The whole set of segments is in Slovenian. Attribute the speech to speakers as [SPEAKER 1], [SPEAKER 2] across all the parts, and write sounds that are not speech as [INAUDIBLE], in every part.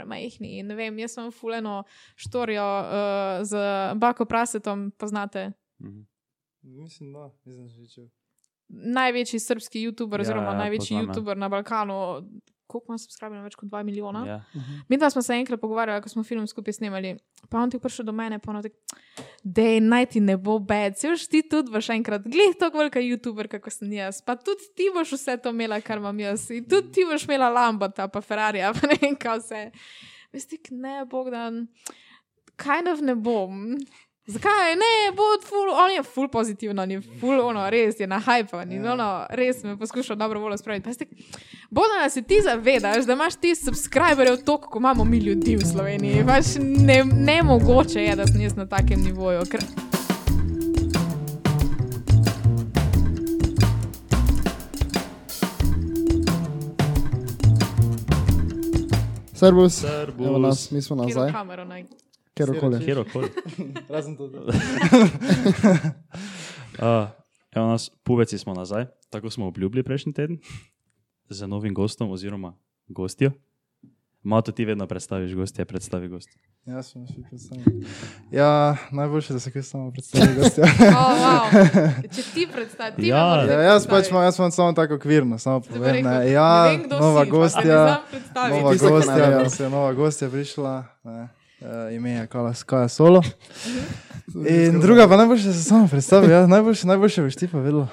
[SPEAKER 1] premajhni. Ne vem, jaz sem fuleno štorijo uh, z bako prasetom, poznate.
[SPEAKER 2] Mhm.
[SPEAKER 3] Mislim, da nisem slišal.
[SPEAKER 1] Največji srbski YouTuber,
[SPEAKER 2] Ja,
[SPEAKER 1] oziroma
[SPEAKER 2] ja,
[SPEAKER 1] največji
[SPEAKER 2] poznam, ja.
[SPEAKER 1] YouTuber na Balkanu. Koliko ima subskrbijo, več kot 2 milijona?
[SPEAKER 2] Ja.
[SPEAKER 1] Mi dva smo se enkrat pogovarjali, ko smo film skupaj snemali. Pa on ti je prišel do mene, pa on je rekel, da je naj ti ne bo bed, se boš ti tudi boš enkrat, glej, tako velika YouTuber, kako sem jaz. Pa tudi ti boš vse to imela, kar imam jaz. In tudi ti boš imela Lambata, pa Ferrarija, pa ne vem, kaj vse. Veste, ne, Bogdan, kaj nav ne bom. Zakaj ne, bo ful, on je ful pozitiven, on je ful, ono, res je nahajpan in
[SPEAKER 3] Ja.
[SPEAKER 1] ono, res me poskuša dobro voljo spraviti. Pa jaz tako, Bodo nas ti zavedaš, da imaš ti subscriberjev toliko, kot imamo mi ljudi v Sloveniji. Pač ne, ne mogoče je, da sem jaz na takem nivoju. Ker...
[SPEAKER 4] Servus.
[SPEAKER 2] Servus.
[SPEAKER 4] Evo nas, mi smo
[SPEAKER 1] Kino
[SPEAKER 4] nazaj,
[SPEAKER 1] kamero naj.
[SPEAKER 4] kjerkoli.
[SPEAKER 2] Kjerokoli.
[SPEAKER 3] Razen to, da
[SPEAKER 2] Uh, evo nas, puveci smo nazaj, tako smo obljubili prejšnji teden, z novim gostom oziroma gostjo. Mato ti vedno predstaviš gostje, predstavi gost.
[SPEAKER 3] Ja, sem še predstavljen. Ja, najboljše, da se kaj samo predstavljam.
[SPEAKER 4] [LAUGHS]
[SPEAKER 1] Oh, wow. Če ti predstaviš, ti
[SPEAKER 2] Ja.
[SPEAKER 1] me moraš
[SPEAKER 3] Ja, jaz pač
[SPEAKER 1] predstaviti.
[SPEAKER 3] imam, jaz imam samo tako okvirno, samo
[SPEAKER 1] Da bi
[SPEAKER 3] povem.
[SPEAKER 1] rekel,
[SPEAKER 3] Ne. Ja,
[SPEAKER 1] ne vem, kdo
[SPEAKER 3] nova
[SPEAKER 1] si,
[SPEAKER 3] gostja, nova
[SPEAKER 1] Nova...
[SPEAKER 4] Tista, ki ne
[SPEAKER 3] gostja,
[SPEAKER 4] vemo.
[SPEAKER 3] ja, se je nova gostja prišla, ne, eh, ime je Kala Skaja Solo.
[SPEAKER 4] Mhm.
[SPEAKER 3] In druga pa najboljše, da se samo predstavim, ja, najboljše, najboljše boš ti pa vedela.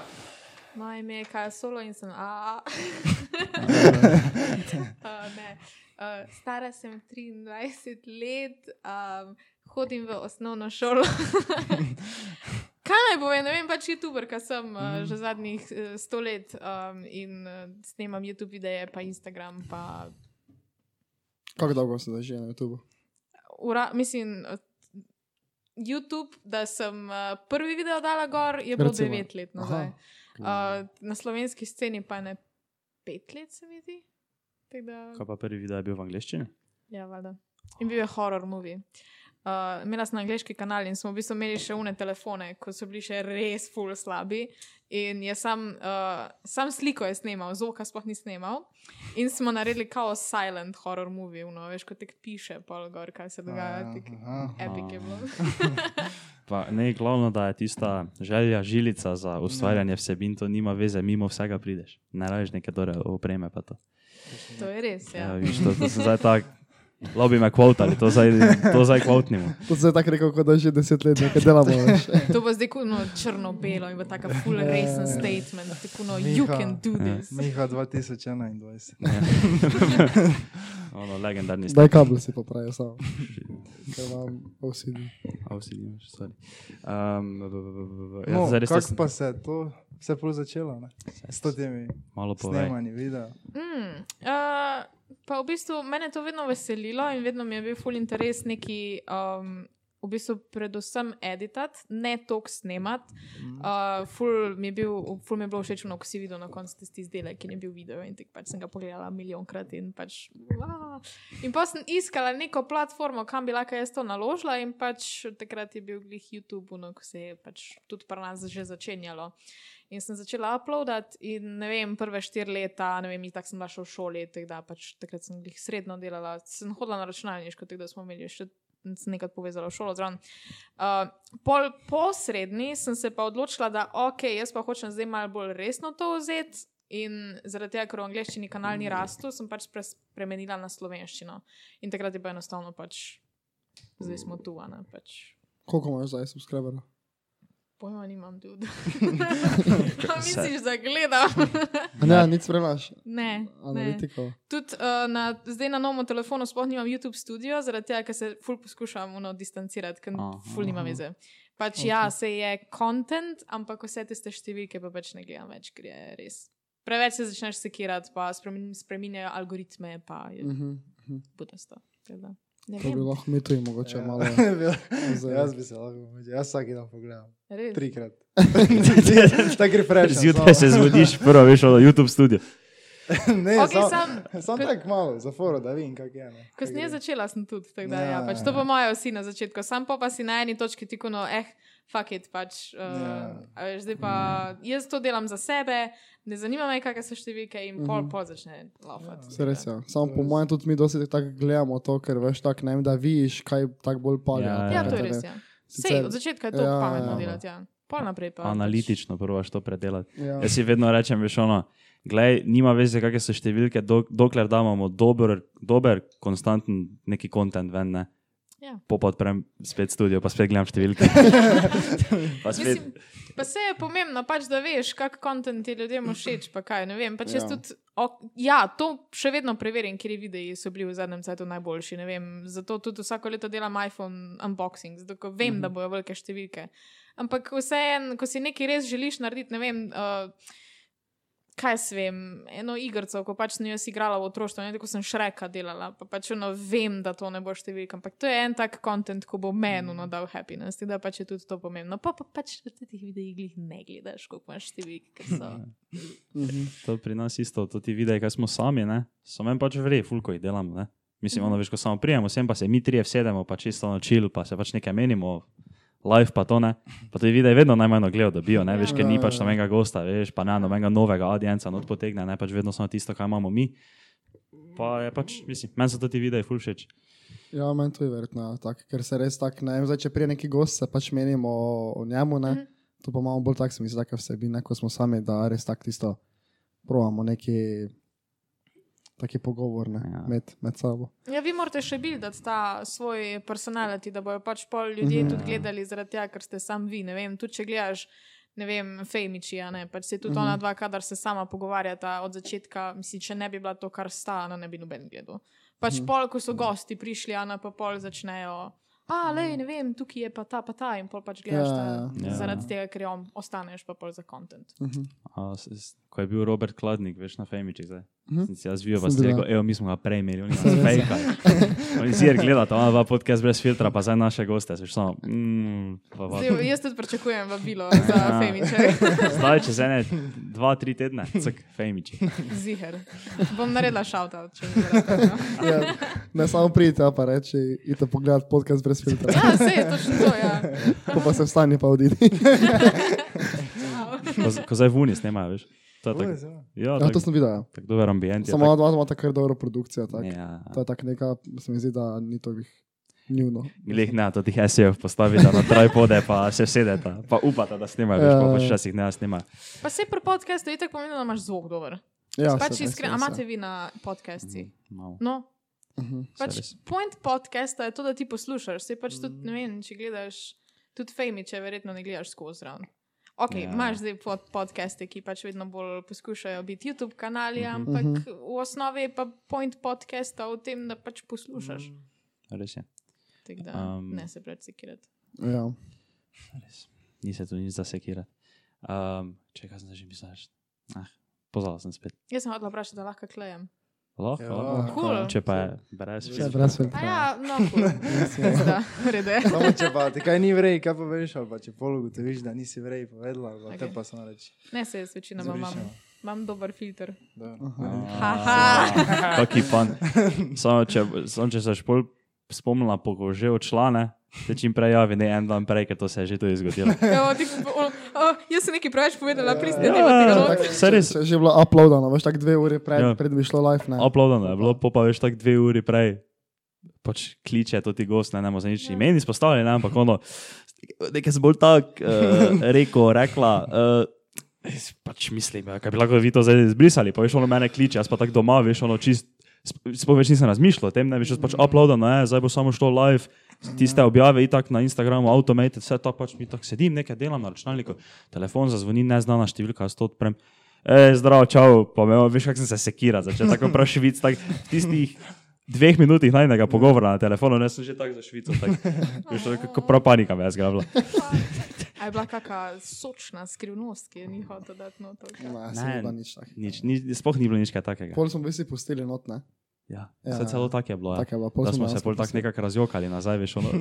[SPEAKER 1] Moje ime je Kaja Solo in sem AA. [LAUGHS] uh, ne. uh, stara sem 23 let, um, hodim v osnovno šolo. [LAUGHS] Kaj naj povem, ne vem, pač YouTuberka sem
[SPEAKER 4] Mhm.
[SPEAKER 1] uh, že zadnjih uh, sto let um, in uh, snemam YouTube videe, pa Instagram, pa
[SPEAKER 4] Kako dolgo se zdaj že na YouTubu?
[SPEAKER 1] ura, mislim. Uh, YouTube, da sem uh, prvi video dala gor, je bilo
[SPEAKER 4] Recimo.
[SPEAKER 1] 9 let nazaj.
[SPEAKER 4] Aha.
[SPEAKER 1] Uh, na slovenski sceni pa ne pet let, se mi zdi. Tako Da,
[SPEAKER 2] Kaj pa prvi video je bil v angleščini?
[SPEAKER 1] ja, valjda. In bil je horror movie. Uh, imela sem angliški kanal in smo v bistvu imeli še une telefone, ko so bili še res full slabi. In je sam, uh, sam sliko je snimal, zvoka sploh ni snimal. In smo naredili kao silent horror movie, no, veš, kot tek piše, pol gor, kaj se dogaja.
[SPEAKER 3] Ja,
[SPEAKER 1] tik-
[SPEAKER 3] aha.
[SPEAKER 1] Epic je bilo.
[SPEAKER 3] [LAUGHS]
[SPEAKER 2] Pa, ne, glavno, da je tista želja, žilica za ustvarjanje vsebin, to nima veze, mimo vsega prideš. Ne rabiš neke dobre opreme. pa To.
[SPEAKER 1] to je res.
[SPEAKER 2] Ja,
[SPEAKER 1] Ja.
[SPEAKER 2] viš, to, to sem zdaj tak, lobi me kvotali, to zdaj, to zdaj kvotnimo.
[SPEAKER 4] To se je tako rekel, kot da že deset let nekaj delamo. veš.
[SPEAKER 1] To bo zdaj kuno črno-belo in bo tako full resen statement, tako no, you
[SPEAKER 3] Miha. ja,
[SPEAKER 1] can do this.
[SPEAKER 3] Miha 2021.
[SPEAKER 2] Ono, legendarni ste.
[SPEAKER 4] Zdaj kabel si popravijo
[SPEAKER 2] [LAUGHS]
[SPEAKER 4] samo. Ker imam OCD.
[SPEAKER 2] A, vsi nimaš, sorry. Um, b- b- b- b- b-
[SPEAKER 3] No,
[SPEAKER 2] jaz zdaj res
[SPEAKER 3] kako
[SPEAKER 2] nisem-
[SPEAKER 3] pa se je to vse prav začelo, ne? S to temi
[SPEAKER 2] malo povej.
[SPEAKER 3] snemanji videa.
[SPEAKER 1] Mm, uh, pa v bistvu mene je to vedno veselilo in vedno mi je bil ful interes neki. Um, V bistvu, predvsem editati, ne tok snemati. Uh, ful, mi je bil, ful mi je bilo všeč, no, ko si videl na koncu tisti izdelek, ki je bil video. In tako pač sem ga pogledala milijonkrat. In, pač, wow. in pa sem iskala neko platformo, kam bi lahko jaz to naložila. In pač takrat je bil glih YouTube, no, ko se je pač tudi pri nas že začenjalo. In sem začela uploadati, in ne vem, prve štiri leta, ne vem, tako sem bila še v šoli, tako da pač takrat sem jih sredno delala, sem hodila na računalniško, tako da smo imeli še. Sem nekaj povezala v šolo. zraven. Uh, pol posrednji sem se pa odločila, da ok, jaz pa hočem zdaj malo bolj resno to vzeti. In zaradi tega, ker v angleščini kanal
[SPEAKER 4] Mm.
[SPEAKER 1] ni rastel, sem pač pres- spremenila na slovenščino. In takrat je bilo enostavno pač, zdaj smo tu, a ne pač
[SPEAKER 4] Koliko imaš zdaj subscriberov?
[SPEAKER 1] Pojma nimam, dude.
[SPEAKER 2] Kaj
[SPEAKER 1] Kaj
[SPEAKER 2] se-
[SPEAKER 1] misliš, da gledam?
[SPEAKER 4] A Ne, nič spremljaš.
[SPEAKER 1] ne. ne.
[SPEAKER 4] Analitiko.
[SPEAKER 1] Tudi uh, na, zdaj na novem telefonu sploh nimam YouTube studio, zaradi tega, ker se ful poskušam uno, distancirati, ker
[SPEAKER 2] Aha.
[SPEAKER 1] ful nima veze. Pač okay. ja, se je content, ampak vse tiste številke pa pač ne gledam več, ker je res. Preveč se začneš sekirati, pa spremin- spreminjajo algoritme, pa je mm.
[SPEAKER 4] Mhm.
[SPEAKER 1] budasto. Tako da, Ne
[SPEAKER 4] To bi
[SPEAKER 1] vem,
[SPEAKER 4] lahko mi tu in mogoče [LAUGHS]
[SPEAKER 3] Ja. [LAUGHS]
[SPEAKER 4] malo. vzeli.
[SPEAKER 3] jaz bi se lahko umil, jaz vsak dan pogledam.
[SPEAKER 1] res.
[SPEAKER 2] [LAUGHS]
[SPEAKER 3] Trikrat. Tako refresh. Ja, [LAUGHS]
[SPEAKER 2] Zjutraj se zbudiš, prvo veš, ono, YouTube studio.
[SPEAKER 4] ne,
[SPEAKER 1] Ok,
[SPEAKER 4] samo-
[SPEAKER 1] sam,
[SPEAKER 4] Samo
[SPEAKER 1] Ko-
[SPEAKER 4] tako malo, za foro, da vidim, kako je. ne.
[SPEAKER 1] ko sem jaz
[SPEAKER 4] Tako
[SPEAKER 1] začela, sem tudi. tako Da,
[SPEAKER 4] Ja,
[SPEAKER 1] ja, pač,
[SPEAKER 4] ja,
[SPEAKER 1] to
[SPEAKER 4] ja.
[SPEAKER 1] pa imajo vsi na začetku, sam pa, pa si na eni točki tikuno, eh, fuck it. Pač, uh,
[SPEAKER 4] Ja. Mm.
[SPEAKER 1] yeah. veš, zdaj pa, jaz to delam za sebe, ne zanima me, kakšne so številke in pol, pol začne laufati.
[SPEAKER 4] Se res, Mhm. ja. Samo po mojem, tudi mi dosti tako gledamo to, ker veš tako, ne vem, da vidiš, kaj tako bolj pali.
[SPEAKER 2] Ja,
[SPEAKER 1] Ja, to je res. Ja. Sej,
[SPEAKER 4] torej, Sicer-
[SPEAKER 1] od začetka je to
[SPEAKER 4] Ja,
[SPEAKER 1] ja,
[SPEAKER 4] ja,
[SPEAKER 1] pametno ja,
[SPEAKER 4] ja.
[SPEAKER 1] delati, ja. pol naprej
[SPEAKER 3] pač-
[SPEAKER 1] pa.
[SPEAKER 2] Analitično prvo, što predelati.
[SPEAKER 4] Ja.
[SPEAKER 2] Jaz si vedno rečem, veš, ono, glej, nima veze, kakšne so številke, dok, dokler damo dober, dober, konstanten neki kontent ven. Ne.
[SPEAKER 1] Ja.
[SPEAKER 2] Po pa odprem spet studio, pa spet gledam
[SPEAKER 3] [LAUGHS]
[SPEAKER 2] številke. pa spet,
[SPEAKER 1] Mislim, pa se je pomembno, pač, da veš, kak kontent ti ljudem všeč, pa kaj. Ne vem, pač ja.
[SPEAKER 4] Ja.
[SPEAKER 1] Tudi, ok, ja, to še vedno preverim, kje videi so bili v zadnjem času najboljši. ne Vem, zato tudi vsako leto delam iPhone unboxing, zato ker vem, mm -hmm. da bojo velike številke. Ampak vseeno, ko si nekaj res želiš narediti, ne vem. Uh, Kaj jaz vem, eno igrico, ko pač sem jo jaz igrala v otroštvu, ne tako sem šreka delala, pa pač ono vem, da to ne bo številka, ampak to je en tak kontent, ko bo meni ono dal happiness, tako da pač je tudi to pomembno. Pa pa pač v teh videih ne gledaš, koliko imaš številk, ker so.
[SPEAKER 4] Mhm.
[SPEAKER 2] to pri nas isto, to ti vidi, kaj smo sami, ne? samo en pač vre, fulko jih delamo. Ne? Mislim, ono, veš, ko samo prijemo, sem pa se mi trije sedemo, pa čisto na čil, pa se pač nekaj menimo. Live pa to ne, pa tudi videi vedno najmanj gledajo, dobijo, ne, veš, ker ni pač nobenega gosta, veš, pa ne, nobenega novega audienca not potegne, ne, pač vedno samo tisto, kar imamo mi. Pa je pač, mislim, meni so to ti videi ful všeč.
[SPEAKER 4] Ja, meni to je verjetno ja, tako, ker se res tako, ne vem, zdaj, če prije neki gost se pač menimo o, o njemu, ne,
[SPEAKER 1] Mhm.
[SPEAKER 4] to pa imamo bolj tako, se mi zdi, tako vsebina, ko smo sami, da res tako tisto, provamo neki taki pogovor ne,
[SPEAKER 2] Ja.
[SPEAKER 4] ja. med, med sabo.
[SPEAKER 1] Ja, vi morate še bildati ta svoj personality, da bojo pač pol ljudi
[SPEAKER 4] Mhm.
[SPEAKER 1] mm. tudi gledali zaradi tega, ker ste sam vi. Ne vem, tudi če gledaš, ne vem, Fejmiči, a ne, pač se tudi
[SPEAKER 4] Mhm.
[SPEAKER 1] mm. ona dva, kadar se sama pogovarjata od začetka, mislim, če ne bi bila to, kar sta, ona ne bi noben gledal. Pač mm. pol, ko so gosti prišli, ona pa pol začnejo. A, le, ne vem, tukaj je pa ta, pa ta, in pol pač gledaš
[SPEAKER 4] Ja,
[SPEAKER 1] ta,
[SPEAKER 2] ja, ja.
[SPEAKER 1] zaradi tega, ker jo ostaneš pa pol za kontent.
[SPEAKER 4] Mhm.
[SPEAKER 2] A, s, s, ko je bil Robert Kladnik, veš na Femiči, zdaj.
[SPEAKER 4] Mhm.
[SPEAKER 2] Sem si jaz videl, pa
[SPEAKER 4] Sem
[SPEAKER 2] si
[SPEAKER 4] bila.
[SPEAKER 2] rekel, evo, mi smo ga prej imeli, oni nas
[SPEAKER 4] Saj res, ja.
[SPEAKER 2] fejkajo. Oni si jer gledata, ona dva podcast brez filtra, pa zdaj naše goste, veš, samo, mm, pa, pa.
[SPEAKER 1] Zdaj, jaz tudi pričakujem vabilo za
[SPEAKER 2] Ja.
[SPEAKER 1] Fejmiče.
[SPEAKER 2] Zdaj, čez ene, dva, tri tedne, cek, Femiči.
[SPEAKER 1] [LAUGHS] Ziher. Bom naredila šoutout, če mi verjamete.
[SPEAKER 4] Ja, ne samo pridite, a pa reči, idite pogledat podcast
[SPEAKER 1] [LAUGHS]
[SPEAKER 4] brez filtra,
[SPEAKER 2] [LAUGHS]
[SPEAKER 1] Ja, vse je točno to, ja.
[SPEAKER 4] ko pa se vstani pa odidi.
[SPEAKER 2] Ko, z- ko zdaj vuni snemajo, veš. To je tako. Ja,
[SPEAKER 4] Ja, to
[SPEAKER 2] tako,
[SPEAKER 4] sem videl. Ja.
[SPEAKER 2] tako dober ambient. je,
[SPEAKER 4] Samo
[SPEAKER 2] tako-
[SPEAKER 4] ona dva ima tako kar dobro produkcijo. Tak.
[SPEAKER 2] Ja,
[SPEAKER 4] To je tako neka, se mi zdi, da ni to jih njuno.
[SPEAKER 2] Glej, ne, to tih SEO postavite na tripode, pa se sedete, pa upate, da snimajo, veš,
[SPEAKER 4] Ja,
[SPEAKER 2] pa pač včasih ne snimajo.
[SPEAKER 1] Pa se pri podkastu je tako pomembno, da imaš zvok dober.
[SPEAKER 4] Ja,
[SPEAKER 1] pač
[SPEAKER 4] se res,
[SPEAKER 1] iskreno,
[SPEAKER 4] res, ja.
[SPEAKER 1] imate vi na podcastih.
[SPEAKER 2] Malo.
[SPEAKER 1] No,
[SPEAKER 4] Mhm.
[SPEAKER 1] pač
[SPEAKER 2] res. Mhm.
[SPEAKER 1] point podcasta je to, da ti poslušaš. Se pač tudi, ne vem, če gledaš, tudi fejmiče, verjetno ne gledaš skozi zraven. Ok,
[SPEAKER 2] Ja.
[SPEAKER 1] ja. imaš zdaj pod podcaste, ki pač vedno bolj poskušajo biti YouTube kanali,
[SPEAKER 2] Mhm.
[SPEAKER 1] ampak mm -hmm. v osnovi je pa point podcasta v tem, da pač poslušaš.
[SPEAKER 2] Mhm.
[SPEAKER 1] Mm.
[SPEAKER 2] Res je.
[SPEAKER 1] Tako da
[SPEAKER 2] Am.
[SPEAKER 1] um, ne se predsekirati.
[SPEAKER 4] Ja.
[SPEAKER 2] Res. Ni se tu nič zasekirati. Um, če kaj sem zdaj že mislil, reči? ah, pozval sem spet.
[SPEAKER 1] Jaz sem hodila vprašati, da lahko klejem.
[SPEAKER 2] Lahko,
[SPEAKER 3] Ja.
[SPEAKER 2] lahko.
[SPEAKER 1] Cool.
[SPEAKER 2] Če pa je brez
[SPEAKER 4] Vse
[SPEAKER 2] filtra.
[SPEAKER 4] brez
[SPEAKER 1] A
[SPEAKER 4] filtra. ja.
[SPEAKER 1] ja, no,
[SPEAKER 2] [LAUGHS]
[SPEAKER 1] cool. Zda, rede.
[SPEAKER 3] Samo če pa ti kaj ni vrej, kaj pa veš, ali pa če pologu te viš, da nisi vrej povedala, ali okay. te
[SPEAKER 1] Okej.
[SPEAKER 3] pa samo reči.
[SPEAKER 1] Ne, se jaz večinoma imam,
[SPEAKER 3] Zbrišemo.
[SPEAKER 1] imam dober filter. [LAUGHS]
[SPEAKER 3] Dobro.
[SPEAKER 1] Haha.
[SPEAKER 2] Taki fan. Samo če, samo če se špol spomnila, pa ko že odšla, ne, se čim prej javi, ne en dan prej, ker to se je že tudi zgodilo.
[SPEAKER 1] Evo, ti, o, o, jaz sem nekaj preveč povedala, pristni
[SPEAKER 2] Ja,
[SPEAKER 1] ne bo tega
[SPEAKER 2] ja,
[SPEAKER 1] noč.
[SPEAKER 2] tako. Se res.
[SPEAKER 4] Če je že bilo uploadano, veš, tako dve uri pred,
[SPEAKER 2] Ja.
[SPEAKER 4] ja. pred bi šlo live. Ne?
[SPEAKER 2] Uploadano je bilo, pol pa veš tako dve uri prej. Pač kliče to ti gost, ne, ne, za nič imen izpostavljen, ne, ampak ono, nekaj sem bolj tak uh, rekel, rekla. Uh, Pač mislim, ja, kaj bi lahko vi to zdaj izbrisali, pa veš, ono mene kliče, jaz pa tako doma, veš, ono čist, sp- sploh več nisem razmišljal o tem, ne, veš, jaz pač uploadam, ne, zdaj bo samo šlo live, tiste objave itak na Instagramu, automated, vse to pač mi tako sedim, nekaj delam na računalniku, telefon zazvoni, neznana številka, jaz to odprem. E, zdravo, čau, pa me, veš, kako sem se sekira, začel tako prav švic, tak, v tistih dveh minutih najnega pogovora na telefonu, ne sem že tako za švico, tak, veš, tako ko prav panika me je zgrabila.
[SPEAKER 1] A je bila kakšna sočna skrivnost, ki je ni hotel dati noto.
[SPEAKER 4] Ne,
[SPEAKER 2] Ne.
[SPEAKER 4] se ni bilo nič takega.
[SPEAKER 2] Nič, ni, sploh ni bilo nič kaj takega.
[SPEAKER 4] Pol smo bili si pustili not, ne?
[SPEAKER 2] Ja,
[SPEAKER 4] Ja.
[SPEAKER 2] ja. Celo tako je bilo. Ja.
[SPEAKER 4] Tako je bilo, pol
[SPEAKER 2] Da smo
[SPEAKER 4] smo
[SPEAKER 2] se
[SPEAKER 4] dejansko
[SPEAKER 2] pol tako
[SPEAKER 4] pustili. [LAUGHS]
[SPEAKER 2] nekako razjokali nazaj, veš, ono.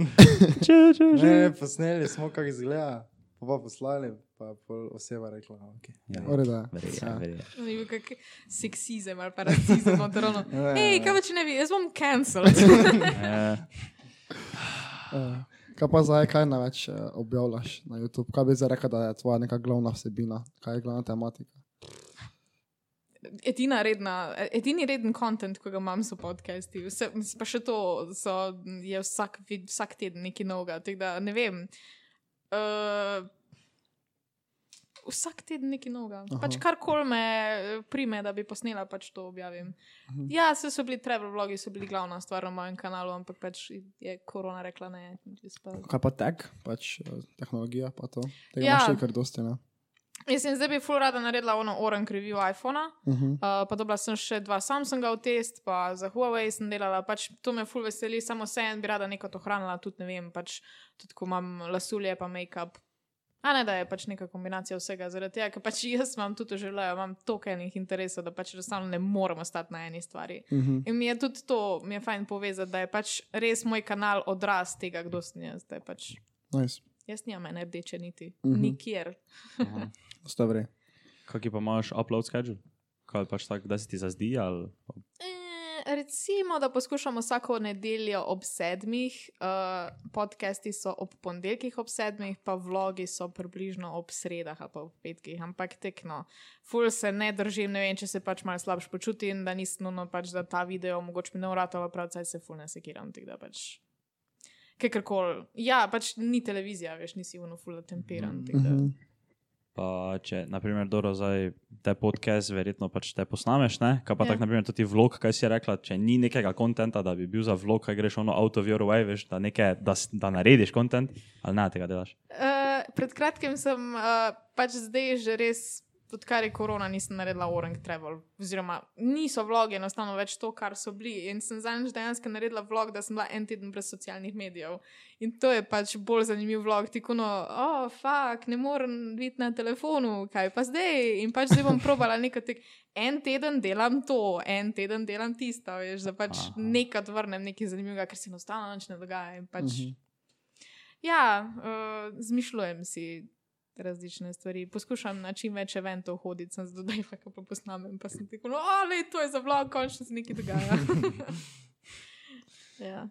[SPEAKER 2] Če, če,
[SPEAKER 3] Ne,
[SPEAKER 2] že.
[SPEAKER 3] ne, posneli smo, kako izgleda. Pa pa poslali, pa pol oseba rekla, no, ok.
[SPEAKER 2] Ja.
[SPEAKER 4] Oreda.
[SPEAKER 2] Verjetno,
[SPEAKER 4] Ja.
[SPEAKER 2] verjetno.
[SPEAKER 1] Ono je bil kak seksizem ali pa rasizem, noter ono.
[SPEAKER 3] Ja, ja,
[SPEAKER 1] Hej,
[SPEAKER 3] ja.
[SPEAKER 1] kaj pa če ne bi, jaz bom cancelled.
[SPEAKER 2] Ja.
[SPEAKER 4] Ja. Kaj pa zdaj, kaj največ eh, objavljaš na YouTube? Kaj bi zdaj rekel, da je tvoja neka glavna vsebina? Kaj je glavna tematika?
[SPEAKER 1] Edina redna, edini reden kontent, ki ga imam, so podcasti. Vse, mislim, pa še to so, je vsak, vid- vsak teden nekaj novega. Tako da ne vem. Uh, vsak teden nekaj novega.
[SPEAKER 4] Aha.
[SPEAKER 1] Pač karkoli me eh, prime, da bi posnela, pač to objavim. Ja, se so bili travel vlogi, so bili glavna stvar na mojem kanalu, ampak pač je korona rekla ne. jaz Pa...
[SPEAKER 4] Kaj pa tek, pač eh, tehnologija, pa to.
[SPEAKER 1] Ja.
[SPEAKER 4] Tega ja. imaš še kar dosti, ne?
[SPEAKER 1] Jaz sem zdaj bi full rada naredila ono orange review iPhona.
[SPEAKER 4] Uh -huh.
[SPEAKER 1] Uh, pa dobila sem še dva Samsunga v test, pa za Huawei sem delala, pač to me ful veseli, samo vse en bi rada neko to hranila, tudi ne vem, pač tudi ko imam lasulje, pa make-up. A ne, da je pač neka kombinacija vsega, zaradi tega, ker pač [LAUGHS] jaz imam tudi v življenju, imam toliko enih interesov, da pač enostavno ne morem ostati na eni stvari.
[SPEAKER 4] Uh -huh.
[SPEAKER 1] In mi je tudi to, mi je fajn povezati, da je pač res moj kanal odraz tega, kdo sem jaz. da je Pač,
[SPEAKER 4] Nice.
[SPEAKER 1] jaz nimam ene rdeče niti,
[SPEAKER 4] Mhm.
[SPEAKER 1] nikjer.
[SPEAKER 4] Dobre.
[SPEAKER 2] Kaj pa imaš upload schedule? Kaj pač tako, da se ti zazdi? Ali...
[SPEAKER 1] Eh, Recimo, da poskušamo vsako nedeljo ob sedmih, uh, podcasti so ob ponedeljkih ob sedmih, pa vlogi so približno ob sredah ali pa ob petkih, ampak tekno. Ful se ne držim, ne vem, če se pač malo slabš počutim, da nisem nujno pač, da ta video mogoče mi ne urata, pa prav saj se ful ne sekiram, tako da pač. Kakorkoli. Ja, pač ni televizija, veš, nisi uno ful temperan.
[SPEAKER 2] Ja.
[SPEAKER 1] tako da.
[SPEAKER 4] Uh -huh.
[SPEAKER 2] Pa če, naprimer, dobro, zdaj te podcast, verjetno pač te posnameš, ne? Kaj pa
[SPEAKER 1] Ja.
[SPEAKER 2] ja. tako, naprimer, tudi vlog, kaj si rekla, če ni nekega kontenta, da bi bil za vlog, kaj greš ono out of your way, veš, da, neke, da, s- da narediš kontent, ali ne tega delaš.
[SPEAKER 1] Uh, pred kratkim sem uh, pač zdaj že res, odkar je korona, nisem naredila orang travel. Oziroma, niso vlogi enostavno več to, kar so bili. In sem zadnjič dejansko naredila vlog, da sem bila en teden brez socialnih medijev. In to je pač bolj zanimiv vlog, tako no, oh, fuck, ne morem biti na telefonu, kaj pa zdaj. In pač zdaj bom probala nekaj tek. En teden delam to, en teden delam tisto, veš, da pač
[SPEAKER 2] Aha.
[SPEAKER 1] nekaj vrnem, nekaj zanimivega, ker se enostavno nič ne dogaja. In pač.
[SPEAKER 4] Mhm.
[SPEAKER 1] Ja, uh, zmišljujem si različne stvari. Poskušam na čim več eventov hoditi, sem zdaj pa kaj pa posnamem, pa sem tako, no, ali to je za vlog, končno se nekaj dogaja. [LAUGHS] ja.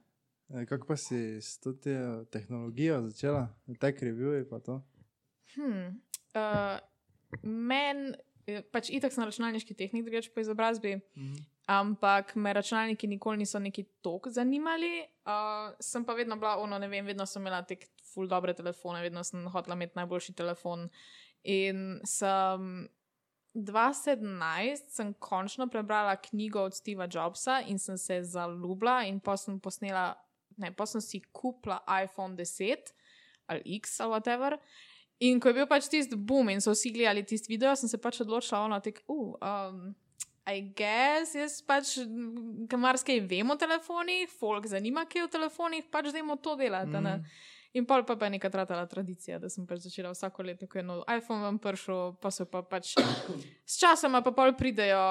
[SPEAKER 3] Eh, Kako pa si s to te- tehnologijo začela, te krivije pa to?
[SPEAKER 1] Hmm. Uh, Meni, pač itak sem računalniški tehnik, drugače po izobrazbi. ampak me računalniki nikoli niso neki tok zanimali. Uh, sem pa vedno bila, ono, ne vem, vedno sem imela te ful dobre telefone, vedno sem hotela imeti najboljši telefon. In sem 2017 sem končno prebrala knjigo od Steva Jobsa in sem se zaljubila, in pa sem posnela, ne, pa sem si kupila iPhone 10 ali X ali whatever. In ko je bil pač tisti boom in so vsi gledali tisti video, sem se pač odločila, ono, tek, uh, um, I guess, jaz pač, mm, ker marsikaj vemo o telefonih, folk zanima, kaj je v telefonih, pač dajmo to delati. Mm. In pol pa, pa je neka tratala tradicija, da sem pač začela vsako leto, ko je nov iPhone vam prišel, pa so pa pač [COUGHS] s časoma pa pol pridejo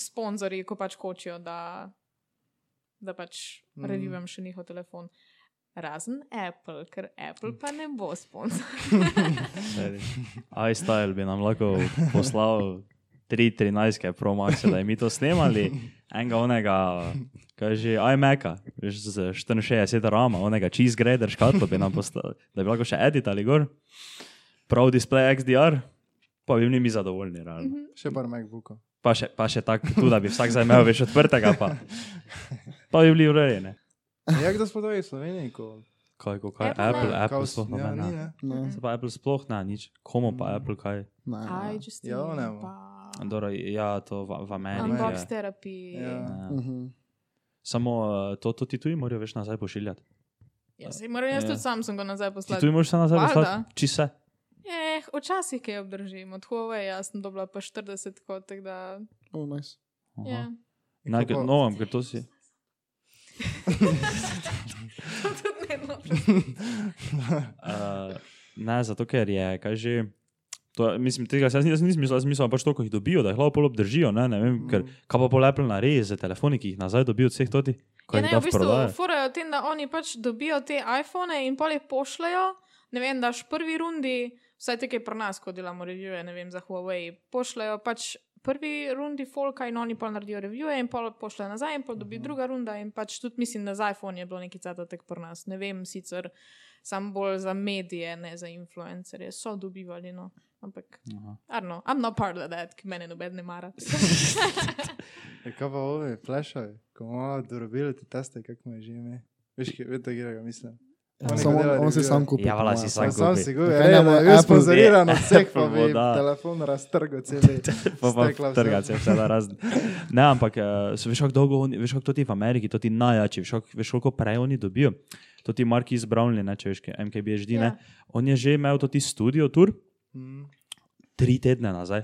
[SPEAKER 1] sponzorji, ko pač hočejo, da, da pač
[SPEAKER 3] Mhm.
[SPEAKER 1] mm. revivam še njihov telefon. Razen Apple, ker Apple pa ne bo sponzor.
[SPEAKER 2] [LAUGHS] iStyle bi nam lahko poslal 3.13, promax, da je mi to snemali, enega onega, kaj že iMac-a, veš, z 64 rama, onega cheese grader škatlo bi nam poslal, da bi lahko še editali gor, prav display XDR, pa bi bili mi zadovoljni. Realno.
[SPEAKER 1] Mhm.
[SPEAKER 3] Še par MacBookov.
[SPEAKER 2] Pa še, pa še tako, tudi da bi vsak zdaj imel več odprtega, pa, pa bi bili urejeni.
[SPEAKER 3] Ja, kdo spodaj v Sloveniji, ko
[SPEAKER 2] Kaj, ko, kaj,
[SPEAKER 1] Apple ne.
[SPEAKER 2] Apple, Apple, Apple
[SPEAKER 3] kao-
[SPEAKER 2] sploh ne. Mhm.
[SPEAKER 3] ja,
[SPEAKER 2] Ja,
[SPEAKER 3] ni, ne?
[SPEAKER 4] Ne,
[SPEAKER 1] Mhm.
[SPEAKER 2] Se pa Apple sploh ne, nič. Komu pa Apple kaj?
[SPEAKER 4] ne,
[SPEAKER 1] [LAUGHS] Aj,
[SPEAKER 4] ne.
[SPEAKER 1] just
[SPEAKER 3] Ja, ne bo.
[SPEAKER 2] Andora, ja, to v, v Ameriki.
[SPEAKER 3] Ampak
[SPEAKER 1] Unbox
[SPEAKER 2] je.
[SPEAKER 1] terapij.
[SPEAKER 3] Ja.
[SPEAKER 2] Ja.
[SPEAKER 4] Uh -huh.
[SPEAKER 2] Samo eh, to, to ti tuji morajo več nazaj pošiljati.
[SPEAKER 1] Ja, saj moram jaz
[SPEAKER 2] Ja.
[SPEAKER 1] tudi Samsunga nazaj
[SPEAKER 2] Ti
[SPEAKER 1] poslati.
[SPEAKER 2] tuji moraš se nazaj
[SPEAKER 1] Valjda.
[SPEAKER 2] poslati, če se.
[SPEAKER 1] Eh, včasih je obdržim, od Huawei jaz sem dobila pa 40 kot, tako da.
[SPEAKER 4] Oh, nice.
[SPEAKER 1] Ja. [LAUGHS]
[SPEAKER 3] In
[SPEAKER 2] Na
[SPEAKER 3] kako-
[SPEAKER 2] novem, no, ker to si.
[SPEAKER 1] Tudi ne no.
[SPEAKER 2] Uh, ne, zato ker je, kaj že. To, mislim, tega se jaz, jaz nisem mislil, jaz mislim pač to, ko jih dobijo, da jih lahko pol obdržijo. Ne, ne vem, ker, kaj pa pol Apple naredi z telefoni, ki jih nazaj dobijo od vseh toti, ko
[SPEAKER 1] Ja, ne,
[SPEAKER 2] jih da
[SPEAKER 1] v
[SPEAKER 2] v
[SPEAKER 1] bistvu
[SPEAKER 2] prodajo.
[SPEAKER 1] furajo tem, da oni pač dobijo te iPhone in pa jih pošljajo. Ne vem, daš prvi rundi, Vsaj te, ki pri nas, ko delamo revije, ne vem, za Huawei, pošljajo pač prvi rundi folka in oni pa naredijo revije in pa pošljajo nazaj in pa dobi
[SPEAKER 2] Mhm.
[SPEAKER 1] druga runda in pač tudi mislim, da za iPhone je bilo neki catatek pri nas. Ne vem, sicer sam bolj za medije, ne za influencerje, so dobivali, no. Ampak, arno, I'm not part of that, ki mene noben ne
[SPEAKER 2] [LAUGHS]
[SPEAKER 1] mara.
[SPEAKER 3] Ja, Kaj pa ovi, plešavi, ko imamo dorobili te teste, kako me že ime. Veš, kaj, vedno gre, ga mislim. Oni
[SPEAKER 4] Ja, Samo
[SPEAKER 3] ga dela
[SPEAKER 4] on si
[SPEAKER 3] review.
[SPEAKER 4] sam kupil.
[SPEAKER 2] Ja, vala si sam
[SPEAKER 3] Sam, sam
[SPEAKER 2] kupi.
[SPEAKER 3] si govoril,
[SPEAKER 4] Zakaj
[SPEAKER 3] ja,
[SPEAKER 4] ne bo
[SPEAKER 3] ne,
[SPEAKER 4] Apple-
[SPEAKER 3] jaz
[SPEAKER 2] [LAUGHS]
[SPEAKER 3] spozoriran
[SPEAKER 2] Ja,
[SPEAKER 3] od vseh, pa
[SPEAKER 2] Apple bo
[SPEAKER 3] bi
[SPEAKER 2] da.
[SPEAKER 3] telefon raztrgal
[SPEAKER 2] [LAUGHS]
[SPEAKER 3] celi.
[SPEAKER 2] Pa
[SPEAKER 3] stekla
[SPEAKER 2] pa
[SPEAKER 3] vse.
[SPEAKER 2] trgace, vse na razne. Ne, ampak eh, se veš, kako dolgo, oni- veš, kako to ti v Ameriki, to ti najjači, veš, kako- veš, koliko prej oni dobijo. To ti Mark iz Brownlee, ne, če veš, kaj, MKBHD, ja. ne.
[SPEAKER 1] Ja.
[SPEAKER 2] On je že imel to ti studio tur
[SPEAKER 3] Mm.
[SPEAKER 2] tri tedne nazaj,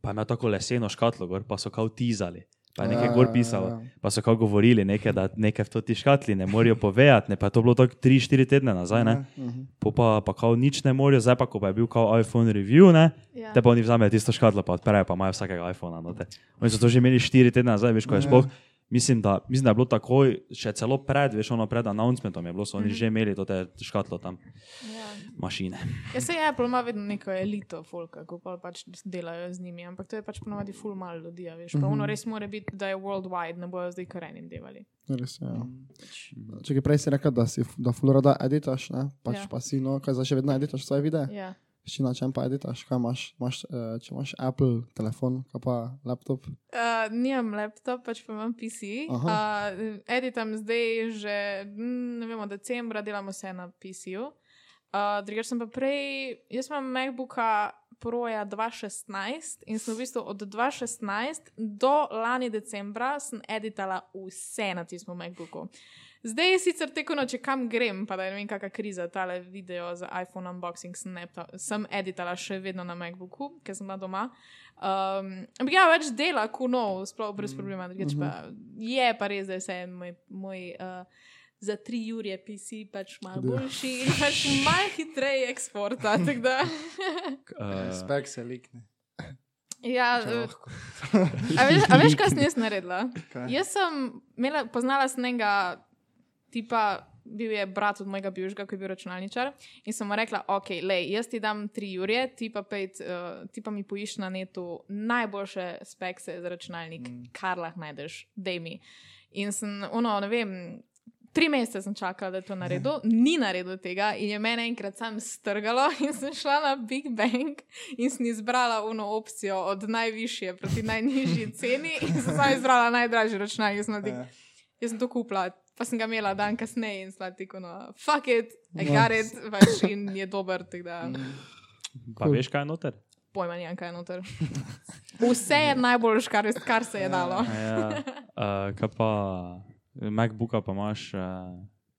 [SPEAKER 2] pa je imel tako leseno škatlo gor, pa so kao tizali. Pa je nekaj
[SPEAKER 4] Ja,
[SPEAKER 2] gor
[SPEAKER 4] ja,
[SPEAKER 2] pisalo,
[SPEAKER 4] ja.
[SPEAKER 2] pa so kao govorili nekaj, da nekaj v to ti škatli ne morejo povedati, ne, pa je to bilo tako tri, štiri tedne nazaj,
[SPEAKER 3] Ja.
[SPEAKER 2] ne. Pol Pa, pa kao nič ne morejo, zdaj pa ko pa je bil kao iPhone review, ne.
[SPEAKER 1] Ja.
[SPEAKER 2] Te pa oni vzamejo tisto škatlo, pa odprejo, pa imajo vsakega iPhona. No oni so to že imeli štiri tedne nazaj, veš, ko je sploh. Mislim da, mislim, da je bilo takoj, še celo pred, veš, ono pred announcementom je bilo, so oni že imeli to te škatlo tam,
[SPEAKER 1] Ja.
[SPEAKER 2] mašine.
[SPEAKER 1] Ja, se Apple ima vedno neko elito, folka, ko pa pač delajo z njimi, ampak to je pač ponovadi full mal ljudi, a veš. Pa ono res mora biti, da je worldwide, ne bojo zdaj korenim delali.
[SPEAKER 4] Res, je,
[SPEAKER 2] Mm.
[SPEAKER 4] ja. Če ki prej si rekel, da, si, da Florida editaš, ne? pač
[SPEAKER 1] Ja.
[SPEAKER 4] pa si no, kaj zdaj še vedno editaš svoje videe.
[SPEAKER 1] Ja.
[SPEAKER 4] Še na čem pa editaš, kaj imaš, imaš eh, če imaš Apple telefon, kaj pa laptop.
[SPEAKER 1] Uh, nimam laptop, pač pa imam PC. Uh,
[SPEAKER 4] Aha.
[SPEAKER 1] editam zdaj že, mm, ne vemo, decembra delamo vse na PC-ju. Uh, Drugač sem pa prej, jaz imam MacBooka Proja 2016 in sem v bistvu od 2016 do lani decembra sem editala vse na tistem MacBooku. Zdaj je sicer tekno, če kam grem, pa da ne vem, kakšna kriza tale video za iPhone unboxing sem, nepta, sem editala še vedno na MacBooku, ker sem na doma. Um, ampak ja, več dela, kuno, sploh brez problema. drugače Pa, je pa res, da je vse en moj. moj uh, Za tri ure PC pač malo
[SPEAKER 4] Da.
[SPEAKER 1] boljši in pač malo hitreje eksporta. tako Da,
[SPEAKER 2] Uh,
[SPEAKER 3] Ja, Spek se likne.
[SPEAKER 1] ja,
[SPEAKER 3] Če
[SPEAKER 1] eh,
[SPEAKER 3] lahko.
[SPEAKER 1] a veš, a veš, kaj sem jaz naredila?
[SPEAKER 3] Kaj?
[SPEAKER 1] Jaz sem imela, poznala sem enega tipa, bil je brat od mojega bivšega, ki je bil računalničar. In sem mu rekla, ok, lej, jaz ti dam tri ure, ti pa, pejt, uh, ti pa mi poiš na netu najboljše spekse za računalnik, mm. kar lahko najdeš, dej mi. In sem, ono, ne vem. Tri mesece sem čakala, da je to naredil, ni naredil tega, in je mene enkrat sam strgalo, [LAUGHS] in sem šla na Big Bang in sem izbrala uno opcijo od najvišje proti
[SPEAKER 2] [LAUGHS]
[SPEAKER 1] najnižji ceni, in sem sama izbrala najdražji računalnik, jaz sem na Big
[SPEAKER 3] Ja.
[SPEAKER 1] Jaz sem to kupila, pa sem ga imela dan kasneje in sla tako, no, fuck it, I got it, pač in je dober, tako da
[SPEAKER 2] Mm. pa veš, kaj je noter?
[SPEAKER 1] pojma ni, kaj je
[SPEAKER 2] [LAUGHS]
[SPEAKER 1] noter. Vse je najbolj, kar, kar se je dalo.
[SPEAKER 2] Ja. Uh, kaj pa MacBooka pa imaš, uh,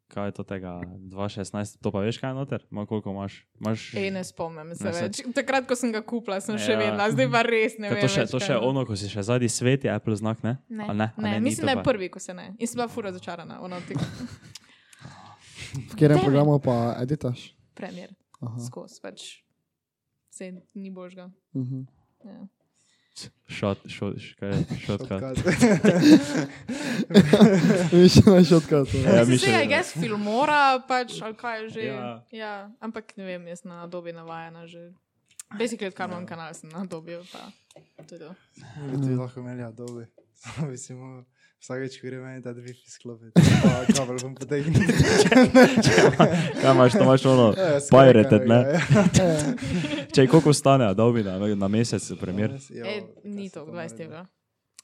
[SPEAKER 2] kaj je to tega 2016, to pa veš, kaj je noter? Ma koliko imaš? imaš
[SPEAKER 1] Ej, ne spomnim se
[SPEAKER 2] Ne, se-
[SPEAKER 1] več. Takrat, ko sem ga kupila, sem še
[SPEAKER 2] Ja.
[SPEAKER 1] vedela, zdaj pa res ne
[SPEAKER 2] Kaj
[SPEAKER 1] vem.
[SPEAKER 2] to še,
[SPEAKER 1] več,
[SPEAKER 2] to
[SPEAKER 1] kaj
[SPEAKER 2] še
[SPEAKER 1] je noter.
[SPEAKER 2] ono, ko si še zadnji svet, je Apple znak, ne?
[SPEAKER 1] Ne,
[SPEAKER 2] A
[SPEAKER 1] ne,
[SPEAKER 2] A
[SPEAKER 1] ne,
[SPEAKER 2] ni
[SPEAKER 1] mislim,
[SPEAKER 2] to
[SPEAKER 1] da je
[SPEAKER 2] pa-
[SPEAKER 1] prvi, ko se ne. In sem bila fura začarana, ono ti
[SPEAKER 4] V katerem programu pa editaš?
[SPEAKER 1] premjer,
[SPEAKER 4] Aha.
[SPEAKER 1] skozi pač. Se ni božga.
[SPEAKER 4] Mhm. [LAUGHS]
[SPEAKER 1] Ja.
[SPEAKER 2] Shot, shot, kaj je? Shotcut. [LAUGHS]
[SPEAKER 4] Še na šotka.
[SPEAKER 2] Ja,
[SPEAKER 1] Ja,
[SPEAKER 2] mi
[SPEAKER 1] mislim,
[SPEAKER 2] še-
[SPEAKER 1] da je gas filmora, pač, ali kaj je že.
[SPEAKER 2] Ja.
[SPEAKER 1] Ja. Ja, ampak ne vem, jaz na dobi navajena že. Basically, odkar imam kanal, sem na dobi.
[SPEAKER 3] Bi ti lahko imeli adobe. [LAUGHS] Samo bi si moral vsakeč, ko gremo, da bi
[SPEAKER 2] [LAUGHS]
[SPEAKER 3] sklopil. Pa kabel bom potegnil.
[SPEAKER 2] Kaj imaš, to imaš ono,
[SPEAKER 3] [LAUGHS] Ja, skoraj
[SPEAKER 2] pirated,
[SPEAKER 3] ga,
[SPEAKER 2] ne?
[SPEAKER 3] ja.
[SPEAKER 2] Če koliko stane, da bi na, na mesec, primer,
[SPEAKER 3] Jo,
[SPEAKER 1] E,
[SPEAKER 3] zakaj
[SPEAKER 1] ni
[SPEAKER 3] so
[SPEAKER 1] to
[SPEAKER 3] naredili?
[SPEAKER 1] 20 evrov.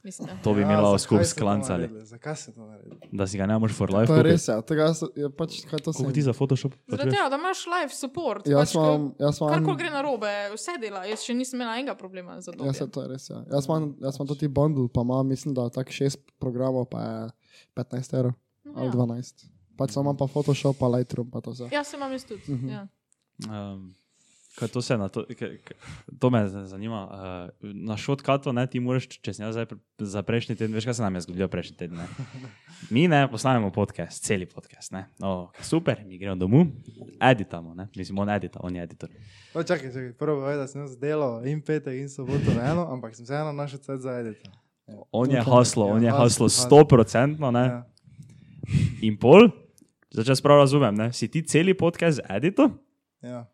[SPEAKER 1] Mislim, da.
[SPEAKER 2] to bi
[SPEAKER 3] Ja,
[SPEAKER 2] imela
[SPEAKER 3] zakaj
[SPEAKER 2] skup
[SPEAKER 3] so to
[SPEAKER 2] sklancali,
[SPEAKER 3] naredili? Zakaj se to naredi?
[SPEAKER 2] da si ga ne moreš for life
[SPEAKER 4] To je
[SPEAKER 2] kupiti.
[SPEAKER 4] res, ja. Tega so- je pač kaj to se.
[SPEAKER 2] Koliko ti za Photoshop?
[SPEAKER 1] Zaradi
[SPEAKER 2] plačuješ?
[SPEAKER 1] tega, da imaš live support. pač,
[SPEAKER 4] Jaz
[SPEAKER 1] ko-
[SPEAKER 4] imam, jaz
[SPEAKER 1] Karkoli
[SPEAKER 4] imam.
[SPEAKER 1] gre na robe, vse dela. Jaz še nisem imela enega problema za to.
[SPEAKER 4] Ja, se to je res. Ja. Jaz imam, jaz imam tudi bundle, pa imam, mislim, da tak šest programov, pa je 15 evrov
[SPEAKER 1] No,
[SPEAKER 4] ali 12. Pač samo imam pa Photoshop, pa Lightroom, pa to vse.
[SPEAKER 1] Ja, se imam jaz tudi.
[SPEAKER 4] Mhm.
[SPEAKER 1] Ja.
[SPEAKER 2] Um, Kaj to se na to, kaj, kaj, to me z- zanima. Uh, na šotkato, ne, ti moraš, če si jaz zdaj pre- za prejšnji teden, veš, kaj se nam je zgodilo prejšnji teden.
[SPEAKER 3] [LAUGHS]
[SPEAKER 2] Ne? Mi ne postavimo podcast, celi podcast. Ne? O, super, mi gremo domov, editamo, ne? mislim, on edita, on je editor.
[SPEAKER 3] No, čakaj, čakaj, prvo povedal, da sem jaz delal in petek in soboto na eno, ampak sem vseeno našel cel za edita.
[SPEAKER 2] On je
[SPEAKER 4] Ok.
[SPEAKER 2] haslo, on je
[SPEAKER 3] Ja,
[SPEAKER 2] haslo
[SPEAKER 3] hustle,
[SPEAKER 2] 100%, ne?
[SPEAKER 3] Ja.
[SPEAKER 2] In pol, zdaj če jaz prav razumem, ne? si ti celi podcast edito,
[SPEAKER 3] Ja.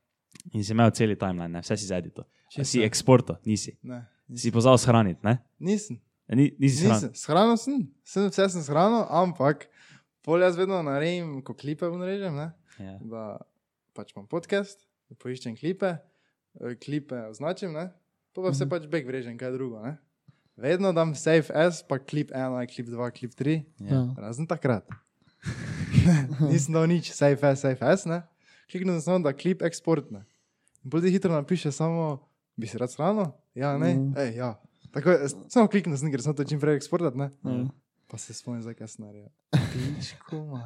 [SPEAKER 2] In si imel celi timeline, ne? vse si zedito.
[SPEAKER 3] Čisto.
[SPEAKER 2] Si eksporto, nisi.
[SPEAKER 3] Ne,
[SPEAKER 2] Si pozval shraniti, ne?
[SPEAKER 3] nisem.
[SPEAKER 2] Ni, nisi shranil.
[SPEAKER 3] Nisem, shranil sem, sem vse sem shranil, ampak pol jaz vedno naredim, ko klipe vnarežem, ne?
[SPEAKER 2] Ja.
[SPEAKER 3] da pač imam podcast, da poiščem klipe, eh, klipe označim, ne? to pa vse pač beg vrežem, kaj drugo. Ne? Vedno dam save S, pa klip 1, klip 2, klip 3,
[SPEAKER 4] Da.
[SPEAKER 2] Ja.
[SPEAKER 3] razen takrat. [LAUGHS] Nisem dal nič, save S, save S, ne? kliknil sem samo, da klip eksportne. In bolj hitro napiše samo, bi se rad shranil, ja, ne, mm.
[SPEAKER 4] Mhm.
[SPEAKER 3] Ej, ja. Tako, je, s- samo kliknil sem, ker sem to čim prej eksportat, ne.
[SPEAKER 4] Ja.
[SPEAKER 3] Pa se spomnim, zakaj sem naredil. Pičko, ma.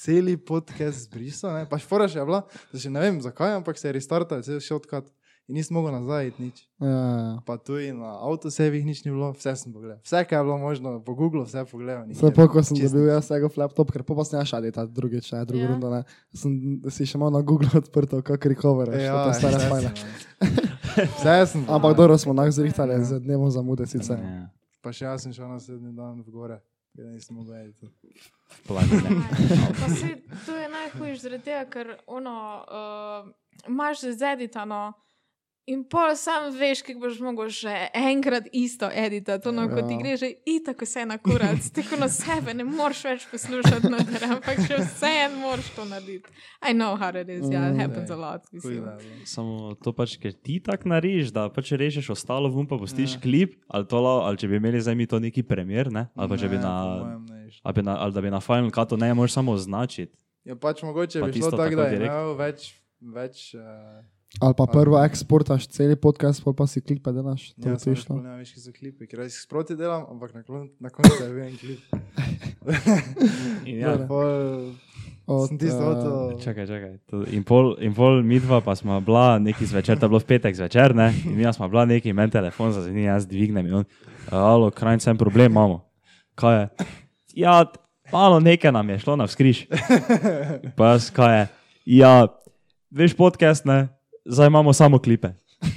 [SPEAKER 3] Celi podcast zbrisal, ne? pač fora še je bila, da še ne vem zakaj, ampak se je restartal, se je še odkrat in nisem mogel nazaj iti nič.
[SPEAKER 4] Ja, ja, ja.
[SPEAKER 3] Pa tudi na avtosevih nič ni bilo, vse sem pogledal. Vse, kar je bilo možno, po Google vse pogledal.
[SPEAKER 4] Vse po, ko sem
[SPEAKER 3] Čisto.
[SPEAKER 4] dobil jaz tega laptop, ker pa sem šel ta drugič, ne,
[SPEAKER 1] Ja.
[SPEAKER 4] drugo yeah. rundo, ne. Sem si še malo na Google [LAUGHS] odprto, kako recover,
[SPEAKER 3] Ja,
[SPEAKER 4] ja, to stare
[SPEAKER 3] vse
[SPEAKER 4] [LAUGHS] fajne.
[SPEAKER 3] sem- Vse sem.
[SPEAKER 4] Ampak
[SPEAKER 3] pogledal.
[SPEAKER 4] dobro smo nah zrihtali, z dnevom zamude sicer.
[SPEAKER 2] Ja.
[SPEAKER 3] Pa še jaz sem šel naslednji dan v gore, ker nisem mogel iti.
[SPEAKER 2] Planine.
[SPEAKER 1] Pa se, to je najhujš zaradi tega, ker ono, uh, imaš že zeditano in pol sam veš, kaj boš mogel še enkrat isto editati. Ono, ko ti
[SPEAKER 4] Ja.
[SPEAKER 1] gre že itak vse na kurac, tako na sebe ne moreš več poslušati, noter, ampak še vseeno moraš to narediti. I know how it is, yeah, it happens a lot.
[SPEAKER 3] Kuj,
[SPEAKER 1] Mislim.
[SPEAKER 3] da je ja. bilo.
[SPEAKER 2] Samo to pač, ker ti tako narediš, da pač rešiš ostalo, vum pa postiš ja. klip, ali, to, lao- ali če bi imeli zdaj mi to neki premjer, ne? ali pa če bi
[SPEAKER 3] Ne,
[SPEAKER 2] na,
[SPEAKER 3] po mojem ne bi šlo.
[SPEAKER 2] ali, bi na, ali da bi na Final Cutu ne moreš samo označiti.
[SPEAKER 3] Ja, pač mogoče
[SPEAKER 2] Pa
[SPEAKER 3] bi šlo
[SPEAKER 2] tisto tako
[SPEAKER 3] tako, da je
[SPEAKER 2] direkt.
[SPEAKER 3] imel več, več uh,
[SPEAKER 4] Ali pa prvo eksportaš celi podcast, pol pa si klipe delaš. To
[SPEAKER 3] Ja,
[SPEAKER 4] je to
[SPEAKER 3] sem šel
[SPEAKER 4] išlo.
[SPEAKER 3] na viški za klipi, ker jaz jih sproti delam, ampak na, klon, na koncu je bil en klip.
[SPEAKER 2] In
[SPEAKER 3] Ja,
[SPEAKER 2] Ja.
[SPEAKER 3] pol,
[SPEAKER 4] Od,
[SPEAKER 3] sem tisto
[SPEAKER 4] eh,
[SPEAKER 3] avto.
[SPEAKER 2] Čakaj, čakaj. to- In pol, in pol midva pa smo bila neki zvečer, to je bilo v petek zvečer, ne? in mi smo bila neki, meni telefon zazvoni, jaz dvignem in on, alo, kraj sem problem, imamo. Kaj je? Ja, t- malo nekaj nam je šlo na
[SPEAKER 3] [LAUGHS]
[SPEAKER 2] vzkriž. Pa jaz, kaj je? Ja, veš podcast, ne? Zdaj imamo samo klipe.
[SPEAKER 3] [LAUGHS]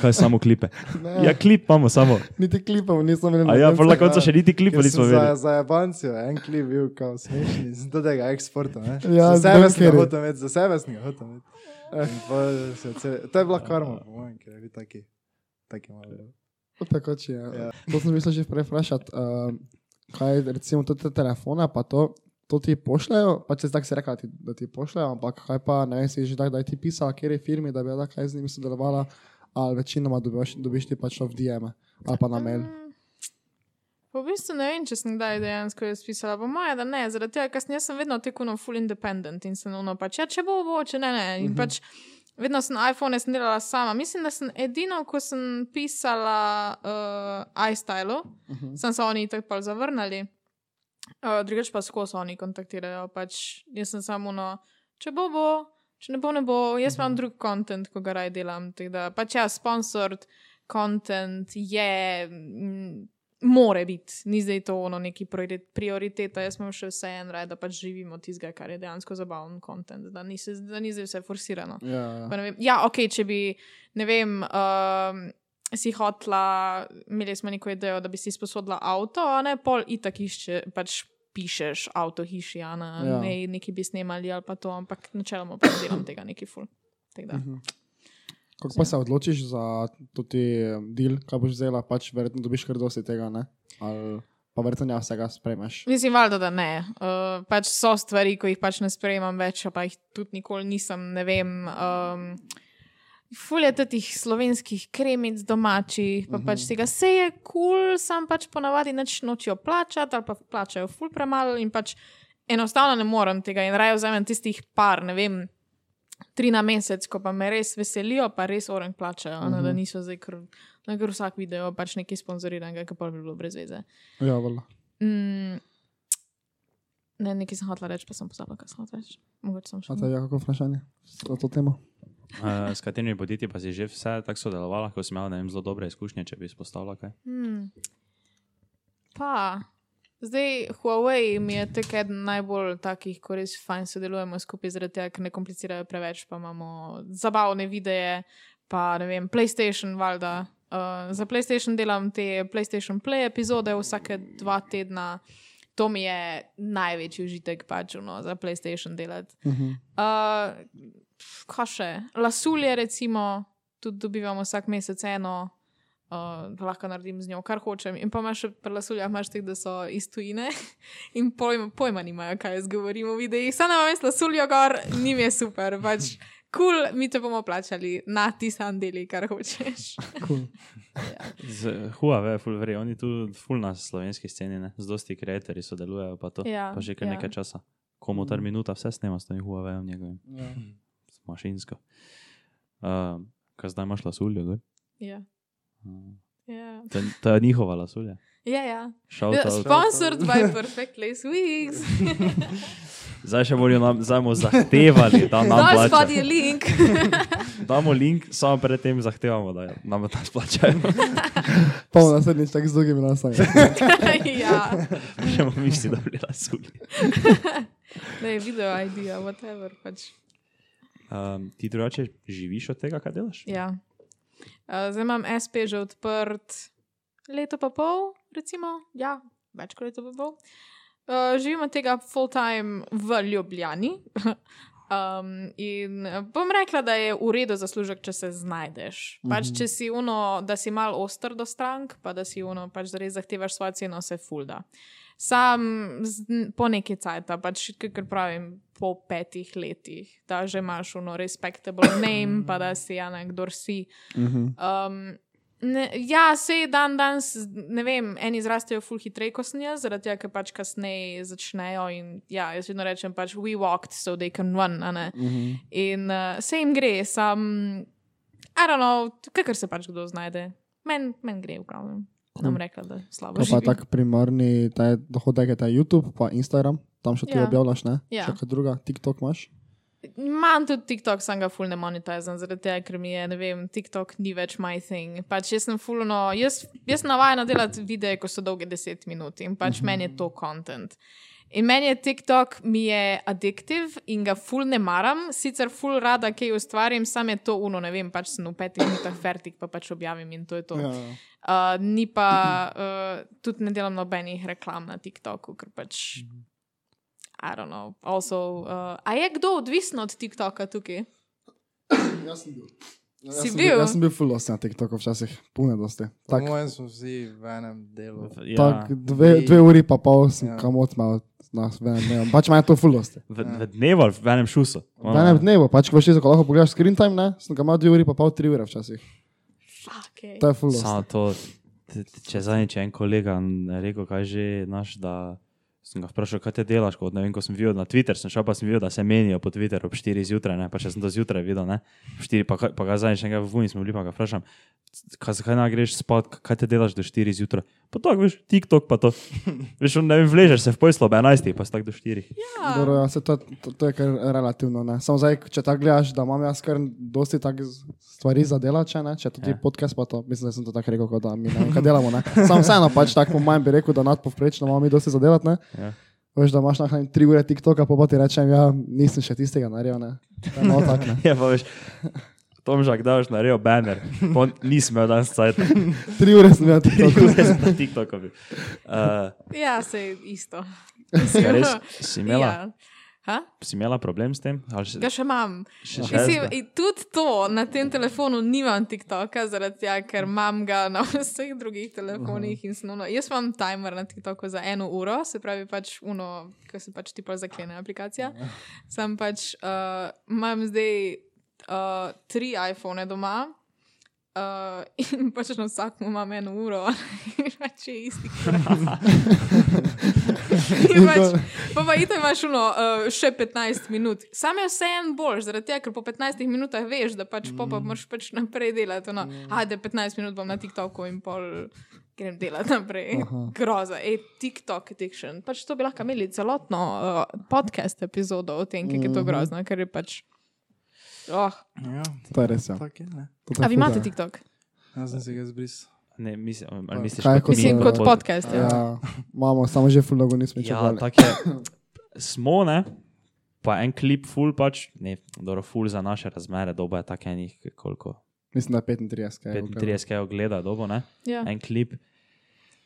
[SPEAKER 2] Kaj samo klipe?
[SPEAKER 4] Ne,
[SPEAKER 2] Ja, klip imamo samo.
[SPEAKER 4] Niti klipov nismo imeli.
[SPEAKER 2] A ja, pol na
[SPEAKER 4] koncu.
[SPEAKER 2] koncu še niti klipa
[SPEAKER 3] Jaz
[SPEAKER 2] nismo
[SPEAKER 3] sem za,
[SPEAKER 2] videli.
[SPEAKER 3] za Japancijo, en klip bil kao smešni, sem do tega eksporta. Ne?
[SPEAKER 4] Ja,
[SPEAKER 3] za sebe sem ga
[SPEAKER 4] zbunkeri.
[SPEAKER 3] hotel imeti, za sebe sem ga hotel imeti. Eh, In pol se je cel- To je bila karma, po mojem, ker je bil taki. Taki malo.
[SPEAKER 4] Tako če je. Ja. To sem mislil že prej vprašati. Uh, kaj recimo tudi te telefone, pa to, to ti pošljajo, pa če tako se reka, ti, da ti pošljajo, ampak kaj pa ne vem, si že tako, da je ti pisala, kjer je firmi, da bi bila kaj z njimi sodelovala, ali večinoma dobiš, dobiš ti pač to v DM ali pa na mail.
[SPEAKER 1] Mm. Pa v bistvu ne vem, če sem kdaj dejansko jaz pisala, pa moja, da ne, zaradi tega, ker sem- jaz sem vedno tekuno full independent in sem ono pač, ja, če bo, bo, če ne, ne. In mm -hmm. pač vedno sem iPhone jaz sem delala sama. Mislim, da sem edino, ko sem pisala uh, iStylu, uh -huh. sem se oni tako pa zavrnili. Uh, drugič pa skozi oni kontaktirajo, pač jaz sem samo no, če bo, bo, če ne bo, ne bo, jaz imam drug kontent, ko ga raj delam. tako Da, pač ja, sponsored kontent je, mm, more biti, ni zdaj to ono neki priori- prioriteta, jaz imam še vse en raj, da pač živimo tizga, kar je dejansko zabaven kontent, da, ni se- da ni zdaj vse forsirano.
[SPEAKER 4] Ja,
[SPEAKER 1] Pa ne vem, Ja, ok, če bi, ne vem, um, si hotla, imeli smo neko idejo, da bi si sposodila avto, a ne pol itak išče, pač pišeš avto hiši, a ne, ja.
[SPEAKER 4] Ja.
[SPEAKER 1] ne neki bi snemali ali pa to, ampak načeloma pa ne delam tega neki ful. Tako da.
[SPEAKER 4] Kako pa se odločiš za tudi del, kaj boš vzela, pač verjetno dobiš kar dosti tega, ne? Ali pa verjetno ne vsega spremeš.
[SPEAKER 1] Mislim, valjda, da ne. Uh, pač so stvari, ko jih pač ne sprejemam več, pa jih tudi nikoli nisem, ne vem. Um, Fulje teh slovenskih kremic domačih, pa pač tega se je kul, cool, sam pač ponavadi neč nočijo plačati ali pa plačajo ful premalo in pač enostavno ne morem tega in raje vzamem tistih par, ne vem, tri na mesec, ko pa me res veselijo, pa res oren plačajo, uh -huh. da niso zdaj kar, da kar vsak video pač nekaj sponzoriranega, kar pa bi bilo brez veze.
[SPEAKER 4] Ja, valjda.
[SPEAKER 1] Mm. Ne, nekaj sem hotela reči, pa sem pozabila, kaj sem hotela reči. Mogoče sem
[SPEAKER 4] A
[SPEAKER 1] šla.
[SPEAKER 4] to je kako vprašanje za to temo?
[SPEAKER 2] Eh, S katerimi podjetji pa si že vse tako sodelovala, ko si imela ne vem, zelo dobre izkušnje, če bi izpostavila kaj?
[SPEAKER 1] Hmm. Pa, zdaj Huawei mi je tek eden najbolj takih, ko res fajn sodelujemo skupaj, zaradi tega, ker ne komplicirajo preveč, pa imamo zabavne videe, pa ne vem, PlayStation, valjda. Uh, za PlayStation delam te PlayStation Play epizode vsake dva tedna. To mi je največji užitek pač, no, za PlayStation delati.
[SPEAKER 4] Mhm.
[SPEAKER 1] Uh, pf, kaj še, lasulje, recimo, tudi dobivamo vsak mesec eno. Uh, lahko naredim z njo, kar hočem. In pa imaš še pri lasuljah, imaš teh, da so iz tujine [LAUGHS] in pojma, pojma nimajo, kaj jaz govorim v videih. Sam imam jaz lasuljo gor, njim je super, pač kul, cool, mi te bomo plačali, na ti sam deli, kar hočeš. [LAUGHS]
[SPEAKER 4] Cool.
[SPEAKER 2] Z Huawei, ful veri, oni tu ful na slovenski sceni, ne? z dosti kreatorji sodelujejo, pa to
[SPEAKER 1] Ja,
[SPEAKER 2] pa že kar
[SPEAKER 1] ja.
[SPEAKER 2] nekaj časa. Komu tar minuta vse snema s tem Huaweiom njegovim,
[SPEAKER 4] Ja.
[SPEAKER 2] s mašinsko. Uh, kaj zdaj imaš lasuljo, gor?
[SPEAKER 1] Ja,
[SPEAKER 2] Uh,
[SPEAKER 1] ja.
[SPEAKER 2] to, je- to je njihova lasulja.
[SPEAKER 1] ja, ja.
[SPEAKER 2] Shout
[SPEAKER 1] Ja,
[SPEAKER 2] out.
[SPEAKER 1] Sponsored by Perfect Lace Weeks.
[SPEAKER 2] Zdaj še bojo nam zdaj bomo zahtevali, da nam
[SPEAKER 1] Dal
[SPEAKER 2] plačajo.
[SPEAKER 1] spadaj link. [LAUGHS]
[SPEAKER 2] Damo link, samo predtem zahtevamo, da nam nas plačajo. [LAUGHS]
[SPEAKER 4] Pa bom naslednjič tako z drugimi nasami.
[SPEAKER 1] ja,
[SPEAKER 2] Še bomo mišli, da bi lasulji.
[SPEAKER 1] ne, video idea, whatever. Pač.
[SPEAKER 2] Um, ti drugače živiš od tega, kaj delaš?
[SPEAKER 1] Ja. Uh, zdaj imam SP že odprt leto pa pol, recimo, ja, več kot leto pa pol. Uh, živim od tega full time v Ljubljani. [LAUGHS] Um, in eh, bom rekla, da je v redu zaslužek, če se znajdeš. Pač, če si uno, da si mal oster do strank, pa da si uno, pač, da res zahtevaš svojo ceno, se fulda. Sam z, po neki cajt, pač, kar pravim, po petih letih, da že imaš uno
[SPEAKER 4] [CLEARS THROAT]
[SPEAKER 1] respectable name, pa da si ja nekdo si.
[SPEAKER 4] Mhm.
[SPEAKER 1] Um, ne, ja, sej dan danes, ne vem, eni zrastejo ful hitreje kot snija, zaradi tega, ker pač kasneje začnejo. In, ja, jaz vedno rečem, pač we walked, so they can run. a ne.
[SPEAKER 4] Mhm.
[SPEAKER 1] In uh, se jim gre, sam, I don't know, kakor se pač kdo znajde. Meni men gre, v glavnem. Nam rekla, da slabo
[SPEAKER 4] No. To pa
[SPEAKER 1] živi.
[SPEAKER 4] tak primarni, ta je dohodek je ta YouTube, pa Instagram, tam še ti
[SPEAKER 1] Ja.
[SPEAKER 4] objavljaš, ne?
[SPEAKER 1] Ja.
[SPEAKER 4] Še kaj druga, TikTok imaš?
[SPEAKER 1] Imam tudi TikTok, sem ga fulno monetiziran, zaradi tega, ker mi je, ne vem, TikTok ni več my thing. Pač jaz sem fulno, jaz, jaz navajam delati videe, ko so dolge 10 minut in pač meni je to content. In meni je TikTok, mi je adiktiv in ga ful ne maram, sicer ful rada, kaj ustvarim, sam je to uno, ne vem, pač sem v petih minutah fertik, pa pač objavim in to je to.
[SPEAKER 4] Ja.
[SPEAKER 1] Uh, ni pa, uh, tudi ne delam nobenih reklam na TikToku, ker pač.
[SPEAKER 4] Mhm.
[SPEAKER 1] I don't know. Also, uh, a je kdo odvisen od TikToka tukaj?
[SPEAKER 4] Jaz sem bil. Ja,
[SPEAKER 1] Si bil?
[SPEAKER 4] Jaz sem bil full lost na TikToku včasih, pune dosti.
[SPEAKER 3] Po
[SPEAKER 4] Tak,
[SPEAKER 3] mojem smo vsi v enem delu.
[SPEAKER 2] Ja,
[SPEAKER 4] tak dve, dve uri pa pol sem
[SPEAKER 3] Ja.
[SPEAKER 4] kamot malo nas ven, ne, pač ima to full lost.
[SPEAKER 2] v, v dnevu, ali v enem šusu.
[SPEAKER 4] Ja. V enem dnevu, pač ko veš, ko lahko pogledaš screen time, ne, sem ga imel dve uri pa pol, tri ure včasih.
[SPEAKER 1] Okay.
[SPEAKER 4] To je full lost.
[SPEAKER 2] Samo to, t- t- če zadnjič je en kolega n- rekel, kaj že naš, da sem ga vprašal, kaj te delaš, kot ne vem, ko sem videl na Twitter, sem šel pa sem videl, da se menijo po Twitterju ob 4 zjutraj, ne, pa če sem to zjutraj videl, ne, ob 4, pa, kaj- pa ga zadnjič nekaj v Vuni smo bili, pa ga vprašam, c- kaj, zakaj ne greš spat, k- kaj te delaš do 4 zjutraj, pa to, veš, TikTok pa
[SPEAKER 4] [LAUGHS]
[SPEAKER 2] to, veš, on, ne vem, vležeš se v pojslo ob 11, pa si tak do 4.
[SPEAKER 4] Dobro, ja, se to, to, to je kar relativno. Ne. Samo zdaj, če tako gledaš, da imam jaz kar dosti takih z- stvari za delati, če, ne, če tudi
[SPEAKER 2] Ja.
[SPEAKER 4] ja. podcast pa to, mislim, da sem to tako rekel, kot da mi ne vem, kaj delamo. Ne. Sam vseeno pač tako po mojem bi rekel, da nadpovprečno imamo mi dosti za delati. Ne.
[SPEAKER 2] Ja.
[SPEAKER 4] Veš, da imaš na tri ure TikToka, pa, pa ti rečem, ja, nisem še tistega naredil. Ne. No, tak, ne.
[SPEAKER 2] [LAUGHS] Ja, pa veš, Tomžak, da boš naredil banner, pa on- nisem imel danes cajt,
[SPEAKER 4] Tri ure sem imel TikToka.
[SPEAKER 2] jaz sem na TikToku bil. Uh,
[SPEAKER 1] Ja, se je isto.
[SPEAKER 2] Ja, res
[SPEAKER 1] [LAUGHS]
[SPEAKER 2] si imela, ja.
[SPEAKER 1] Ja. Ha?
[SPEAKER 2] si imela problem s tem? Ali še,
[SPEAKER 1] Ga še imam.
[SPEAKER 2] še, še
[SPEAKER 1] Mislim,
[SPEAKER 2] zdaj?
[SPEAKER 1] in tudi to na tem telefonu nimam TikToka, zaradi tega, ker imam ga na [LAUGHS] vseh drugih telefonih in snovno. Jaz imam timer na TikToku za eno uro, se pravi pač uno, ko se pač ti pa zaklene aplikacija. Sam pač uh, imam zdaj uh, tri iPhone doma. Uh, in pač na vsakem imam eno uro, [LAUGHS] in pač je isti. In pač, pa pa itaj imaš uno, uh, še 15 minut. Sam je vseeno boljš, zaradi tega, ker po 15 minutah veš, da pač pa pa moraš pač naprej delati. No. Ajde, 15 minut bom na TikToku in pol grem delati naprej.
[SPEAKER 4] Aha.
[SPEAKER 1] Groza, ej, TikTok addiction. Pač to bi lahko imeli celotno uh, podcast epizodo o tem, kako je to grozno, ker je pač. Oh.
[SPEAKER 3] Ja,
[SPEAKER 4] To je res. Ja.
[SPEAKER 3] tako je, ne.
[SPEAKER 4] To je
[SPEAKER 1] A vi
[SPEAKER 4] ful,
[SPEAKER 1] imate
[SPEAKER 4] ja.
[SPEAKER 1] TikTok?
[SPEAKER 3] Jaz sem si ga zbrisal.
[SPEAKER 2] Ne, mislim, ali misliš,
[SPEAKER 4] Kaj
[SPEAKER 2] kot mi,
[SPEAKER 4] kot
[SPEAKER 1] Mislim,
[SPEAKER 4] mi,
[SPEAKER 1] kot
[SPEAKER 4] pod-
[SPEAKER 1] podcast. Ja.
[SPEAKER 4] Ja, imamo, samo že full logo nismo
[SPEAKER 2] Ja,
[SPEAKER 4] čakali.
[SPEAKER 2] tako je. Smo, ne? Pa en klip, full pač, ne, dobro, full za naše razmere, doba je tako enih,
[SPEAKER 4] Ja,
[SPEAKER 2] koliko,
[SPEAKER 4] Mislim, da je 35. kaj je bilo.
[SPEAKER 2] 35 kaj ogleda, dobo, ne?
[SPEAKER 1] Ja.
[SPEAKER 2] En klip.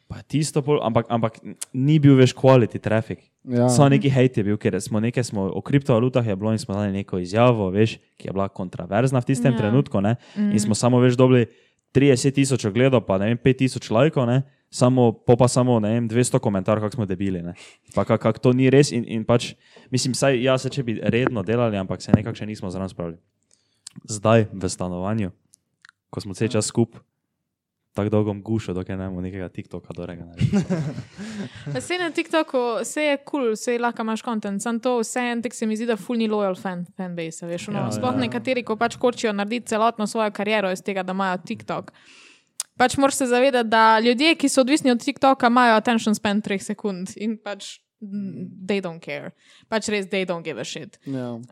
[SPEAKER 2] Pa tisto, pol, ampak, ampak ni bil več quality traffic.
[SPEAKER 4] Ja.
[SPEAKER 2] Samo neki hejt je bil, ker smo nekaj smo, o kriptovalutah je bilo in smo dali neko izjavo, veš, ki je bila kontroverzna v tistem
[SPEAKER 1] Ja.
[SPEAKER 2] ja. trenutku. Ne, in smo samo več dobili 30 tisoč ogledov, pa ne vem, 5 tisoč lajkov, ne, samo, po pa samo ne vem, 200 komentarjev, kako smo debili. Ne. Pa kako kak to ni res in, in pač, mislim, saj jaz, če bi redno delali, ampak se nekako še nismo zraven spravili. Zdaj v stanovanju, ko smo vse čas skupaj. Tako dolgo gušo, dokaj ne bomo nekega TikToka dorega.
[SPEAKER 1] Vse na TikToku, vse je kul, cool, vse lahko imaš kontent, samo to vse en tek se mi zdi, da fulni loyal fan, fanbase. Veš, no,
[SPEAKER 2] Ja,
[SPEAKER 1] ja, sploh
[SPEAKER 2] ja.
[SPEAKER 1] ja. nekateri, ko pač hočejo narediti celotno svojo kariero iz tega, da imajo TikTok. Pač moraš se zavedati, da ljudje, ki so odvisni od TikToka, imajo attention span 3 sekund in pač mm, they don't care. Pač res they don't give a shit.
[SPEAKER 4] Ja.
[SPEAKER 1] Uh,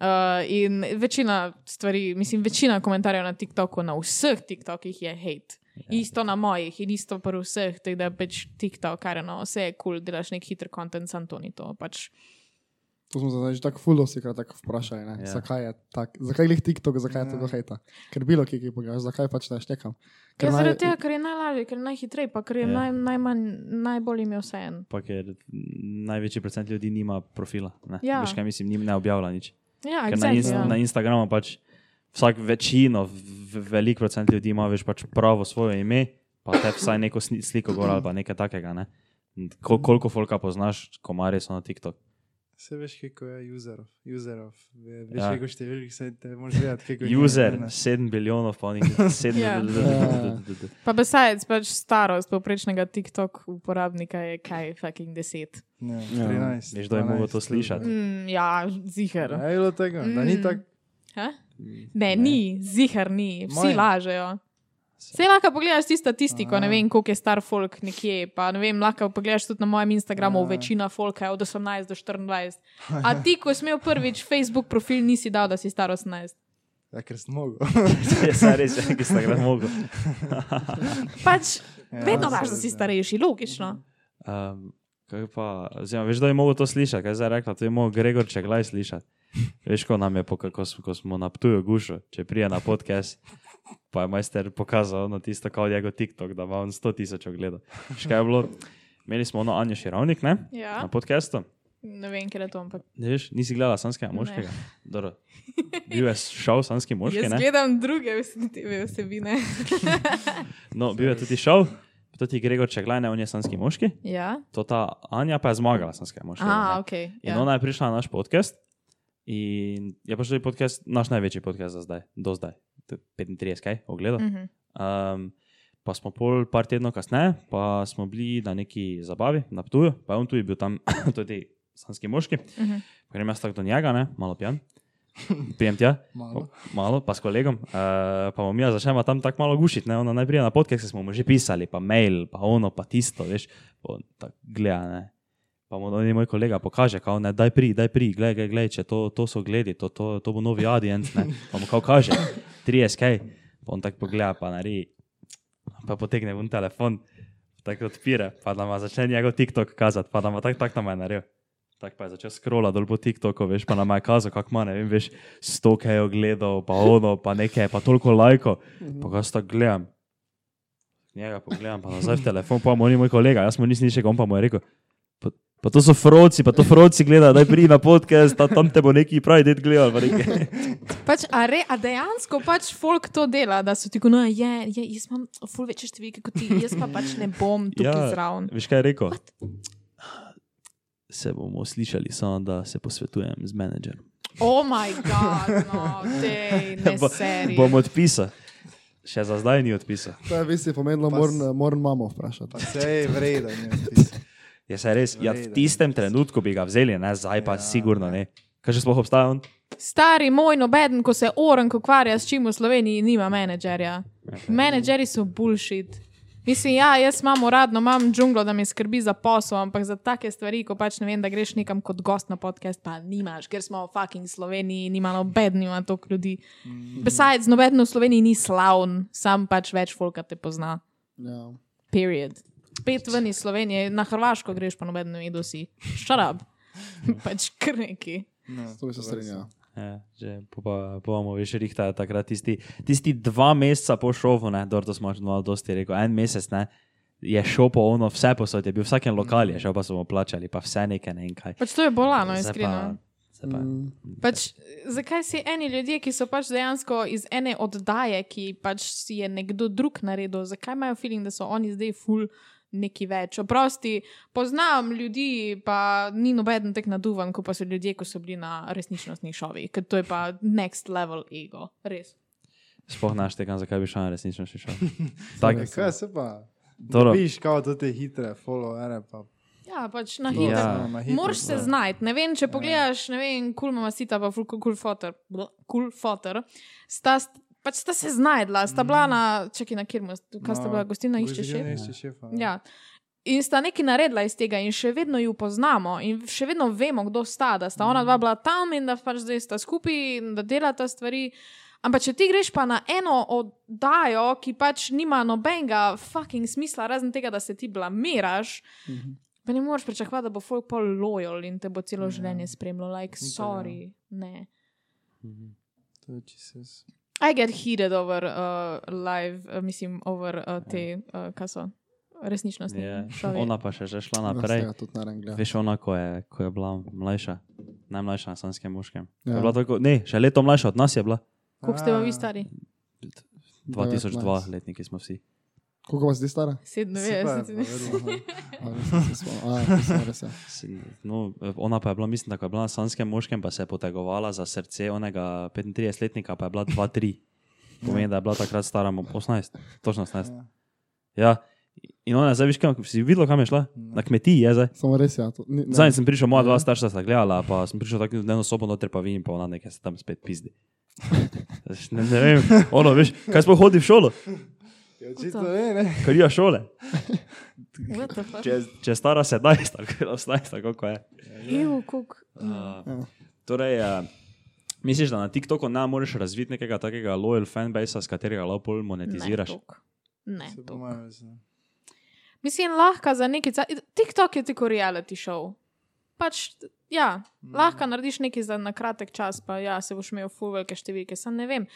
[SPEAKER 1] in večina stvari, mislim, večina komentarjev na TikToku, na vseh TikTokih je hate.
[SPEAKER 2] Ja,
[SPEAKER 1] Isto na mojih in isto pri vseh, tako da pač TikTok, kar eno, vse je kul, cool, delaš nek hiter kontent, sam to ni to. Pač.
[SPEAKER 4] To smo se zdaj že tako fuldo si krat tako vprašali, ne,
[SPEAKER 2] Ja.
[SPEAKER 4] zakaj je tak, zakaj glih TikTok,
[SPEAKER 3] Ja.
[SPEAKER 4] zakaj je to do hejta. Ker bilo ki, ki pogledaš, zakaj pač ne štekam.
[SPEAKER 1] Ja, zaradi tega, ker je najlažje, ker je najhitrej, pa ker je
[SPEAKER 2] Ja.
[SPEAKER 1] yeah. naj, najmanj, najbolj imel vse en.
[SPEAKER 2] Pa ker mm, največji procent ljudi nima profila. Ne,
[SPEAKER 1] Ja.
[SPEAKER 2] Veš, kaj mislim, njim ne objavlja nič.
[SPEAKER 1] Ja,
[SPEAKER 2] Ker na,
[SPEAKER 1] exactly,
[SPEAKER 2] inst
[SPEAKER 1] ja.
[SPEAKER 2] na Instagramu pač vsak večino, v- velik procent ljudi ima več pač pravo svoje ime, pa te vsaj neko sni- sliko gor ali pa nekaj takega. Ne? Kol koliko folka poznaš, komari so na TikTok.
[SPEAKER 3] Se veš, kako je userov, userov. ve- Veš,
[SPEAKER 2] Ja.
[SPEAKER 3] kako številk se te moraš vedeti, kako je
[SPEAKER 2] User, 7 biljonov, pa
[SPEAKER 1] [LAUGHS]
[SPEAKER 2] nekaj 7
[SPEAKER 1] Ja.
[SPEAKER 2] biljonov.
[SPEAKER 1] Pa besajec, pač starost povprečnega TikTok uporabnika je kaj, fucking deset.
[SPEAKER 3] Ne,
[SPEAKER 4] Ja.
[SPEAKER 3] 13.
[SPEAKER 2] Veš, kdo je mogel to slišati?
[SPEAKER 1] Mm, ja, zihar.
[SPEAKER 3] Ja, je bilo tega, da ni
[SPEAKER 1] Mm.
[SPEAKER 3] tako.
[SPEAKER 1] Ha? Ne, ne, ni, zihar ni, vsi
[SPEAKER 3] Moje.
[SPEAKER 1] Moje. lažejo. Vse lahko pogledaš ti statistiko, ne vem, koliko je star folk nekje. Pa ne vem, lahko pogledaš tudi na mojem Instagramu,
[SPEAKER 3] Aja.
[SPEAKER 1] večina folka je od 18 do 24. A ti, ko si imel prvič Facebook profil, nisi dal, da si star 18.
[SPEAKER 3] Ja, ker sem mogel.
[SPEAKER 2] [LAUGHS]
[SPEAKER 3] [LAUGHS]
[SPEAKER 2] Ja, saj res, ja, ki ste ga mogli.
[SPEAKER 1] Pač
[SPEAKER 3] Ja,
[SPEAKER 1] vedno
[SPEAKER 3] se
[SPEAKER 1] daš, da si
[SPEAKER 3] res, ja.
[SPEAKER 1] starejši, logično.
[SPEAKER 2] Um, kaj pa, oziroma, veš, da je mogel to slišati, kaj je zdaj rekla, to je mogel Gregor Čeglaj slišati. Veš, ko nam je, po- ko, smo- ko smo na tuju gušo, če prije na podcast, pa je majster pokazal na tisto, kao njegov TikTok, da ima on 100 tisoč ogledov. Veš, kaj je bilo? Imeli smo ono Anja Širovnik, ne? Na
[SPEAKER 1] Ja,
[SPEAKER 2] podkastu.
[SPEAKER 1] ne vem, kje je to, ampak
[SPEAKER 2] Ne veš, nisi gledala sanskega
[SPEAKER 1] Ne.
[SPEAKER 2] moškega. Dobro. Bil je šov sanski moški,
[SPEAKER 1] jaz
[SPEAKER 2] ne?
[SPEAKER 1] gledam druge vs- TV vsebine.
[SPEAKER 2] No, bil je tudi šov, tudi Gregor Čeglaj, ne, on je sanski moški.
[SPEAKER 1] Ja,
[SPEAKER 2] To ta Anja pa je zmagala sanskega moškega. ne.
[SPEAKER 1] a, ok.
[SPEAKER 2] In
[SPEAKER 1] Ja.
[SPEAKER 2] ona je prišla na naš podcast. In je pač tudi podcast, naš največji podcast za zdaj, do zdaj, To je 35, kaj ogledal.
[SPEAKER 1] Mhm.
[SPEAKER 2] Um, pa smo pol par tednov kasneje, pa smo bili na neki zabavi, na Ptuju, pa je on tudi bil tam, [COUGHS] tudi sanski moški.
[SPEAKER 1] Mhm.
[SPEAKER 2] Grem jaz tako do njega, ne? malo pijan, pijem tja.
[SPEAKER 3] Malo.
[SPEAKER 2] Malo, pa s kolegom, uh, pa bom jaz začela tam tako malo gušiti. Ne? Ona najprej na podkast smo mu že pisali, pa mail, pa ono, pa tisto, veš, Pa on tako gleda. Ne? Pa mu on je moj kolega pokaže, kao, ne, daj pri, daj pri, gledaj, gledaj, gled, če to, to so gledi, to, to, to bo novi adient, ne, pa mu kao kaže, 30 kaj, pa on tako pogleda, pa naredi, pa potegne ven telefon, tako odpira, pa nam začne njegov TikTok kazati, pa nam tako tak nam je naredil. Tako pa je začel scrolla dol po TikToku, veš, pa nam je kazal, kako ima, ne vem, veš, sto kaj je ogledal, pa ono, pa nekaj, pa toliko lajko,
[SPEAKER 1] Mhm.
[SPEAKER 2] pa ga sta gledam. Njega pogledam, pa nazaj v telefon, pa mu ni moj kolega, jaz mu nisem nič, on pa mu je rekel. Pa, pa to so froci, pa to froci gleda, daj pri na podcast, ta, tam te bo neki pravi ded gledal. pa nekaj. [LAUGHS]
[SPEAKER 1] Pač, a, re, a dejansko pač folk to dela, da so ti kot, no, je, je, jaz imam ful večje številke kot ti, jaz pa pač ne bom tukaj ja. zraven.
[SPEAKER 2] Veš kaj je rekel? Se bomo slišali, samo da se posvetujem z menedžerjem.
[SPEAKER 1] O oh moj bog,
[SPEAKER 2] [LAUGHS]
[SPEAKER 1] no, te ne
[SPEAKER 2] Bo-
[SPEAKER 1] seri.
[SPEAKER 2] Bom odpisal. Še za zdaj ni odpisal.
[SPEAKER 4] To je visi pomenilo,
[SPEAKER 3] Pa s-
[SPEAKER 4] moram moram mamo
[SPEAKER 3] Pa
[SPEAKER 4] vprašati.
[SPEAKER 3] se je vreden. je vtis.
[SPEAKER 2] Je se res, ja, v
[SPEAKER 3] Vreden.
[SPEAKER 2] tistem trenutku bi ga vzeli, ne zdaj pa ja.
[SPEAKER 3] Ja.
[SPEAKER 2] sigurno ne. Kaj še sploh obstaja on?
[SPEAKER 1] Stari moj nobeden, ko se oren ukvarja s čim v Sloveniji, nima menedžerja. Menedžeri so bullshit. Mislim, ja, jaz imam uradno, imam džunglo, da mi skrbi za posel, ampak za take stvari, ko pač ne vem, da greš nekam kot gost na podcast, pa nimaš, ker smo v fucking Sloveniji, nima noben, nima toliko ljudi.
[SPEAKER 2] Mm.
[SPEAKER 1] Besides, noben v Sloveniji ni slavn, sam pač več folka te pozna.
[SPEAKER 4] Ja.
[SPEAKER 1] Period. Pet ven iz Slovenije, na Hrvaško greš, pa noben ne ve, kdo si.
[SPEAKER 2] [LAUGHS]
[SPEAKER 1] Šarab. pač kar neki.
[SPEAKER 3] No,
[SPEAKER 4] S To bi se strinjal.
[SPEAKER 2] Ja, že po- pa bomo veš, rihta je takrat tisti, tisti dva meseca po šovu, ne, dobro, to smo že malo dosti rekel, en mesec, ne, je šel po ono, vse posod je bil, v vsakem lokalu je šel, pa so mu plačali, pa vse nekaj, ne vem kaj.
[SPEAKER 1] Pač to je bolano,
[SPEAKER 2] Zdaj
[SPEAKER 1] iskreno.
[SPEAKER 2] zdaj pa-
[SPEAKER 1] Pač, zakaj si eni ljudje, ki so pač dejansko iz ene oddaje, ki pač si je nekdo drug naredil, zakaj imajo feeling, da so oni zdaj ful neki več? Oprosti, poznam ljudi, pa ni noben tek naduvan, ko pa so ljudje, ko so bili na resničnostnih šovih, ker to je pa next level ego, res.
[SPEAKER 2] Sploh naš tega, zakaj bi šel na resnično še [LAUGHS] šel. Tako,
[SPEAKER 4] Res,
[SPEAKER 3] Kaj se pa?
[SPEAKER 2] Dobro.
[SPEAKER 3] Viš, kao to te hitre, followere pa.
[SPEAKER 1] Ja, pač na
[SPEAKER 3] to,
[SPEAKER 1] hitro.
[SPEAKER 2] Ja.
[SPEAKER 3] na hitro.
[SPEAKER 1] Moraš se znajti. Ne vem, če pogledaš, ne vem, kul cool mama sita, pa ful kul fotor, kul fotor, sta, st- pač sta se znajdla, sta bila na, čakaj na kjer, kaj sta
[SPEAKER 3] No,
[SPEAKER 1] bila, gostilna išče
[SPEAKER 3] Gostilna
[SPEAKER 1] še.
[SPEAKER 3] išče šefa. ja.
[SPEAKER 1] Ja. In sta nekaj naredila iz tega, in še vedno ju poznamo, in še vedno vemo, kdo sta, da sta
[SPEAKER 3] Mm.
[SPEAKER 1] ona dva bila tam in da pač zdaj sta skupaj in da delata stvari. Ampak, če ti greš pa na eno oddajo, ki pač nima nobenega fucking smisla, razen tega, da se ti blamiraš, Pa ne moreš pričakovati, da bo folk pol lojal in te bo celo
[SPEAKER 3] Mhm. Ja.
[SPEAKER 1] življenje spremljal, like,
[SPEAKER 3] ja.
[SPEAKER 1] sorry. Ne.
[SPEAKER 2] Mhm.
[SPEAKER 3] To je čisto. s-
[SPEAKER 1] I get heated over uh, live, uh, mislim, over uh,
[SPEAKER 3] Ja.
[SPEAKER 1] te, uh, kaj so, resničnostne.
[SPEAKER 2] Je,
[SPEAKER 1] šovi.
[SPEAKER 2] ona pa še, že šla
[SPEAKER 4] Ja,
[SPEAKER 2] naprej.
[SPEAKER 4] tudi naravno gledam.
[SPEAKER 2] Veš, ona, ko je, ko je bila mlajša, najmlajša na slovenskem moškem.
[SPEAKER 4] Ja.
[SPEAKER 2] Ja. Bila tako, ne, še leto mlajša od nas je bila.
[SPEAKER 1] Koliko ste pa vi
[SPEAKER 3] A,
[SPEAKER 1] stari?
[SPEAKER 2] 2002 letniki smo vsi.
[SPEAKER 4] Koliko vas zdaj stara?
[SPEAKER 1] [LAUGHS]
[SPEAKER 3] super,
[SPEAKER 1] 97.
[SPEAKER 3] pa no. vedno, aha.
[SPEAKER 4] A, nisem se spomnil. A, nisem, res je.
[SPEAKER 2] Si- No, ona pa je bila, mislim, da ko je bila na slovenskem moškem, pa se je potegovala za srce onega 35-letnika, pa je bila 2-3. Pomeni, da je bila takrat stara mu 18, točno 18.
[SPEAKER 3] Ja.
[SPEAKER 2] Ja. In ona, zdaj veš, kam si videla, kam je šla? Na kmetiji je zdaj.
[SPEAKER 4] Samo res je. to- ni- ne.
[SPEAKER 2] Zadnjič sem prišel, moja dva starša sta gledala, pa sem prišel tako v eno sobo noter, pa vidim, pa ona nekaj se tam spet pizdi. Veš, Ne, ne vem, ono, veš, kaj smo hodili v šolo,
[SPEAKER 3] Ja, očitno ne, ne.
[SPEAKER 2] kar je šole.
[SPEAKER 1] What the fuck?
[SPEAKER 2] Če, če je stara 17, [LAUGHS] tako 18, tako kot je.
[SPEAKER 1] Evo, koliko.
[SPEAKER 2] Uh, torej, uh, misliš, da na TikToku ne moreš razviti nekega takega loyal fanbase, s katerega lahko pol
[SPEAKER 1] Ne.
[SPEAKER 2] monetiziraš?
[SPEAKER 1] toliko. Ne,
[SPEAKER 3] Se
[SPEAKER 1] toliko.
[SPEAKER 3] pomajo, mislim.
[SPEAKER 1] Mislim, lahko za neki. Ca... TikTok je tako reality show. Pač, ja,
[SPEAKER 4] Mhm.
[SPEAKER 1] mm. lahko narediš nekaj za na kratek čas, pa ja, se boš imel full velike številke, sam ne vem.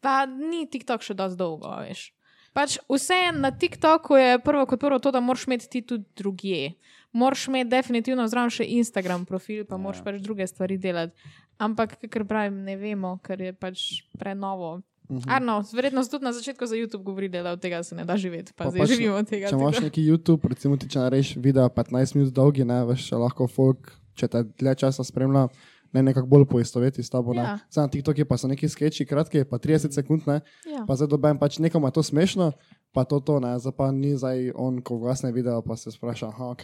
[SPEAKER 1] Pa ni TikTok še dosti dolgo, a veš. Pač vse na TikToku je prvo kot prvo to, da moraš imeti ti tudi drugje. Moraš imeti definitivno zraven še Instagram profil, pa ja. moraš pač druge stvari delati. Ampak, kar pravim, ne vemo, ker je pač prenovo. Uh
[SPEAKER 4] Mhm.
[SPEAKER 1] -huh. Arno, verjetno so tudi na začetku za YouTube govorili, da od tega se ne da živeti, pa,
[SPEAKER 4] Pa
[SPEAKER 1] pa zdaj
[SPEAKER 4] pač,
[SPEAKER 1] pač, živimo od tega.
[SPEAKER 4] Če
[SPEAKER 1] tako
[SPEAKER 4] imaš neki YouTube, recimo ti če narediš video 15 minut dolgi, ne veš, lahko folk, če te dlje časa spremlja, ne nekako bolj poistoveti s tabo.
[SPEAKER 1] Ja.
[SPEAKER 4] Ja. Zdaj na TikToku pa so neki sketchi, kratki, pa 30 sekund, ne,
[SPEAKER 1] Ja.
[SPEAKER 4] pa zdaj dobijem pač nekomu je to smešno, pa to to ne, zdaj pa ni zdaj on, ko glasne video, pa se spraša, aha, ok,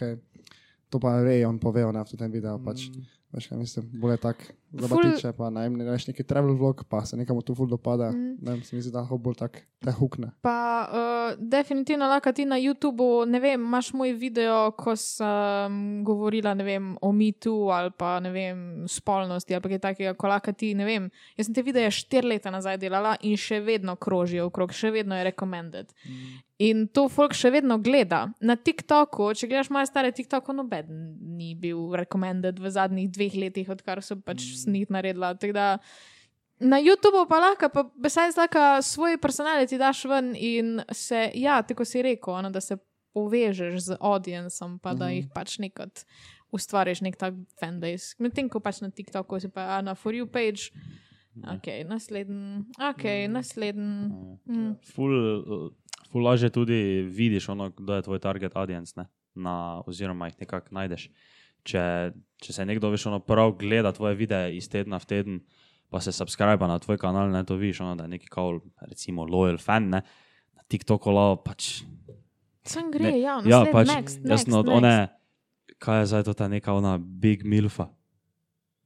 [SPEAKER 4] to pa ve, on pove, ne, v tem videu pač. Mm. Veš, kaj mislim, bolje tako zabavtiče, pa naj ne rečeš neki travel vlog, pa se nekomu tu ful dopada, mm. ne vem, se mi zdi, da lahko bolj tako te hukne.
[SPEAKER 1] Pa uh, definitivno lahko ti na YouTubu, ne vem, imaš moj video, ko sem govorila ne vem, o mitu ali pa ne vem, spolnosti ali pa kaj takega, ko lahko ti, ne vem. Jaz sem te videe štiri leta nazaj delala in še vedno krožijo okrog, še vedno je recommended. In to folk še vedno gleda. Na TikToku, če gledaš moje stare TikToke, noben ni bil recommended v zadnjih dveh letih, odkar so pač snih naredila. Tako da Na YouTubu pa lahko, pa besaj zlaka svoj personaliteti daš ven in se, ja, tako si rekel, ono, da se povežeš z audiencem, pa
[SPEAKER 2] Mhm.
[SPEAKER 1] da jih pač nekot ustvariš nek tak fanbase. Medtem ko pač na TikToku si pa a, na For You page,
[SPEAKER 2] Mhm.
[SPEAKER 1] ok, naslednji, ok, naslednji. Mm.
[SPEAKER 2] Ful, uh, ful lažje tudi vidiš, ono, kdo je tvoj target audience, ne? Na, oziroma jih nekako najdeš. Če, če se nekdo veš, ono prav gleda tvoje videe iz tedna v teden, pa se subskrbi na tvoj kanal, ne to vidiš, ono, da je neki kao, recimo, loyal fan, ne? Na TikToku lao pač
[SPEAKER 1] Sem gre,
[SPEAKER 2] Ne,
[SPEAKER 1] ja,
[SPEAKER 2] Ja,
[SPEAKER 1] naslednji,
[SPEAKER 2] pač
[SPEAKER 1] next, next,
[SPEAKER 2] jasno od
[SPEAKER 1] next.
[SPEAKER 2] one, kaj je zdaj to ta neka ona big milfa.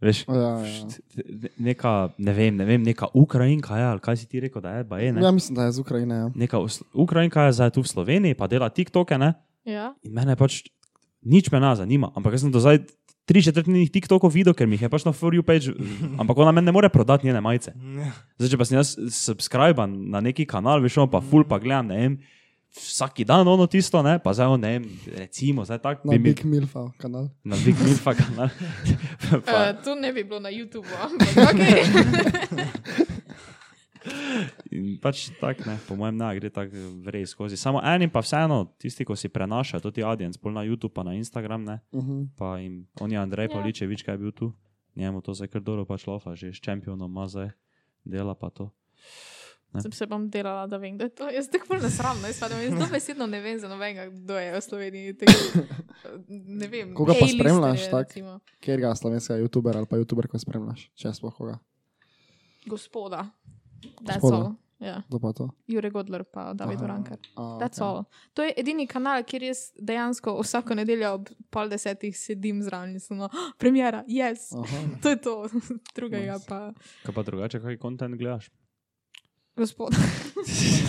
[SPEAKER 2] Veš,
[SPEAKER 4] Ja, ja, ja.
[SPEAKER 2] št- ne- neka, ne vem, ne vem, neka Ukrajinka je, ali kaj si ti rekel, da je, ba je,
[SPEAKER 4] Ja,
[SPEAKER 2] ne?
[SPEAKER 4] mislim, da je z Ukrajine. Ja.
[SPEAKER 2] Neka us- Ukrajinka je zdaj tu v Sloveniji, pa dela TikToke, ne? [LAUGHS]
[SPEAKER 1] Ja.
[SPEAKER 2] In mene pač, nič me ne zanima, ampak jaz sem do zdaj tri četrtinih TikTokov videl, ker mi jih je pač na For You page, ampak ona meni ne more prodati njene majice.
[SPEAKER 3] Ne. [LAUGHS]
[SPEAKER 2] Zdaj, če pa sem jaz subscriben na neki kanal, veš, on pa full pa gledam, ne vem, vsak dan ono tisto, ne, pa zdaj, on, ne vem, recimo, zdaj tako
[SPEAKER 4] Na
[SPEAKER 2] bi mi
[SPEAKER 4] No, Big Milfa kanal.
[SPEAKER 2] [LAUGHS] na Big Milfa kanal.
[SPEAKER 1] E,
[SPEAKER 2] pa, [LAUGHS]
[SPEAKER 1] Uh, to ne bi bilo na YouTubu, ampak okay.
[SPEAKER 2] In pač tako, ne, po mojem, ne, gre tako res skozi. Samo eni pa vseeno, tisti, ko si prenašajo, tudi audience, bolj na YouTube, pa na Instagram, ne,
[SPEAKER 4] Uh -huh.
[SPEAKER 2] pa jim, on je
[SPEAKER 1] Ja.
[SPEAKER 2] Andrej ja. Pavličevič, kaj je bil tu, njemu to zdaj kar dobro pač lofa, že s čempionom ima zdaj dela pa to.
[SPEAKER 1] Sem se bom delala, da vem, da je to. Jaz tako bolj nasramno, jaz pa ne vem, zelo besedno ne vem za nobenega, kdo je v Sloveniji. Tega, eh, ne vem.
[SPEAKER 4] Koga pa
[SPEAKER 1] A-listerje,
[SPEAKER 4] spremljaš tako?
[SPEAKER 1] recimo.
[SPEAKER 4] Ker ga slovenskega YouTubera ali pa YouTuberko spremljaš, če sploh koga.
[SPEAKER 1] Gospoda. That's
[SPEAKER 4] Gospoda.
[SPEAKER 1] all. Ja.
[SPEAKER 4] To pa to.
[SPEAKER 1] Jure Godler pa David
[SPEAKER 4] Aha.
[SPEAKER 1] Orankar.
[SPEAKER 4] A,
[SPEAKER 1] That's all. To je edini kanal, kjer jaz dejansko vsako nedeljo ob pol desetih sedim zraven in sem, no, "Ah, premjera, yes,
[SPEAKER 4] Aha.
[SPEAKER 1] to je to, [LAUGHS] drugega
[SPEAKER 4] Oh. Nice.
[SPEAKER 1] pa.
[SPEAKER 2] Kaj pa drugače, kaj kontent gledaš?
[SPEAKER 1] Gospod.
[SPEAKER 2] Ne,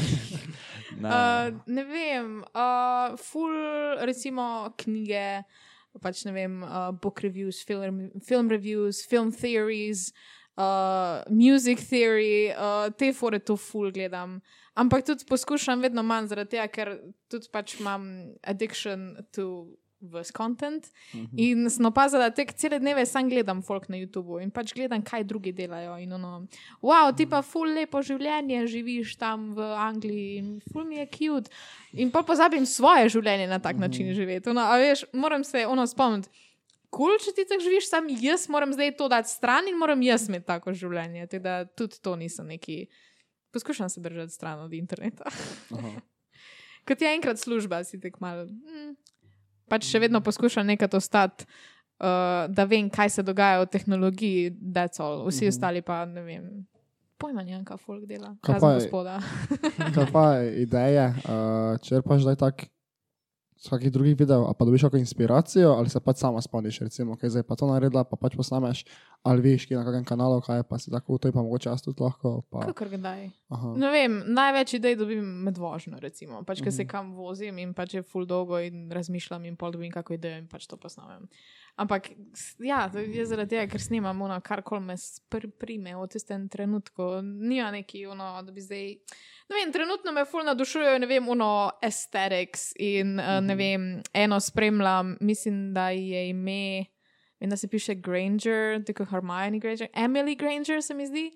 [SPEAKER 1] Uh, ne vem, uh, full, recimo knjige, pač ne vem, uh, book reviews, film, film reviews, film theories, uh, music theory, uh, te fore to full gledam. Ampak tudi poskušam vedno manj zaradi tega, ker tudi pač imam addiction to. Ves content
[SPEAKER 4] Mhm.
[SPEAKER 1] in sem opazila, da te cele dneve sam gledam folk na YouTubu in pač gledam, kaj drugi delajo. In ono, wow, ti pa ful lepo življenje živiš tam v Angliji in ful mi je cute. In pa pozabim svoje življenje na tak način živeti. Ono, a veš, moram se ono spomniti. Kul, cool, če ti tako živiš, sam jaz moram zdaj to dati stran in moram jaz imeti tako življenje. Tako da tudi to niso neki. Poskušam se držati stran od interneta.
[SPEAKER 4] Aha.
[SPEAKER 1] Kot je enkrat služba, si tako malo. Mm, pač še vedno poskušam nekaj ostati, uh, da vem, kaj se dogaja v tehnologiji, da je cel. Vsi
[SPEAKER 4] Mhm.
[SPEAKER 1] ostali pa ne vem. Pojma, ne vem, kaj folk dela.
[SPEAKER 4] Kaj
[SPEAKER 1] Kaj
[SPEAKER 4] pa
[SPEAKER 1] za
[SPEAKER 4] je-
[SPEAKER 1] gospoda.
[SPEAKER 4] Kaj pa je ideje, uh, črpaš zdaj tak z kakih drugih videov, a pa dobiš kakšno inspiracijo, ali se pač sama spomniš, recimo, kaj zdaj pa to naredila, pa pač posnameš, ali vidiš, ki je na kakem kanalu, kaj je, pa si tako, to je pa mogoče jaz tudi lahko. Pa,
[SPEAKER 1] Kakor kdaj.
[SPEAKER 4] aha,
[SPEAKER 1] Ne vem, največ idej dobim med vožnjo, recimo. Pač, ker se
[SPEAKER 4] Mhm.
[SPEAKER 1] kam vozim in pač je full dolgo in razmišljam in pol dobim kako idejo in pač to posnamem. Ampak s- ja, to je zaradi tega, ker snimam ono, kar kol me spr- prime v tistem trenutku. Nima neki ono, da bi zdaj. Ne vem, trenutno me full nadušujejo, ne vem, ono aesthetics in eh, ne
[SPEAKER 4] Mhm.
[SPEAKER 1] vem, eno spremljam, mislim, da je ime. Vem, da se piše Granger, tako Hermione Granger, Emily Granger, se mi zdi.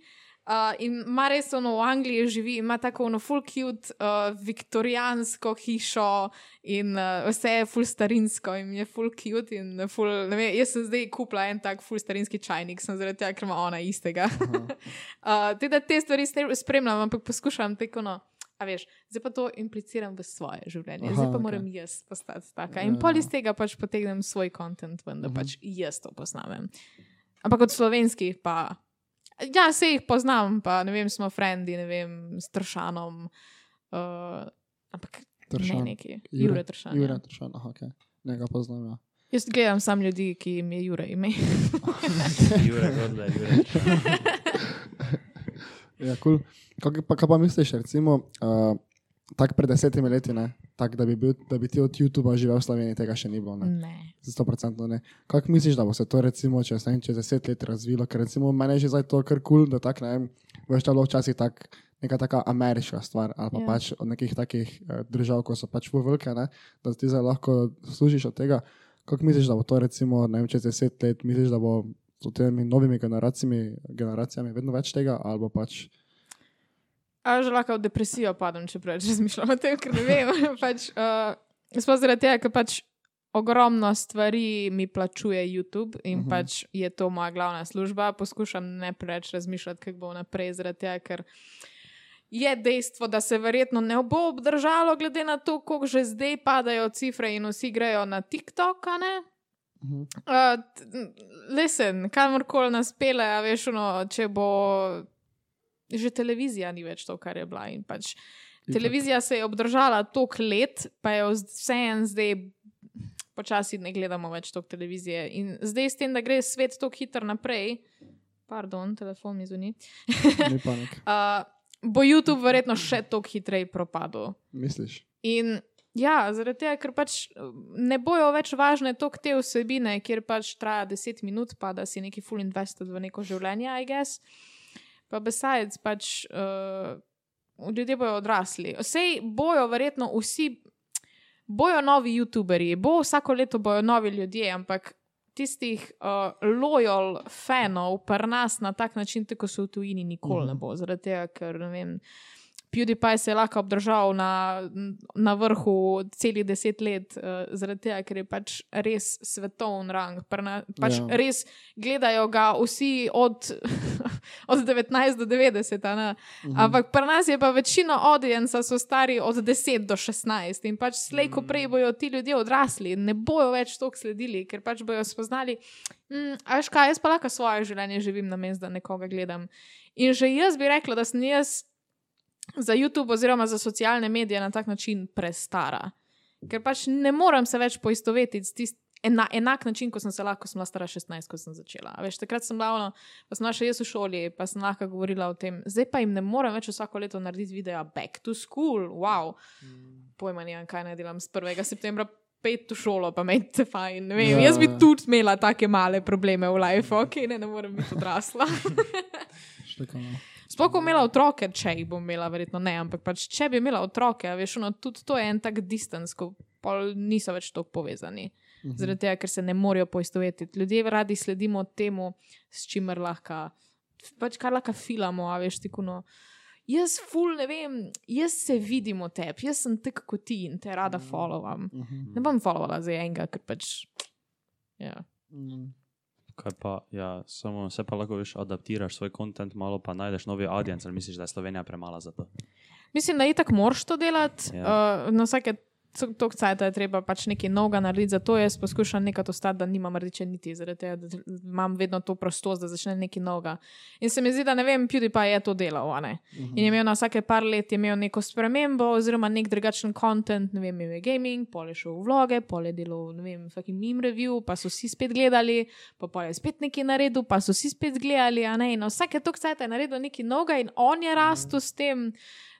[SPEAKER 1] Uh, in ima res ono v Angliji živi, ima tako ono full cute, uh, viktorijansko hišo in uh, vse je full starinsko in mi je full cute in full, ne vem, jaz sem zdaj kupila en tak full starinski čajnik, sem zaradi tega, ker ima ona istega. [LAUGHS] uh, te, da te stvari sne- spremljam, ampak poskušam tako ono. A veš, zdaj pa to impliciram v svoje življenje,
[SPEAKER 4] Aha,
[SPEAKER 1] zdaj pa
[SPEAKER 4] okej.
[SPEAKER 1] moram jaz postati taka.
[SPEAKER 4] Ja,
[SPEAKER 1] In
[SPEAKER 4] ja,
[SPEAKER 1] pol
[SPEAKER 4] ja.
[SPEAKER 1] iz tega pač potegnem svoj kontent ven, da
[SPEAKER 4] Mhm.
[SPEAKER 1] pač jaz to poznam. Ampak od slovenskih pa. Ja, se jih poznam, pa ne vem, smo frendi, ne vem, s Tršanom. Uh, ampak Tršan. ne
[SPEAKER 4] Tršan.
[SPEAKER 1] neki, Jure Tršan.
[SPEAKER 4] Jure
[SPEAKER 1] Jure.
[SPEAKER 4] Tršan, aha, ok. Njega poznam, ja.
[SPEAKER 1] Jaz gledam sam ljudi, ki jim je Jure ime.
[SPEAKER 2] Jure, Godler, Jure.
[SPEAKER 4] Ja, cool. kaj, pa, kaj pa misliš, recimo, uh, tako pred desetimi leti, ne? Tak, da, bi bil, da bi ti od YouTuba živel v Sloveniji, tega še ni bilo. Ne?
[SPEAKER 1] Ne.
[SPEAKER 4] Sto procentno ne. Kako misliš, da bo se to recimo čez, ne vem, čez deset let razvilo? Ker recimo meni je že zdaj to kar kul, cool, da tak, ne vem, veš, da je bilo včasih tak, neka taka ameriška stvar ali pa
[SPEAKER 1] Ja.
[SPEAKER 4] yeah. pač od nekih takih eh, držav, ko so pač full velike, ne, da ti zdaj lahko služiš od tega. Kako misliš, da bo to recimo, ne vem, čez deset let, misliš, da bo s temi novimi generacijami, generacijami vedno več tega ali bo pač...
[SPEAKER 1] A že lahko v depresijo padem, če preveč [LAUGHS] razmišljam o tem, ker ne vem. [LAUGHS] pač, uh, Sploh zaradi tega, ker pač ogromno stvari mi plačuje YouTube in uh
[SPEAKER 4] Mhm.
[SPEAKER 1] -huh. pač je to moja glavna služba. Poskušam ne preveč razmišljati, kako bo naprej, zaradi tega, ker je dejstvo, da se verjetno ne bo obdržalo, glede na to, koliko že zdaj padajo cifre in vsi grejo na TikTok, a ne? [LAUGHS]
[SPEAKER 4] Mhm.
[SPEAKER 1] Uh, t- n- listen, kamorkoli nas pele, a veš, ono, če bo že televizija ni več to, kar je bila. in Pač,
[SPEAKER 4] Itak.
[SPEAKER 1] televizija se je obdržala toliko let, pa je vseeno zdaj. Počasi ne gledamo več toliko televizije. In zdaj, s tem, da gre svet tako hitro naprej, pardon, telefon mi zvoni,
[SPEAKER 4] Ni panik,
[SPEAKER 1] uh, bo YouTube verjetno še toliko hitreje propadel.
[SPEAKER 4] misliš.
[SPEAKER 1] In ja, zaradi tega, ker pač um, ne bojo več važne tok te vsebine, kjer pač traja 10 minut, pa da si neki full invested v neko življenje, I guess. Pa besides, pač uh, ljudje bojo odrasli. Sej bojo verjetno vsi, bojo novi YouTuberi, bo vsako leto bojo novi ljudje, ampak tistih uh, lojal fanov, pa nas na tak način, tako se v tujini nikoli ne bo. Zaradi tega, ker ne vem. PewDiePie se je lahko obdržal na, na vrhu celih deset let, uh, zaradi tega, ker je pač res svetovni rang. Pri na- Pač
[SPEAKER 4] Ja.
[SPEAKER 1] ja. Res gledajo ga vsi od, [LAUGHS] od 19 do 90. a Ne? Mhm. Ampak pri nas je pa večina audienca so stari od 10 do 16 in pač slej, ko prej bojo ti ljudje odrasli, ne bojo več toliko sledili, ker pač bojo spoznali, mm, a veš kaj, jaz pa lahko svoje življenje živim na mestu, da nekoga gledam. In že jaz bi rekla, da sem jaz za YouTube oziroma za socialne medije na tak način prestara. Ker pač ne morem se več poistovetiti s tistim. Na enak način, kot sem se lahko, ko sem bila stara 16, ko sem začela. A Veš, takrat sem bila, ono, pa sem bila še jaz v šoli, pa sem lahko govorila o tem. Zdaj pa jim ne morem več vsako leto narediti videa back to school, wow. Pojma nimam, kaj naj delam z 1. septembra. Pet v šolo, pa me je fajn. Ne Vem,
[SPEAKER 4] Ja,
[SPEAKER 1] jaz bi
[SPEAKER 4] ja.
[SPEAKER 1] tudi imela take male probleme v lifeu, ok, ne, ne morem biti odrasla.
[SPEAKER 4] no.
[SPEAKER 1] Sploh bom imela otroke, če jih bom imela, verjetno ne, ampak pač, če bi imela otroke, a veš, ono, tudi to je en tak distance, ko pol niso več tako povezani.
[SPEAKER 4] Mhm.
[SPEAKER 1] Zaradi tega, ker se ne morejo poistovetiti. Ljudje radi sledimo temu, s čimer lahko, pač kar lahko filamo, a veš, tikuno. Jaz, ful, ne vem, jaz se vidim v tebi, jaz sem tak kot ti in te rada followam.
[SPEAKER 4] Mhm.
[SPEAKER 1] Ne bom followovala za enega, ker pač. Ja.
[SPEAKER 4] Mhm.
[SPEAKER 2] Kaj pa, ja, samo se pa lahko veš, adaptiraš svoj kontent, malo pa najdeš novi audience, ali misliš, da je Slovenija premala za to.
[SPEAKER 1] Mislim, da je tako moraš to delati.
[SPEAKER 2] Ja.
[SPEAKER 1] Ja. Uh, na vsake tok cajt je treba pač nekaj novega narediti, zato jaz poskušam nekaj ostati, da nimam rdeče niti, zaradi tega, da imam vedno to prostost, da začnem nekaj novega. In se mi zdi, da ne vem, PewDiePie je to delal, a ne. In je imel na vsake par let je imel neko spremembo oziroma nek drugačen kontent, ne vem, imel je gaming, pol je šel v vloge, pol je delal, ne vem, fucking meme review, pa so vsi spet gledali, pa pol je spet nekaj naredil, pa so vsi spet gledali, a ne. In na vsake tok cajt je naredil nekaj novega in on je rastel s tem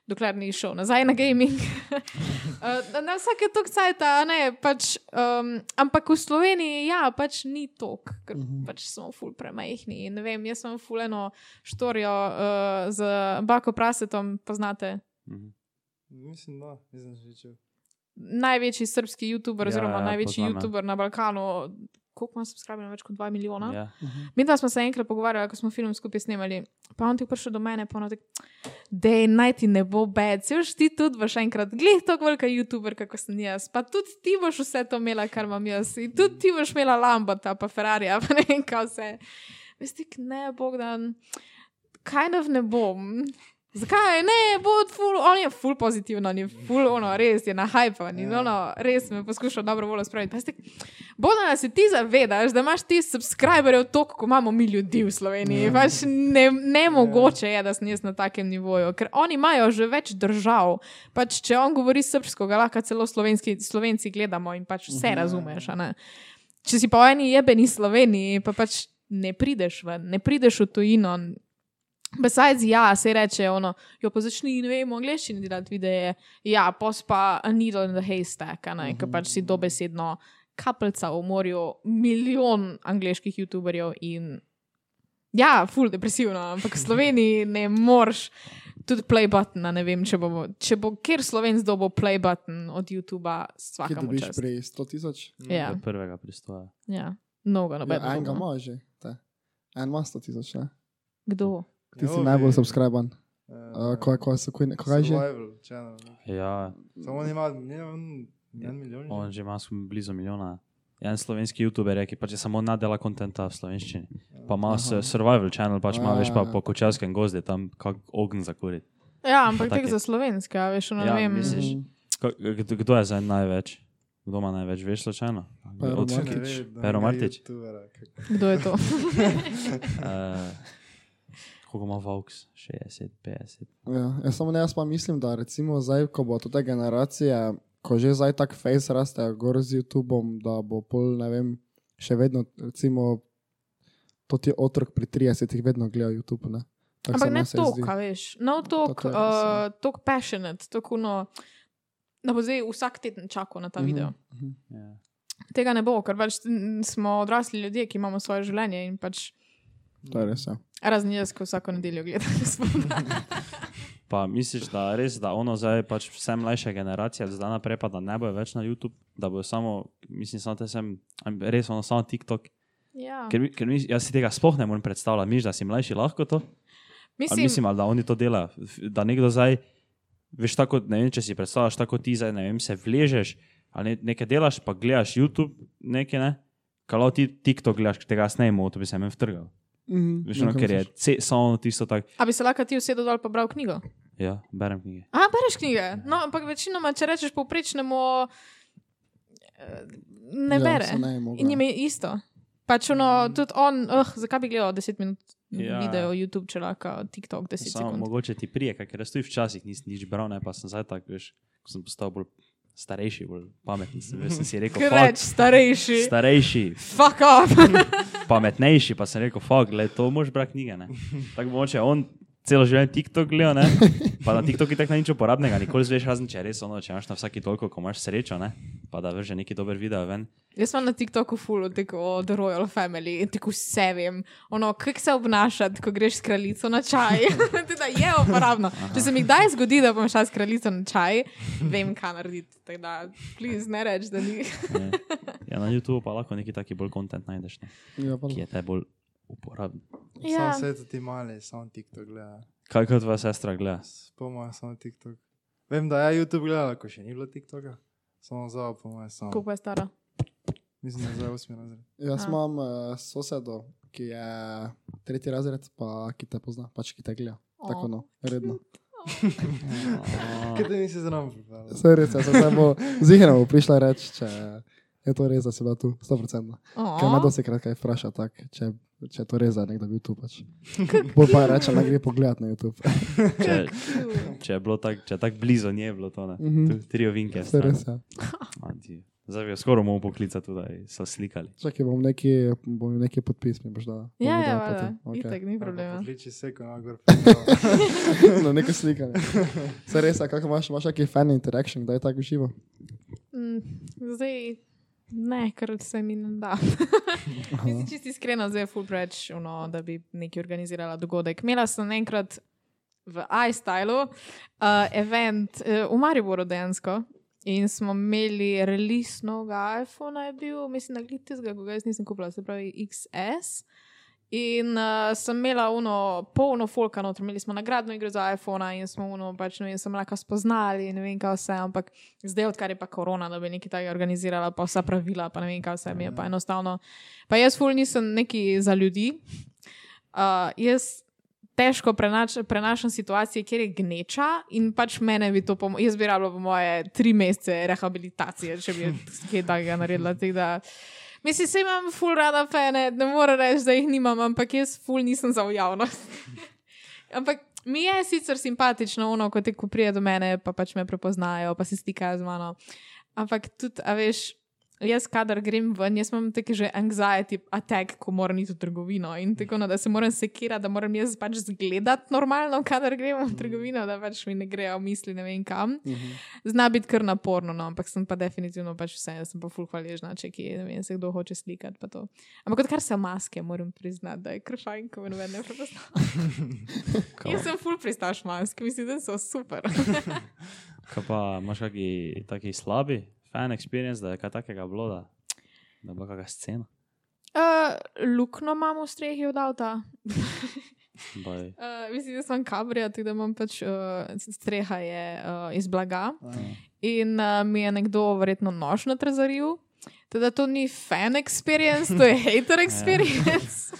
[SPEAKER 1] dokler ni šel nazaj na gaming. Eh, na vsake tok cajta, ne, pač, um, ampak v Sloveniji, ja, pač ni tok, ker
[SPEAKER 4] Mhm.
[SPEAKER 1] pač smo ful premajhni. In Ne vem, jaz sem fuleno štorijo uh, z Bako Prasetom, poznate.
[SPEAKER 2] Mhm.
[SPEAKER 3] Mislim, da nisem slišal.
[SPEAKER 1] Največji srbski YouTuber,
[SPEAKER 2] Ja,
[SPEAKER 1] oziroma
[SPEAKER 2] ja,
[SPEAKER 1] največji
[SPEAKER 2] poznam, ja.
[SPEAKER 1] YouTuber na Balkanu, koliko ima subskrbijo, več kot 2 milijona.
[SPEAKER 2] Ja.
[SPEAKER 1] Mi dva smo se enkrat pogovarjali, ko smo film skupaj snemali. Pa on ti je prišel do mene, pa on ti je, naj ti ne bo bed, se už ti tudi boš enkrat, glej, tako velika YouTuber, kako sem jaz. Pa tudi ti boš vse to imela, kar imam jaz. In tudi ti boš imela Lambata, pa Ferrarija, pa ne vem, kaj vse. Veste, ne, Bogdan, kaj nav ne bom. Zakaj ne, bo ful, on je ful pozitiven, on je ful, ono, res je na hype, in
[SPEAKER 3] Ja.
[SPEAKER 1] ono, res me poskuša dobro voljo spraviti. Veste, Bogdan, se ti zavedaš, da imaš ti subscriberjev toliko, kot imamo mi ljudi v Sloveniji. Pač ne, ne mogoče je, da sem jaz na takem nivoju, ker oni imajo že več držav. Pač, če on govori srpsko, ga lahko celo slovenski, slovenci gledamo in pač vse razumeš. a ne. Če si pa v eni jebeni Sloveniji, pa pač ne prideš ven, ne prideš v tujino. Besides, ja, se reče, ono, jo pa začni, ne vem, v angleščini delati videe, ja, pos pa a needle in the haystack, a ne,
[SPEAKER 4] Mhm.
[SPEAKER 1] mm -hmm. ker pač si dobesedno kapljica v morju, milijon angliških youtuberjev in ja, ful depresivno, ampak
[SPEAKER 4] [LAUGHS]
[SPEAKER 1] v Sloveniji ne moreš. Tudi play button, a ne vem, če bo, če bo kjer slovenc dobo play button od YouTuba,
[SPEAKER 4] Kaj
[SPEAKER 1] vsakemu
[SPEAKER 4] dobiš
[SPEAKER 1] čast.
[SPEAKER 4] prej 100 tisoč?
[SPEAKER 1] Ja,
[SPEAKER 2] Do prvega pristoja.
[SPEAKER 1] ja. mnogo
[SPEAKER 4] Ja,
[SPEAKER 1] nobenega.
[SPEAKER 4] enega ima že. ta. En ima 100 tisoč, ne?
[SPEAKER 1] Kdo?
[SPEAKER 4] Ti si najbolj subscriben. Uh, Kaj ko, se- ko, ko, kaj že?
[SPEAKER 3] Eh, Survival channel.
[SPEAKER 2] Ja,
[SPEAKER 3] Samo on ima, ne vem, en milijon.
[SPEAKER 2] on že ima skoraj blizu milijona. Ja, En slovenski YouTuber je, ki pač je samo nadela kontenta v slovenščini. Pa ima s- survival channel, pač ima več pa po kočarskem gozdu, tam kak ogen zakuriti.
[SPEAKER 1] Ja, ampak
[SPEAKER 2] Taki.
[SPEAKER 1] tek za slovenske, a veš, ono
[SPEAKER 2] Ja,
[SPEAKER 1] ne vem.
[SPEAKER 2] misliš?
[SPEAKER 4] Mhm.
[SPEAKER 2] Ka- Kdo kdo je zdaj največ? Kdo ima največ, veš, slučajno?
[SPEAKER 4] Pero
[SPEAKER 2] Od-
[SPEAKER 4] Martič.
[SPEAKER 2] Pero Martič.
[SPEAKER 1] Kdo je to?
[SPEAKER 2] Eh, [LAUGHS] Koliko ima Vox? 60, 50.
[SPEAKER 4] Ja, jaz samo ne, jaz pa mislim, da recimo zdaj, ko bo ta generacija, ko že zdaj tak face raste gor z YouTubeom, da bo pol, ne vem, še vedno, recimo, to ti otrok pri 30-ih vedno gleda YouTube, ne? Tako se
[SPEAKER 1] Ampak ne
[SPEAKER 4] meni se
[SPEAKER 1] to,
[SPEAKER 4] zdi.
[SPEAKER 1] kaj veš. No,
[SPEAKER 4] Tako
[SPEAKER 1] tok,
[SPEAKER 4] je, ja.
[SPEAKER 1] uh, tok passionate, tako no, da bo zdaj vsak teden čakal na ta
[SPEAKER 4] Mhm,
[SPEAKER 1] video.
[SPEAKER 4] mhm.
[SPEAKER 2] Ja.
[SPEAKER 1] Tega ne bo, ker pač n- smo odrasli ljudje, ki imamo svoje življenje in pač
[SPEAKER 4] To je res, ja.
[SPEAKER 1] razen jaz, ko vsako nedeljo gledam. [LAUGHS] gospoda.
[SPEAKER 2] Pa misliš, da res, da ono zdaj pač vse mlajša generacija, zdaj naprej pa da ne bo več na YouTube, da bo samo, mislim, samo te sem, res ono samo TikTok,
[SPEAKER 1] Ja.
[SPEAKER 2] Ker, mi- ker mi, jaz si tega sploh ne morem predstavljati, miš, da si mlajši lahko to. Mislim,
[SPEAKER 1] Mislim,
[SPEAKER 2] mislim ali da oni to delajo. F- Da nekdo zdaj, veš, tako, ne vem, če si predstavljaš, tako ti zdaj, ne vem, se vležeš ali ne, nekaj delaš, pa gledaš YouTube, nekaj ne. Kalau ti TikTok gledaš, tega snemo, to bi se meni vtrgal. Veš, ono, ker je ce, samo tisto tako.
[SPEAKER 1] a bi se lahko ti usedel dol pa bral knjigo?
[SPEAKER 2] Ja, berem knjige.
[SPEAKER 1] A, bereš knjige. No, ampak večinoma, če rečeš povprečnemu, eh,
[SPEAKER 4] Ja,
[SPEAKER 1] ne bere. In jim je isto. Pač
[SPEAKER 4] Mhm.
[SPEAKER 1] ono, tudi on, uh, zakaj bi gledal 10 minut
[SPEAKER 2] Ja.
[SPEAKER 1] ja. video, YouTube, če lahko TikTok 10
[SPEAKER 2] Samo
[SPEAKER 1] sekund.
[SPEAKER 2] mogoče ti prije, kaj, ker jaz tudi včasih nisem nič bral, ne pa sem zdaj tak, veš, ko sem postal bolj starejši, bolj pameten. Sem, veš, sem si rekel,
[SPEAKER 1] Kaj
[SPEAKER 2] fuck,
[SPEAKER 1] reč, starejši. Star
[SPEAKER 2] starejši,
[SPEAKER 1] Fuck off. [LAUGHS]
[SPEAKER 2] pametnejši, pa sem rekel, fuck, le to moš brati knjige.
[SPEAKER 4] [LAUGHS]
[SPEAKER 2] Ne? Tako bo moče on celo življenje TikTok gledal, ne? pa na TikToku tako ni nič uporabnega, nikoli zveš razen, če je res ono, če imaš na vsaki toliko, ko imaš srečo, ne? pa da vrže neki dober video ven.
[SPEAKER 1] Jaz sem na TikToku full tako o The Royal Family in tako vse vem. Ono, kako se obnašati, ko greš s kraljico na čaj. [LAUGHS] teda je uporabno. Če se mi kdaj zgodi, da bom šla s kraljico na čaj, vem, kaj narediti. Tako da, please, ne reč, da ni.
[SPEAKER 4] [LAUGHS]
[SPEAKER 2] Ne? Ja, na YouTubu pa lahko neki taki bolj kontent najdeš, ne?
[SPEAKER 4] Ja,
[SPEAKER 2] ki je te bolj uporaben.
[SPEAKER 1] Ja.
[SPEAKER 3] Samo vse ti mali, samo TikTok gleda.
[SPEAKER 2] Kaj kot tvoja sestra gleda?
[SPEAKER 3] Spomnim se samo TikTok. Vem, da je YouTube gledala, ko še ni bilo TikToka. Samo za, po mojem, samo.
[SPEAKER 1] Kako je stara?
[SPEAKER 3] Mislim, da je zdaj osmi razred.
[SPEAKER 1] A.
[SPEAKER 4] Jaz imam uh, sosedo, ki je tretji razred, pa ki te pozna, pač ki te gleda.
[SPEAKER 1] O.
[SPEAKER 4] Tako no, redno. [LAUGHS]
[SPEAKER 3] Kaj te nisi zraven pripravil?
[SPEAKER 4] Vse res, ja, jaz sem samo zigramo prišla reči, če je to res, da si bila tu, 100%. Ker me
[SPEAKER 1] Oh,
[SPEAKER 4] dosti krat kaj vpraša, tak, če, če je to res, da je nekdo bil tu.
[SPEAKER 1] [LAUGHS]
[SPEAKER 4] Pač. Bolj pa reče, da gre pogledat na YouTube.
[SPEAKER 2] Če, če je bilo tako tak blizu, nje je bilo to. ne.
[SPEAKER 4] Mhm.
[SPEAKER 2] Tu Tri
[SPEAKER 4] [LAUGHS]
[SPEAKER 2] ovinke.
[SPEAKER 4] Vse res, ja.
[SPEAKER 2] stran. Adi. Zdaj bi jo skoraj mogel poklicati, da so slikali.
[SPEAKER 4] Čakaj, bom neki, bom neki podpis mi boš dala.
[SPEAKER 1] ja, ja,
[SPEAKER 4] valjda.
[SPEAKER 1] valjda. Itak, ni problema.
[SPEAKER 3] Kliči seko na gor.
[SPEAKER 4] [LAUGHS] Na neko slikanje.
[SPEAKER 3] [LAUGHS]
[SPEAKER 4] Vse res, a kako imaš, imaš kakšen fan interaction, da je tako živo.
[SPEAKER 1] Mm, Zdaj, ne, ker se mi ne da. Mislim, čisto iskreno, zdaj je full preč, ono, da bi neki organizirala dogodek. Imela sem enkrat v iStylu uh, event uh, v Mariboru dejansko. In smo imeli release novega iPhona, je bil, mislim, da glitizga, ko ga jaz nisem kupila, se pravi XS. In uh, sem imela uno, polno folka noter, imeli smo nagradno igro za iPhone in smo uno, pač ne vem, sem lahko spoznali in ne vem, kaj vse, ampak zdaj, odkar je pa korona, da bi nekaj takega organizirala, pa vsa pravila, pa ne vem, kaj vse mi je, pa enostavno. Pa jaz ful nisem neki za ljudi. Uh, jaz težko prenač, prenašam situacije, kjer je gneča in pač mene bi to pomoč. Jaz bi rabila po moje tri mesece rehabilitacije, če bi kaj takega naredila. tako Da, mislim, se imam ful rada fene, ne morem reči, da jih nimam, ampak jaz ful nisem za v javnost. [LAUGHS] ampak mi je sicer simpatično, ono, ko te ko prije do mene, pa pač me prepoznajo, pa se stikajo z mano. Ampak tudi, a veš. Jaz, kadar grem ven, jaz imam tako že anxiety attack, ko moram iti v trgovino in tako naprej, da se moram sekirati, da moram jaz pač zgledati normalno, kadar grem v trgovino, da pač mi ne grejo misli ne vem kam. Zna biti kar naporno, no, ampak sem pa definitivno pač vse, jaz sem pa ful hvaležna, če kje, ne vem, se kdo hoče slikati. pa to. Ampak odkar se maske, moram priznati, da je kršajn, ko me noben ne prepozna. Jaz sem ful pristaš maske, mislim, da so super. [LAUGHS]
[SPEAKER 2] Kaj pa imaš kakšen taki slabi, fan experience, da je kaj takega bilo, da, da bo kakšna scena.
[SPEAKER 1] Uh, lukno imam v strehi od avta.
[SPEAKER 4] [LAUGHS]
[SPEAKER 2] Baj.
[SPEAKER 1] Uh, mislim, da sem kabrija, tako da imam pač uh, streha je uh, iz blaga. In uh, mi je nekdo verjetno nož natrezaril. Teda to ni fan experience, to je hater experience.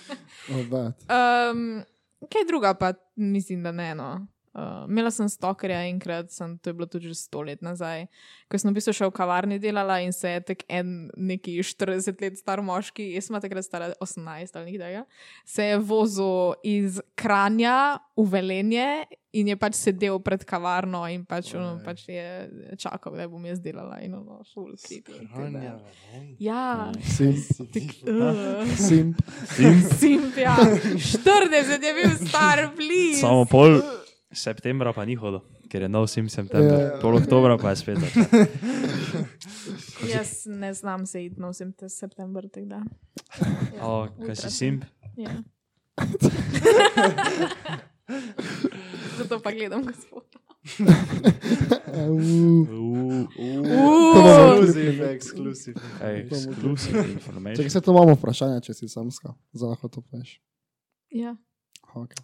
[SPEAKER 4] Obet.
[SPEAKER 1] Um, kaj druga pa mislim, da ne eno. Uh, imela sem stokerja enkrat, sem, to je bilo tudi že sto let nazaj, ko sem v bistvu še v kavarni delala in se je tek en neki 40 let star moški, jaz sem bila takrat stara 18 ali nekaj takega, se je vozil iz Kranja v Velenje in je pač sedel pred kavarno in pač, ono,
[SPEAKER 3] Oj.
[SPEAKER 1] pač je čakal, kdaj bom jaz delala in ono, full creepy. tako da.
[SPEAKER 3] Hranja,
[SPEAKER 1] Ja.
[SPEAKER 3] [LAUGHS]
[SPEAKER 4] Simp.
[SPEAKER 1] Uh.
[SPEAKER 4] Simp.
[SPEAKER 1] Simp, ja. 40 je bil star, bliž.
[SPEAKER 2] Samo pol septembra pa ni hodil, ker je nov sim september,
[SPEAKER 4] Ja.
[SPEAKER 2] pol oktobra pa je spet.
[SPEAKER 4] [LAUGHS]
[SPEAKER 2] začel.
[SPEAKER 1] Jaz ne znam se iti, nosim te september. tako da.
[SPEAKER 2] O, kaj si sim?
[SPEAKER 1] Ja. Zato pa gledam gospod.
[SPEAKER 4] Au.
[SPEAKER 2] Uuu,
[SPEAKER 3] Ekskluziv, ekskluziv.
[SPEAKER 2] Exclusive
[SPEAKER 4] Če
[SPEAKER 2] information.
[SPEAKER 4] se to imamo vprašanje, če si samska, za lahko to poveš.
[SPEAKER 1] Ja.
[SPEAKER 4] Aha, Okay.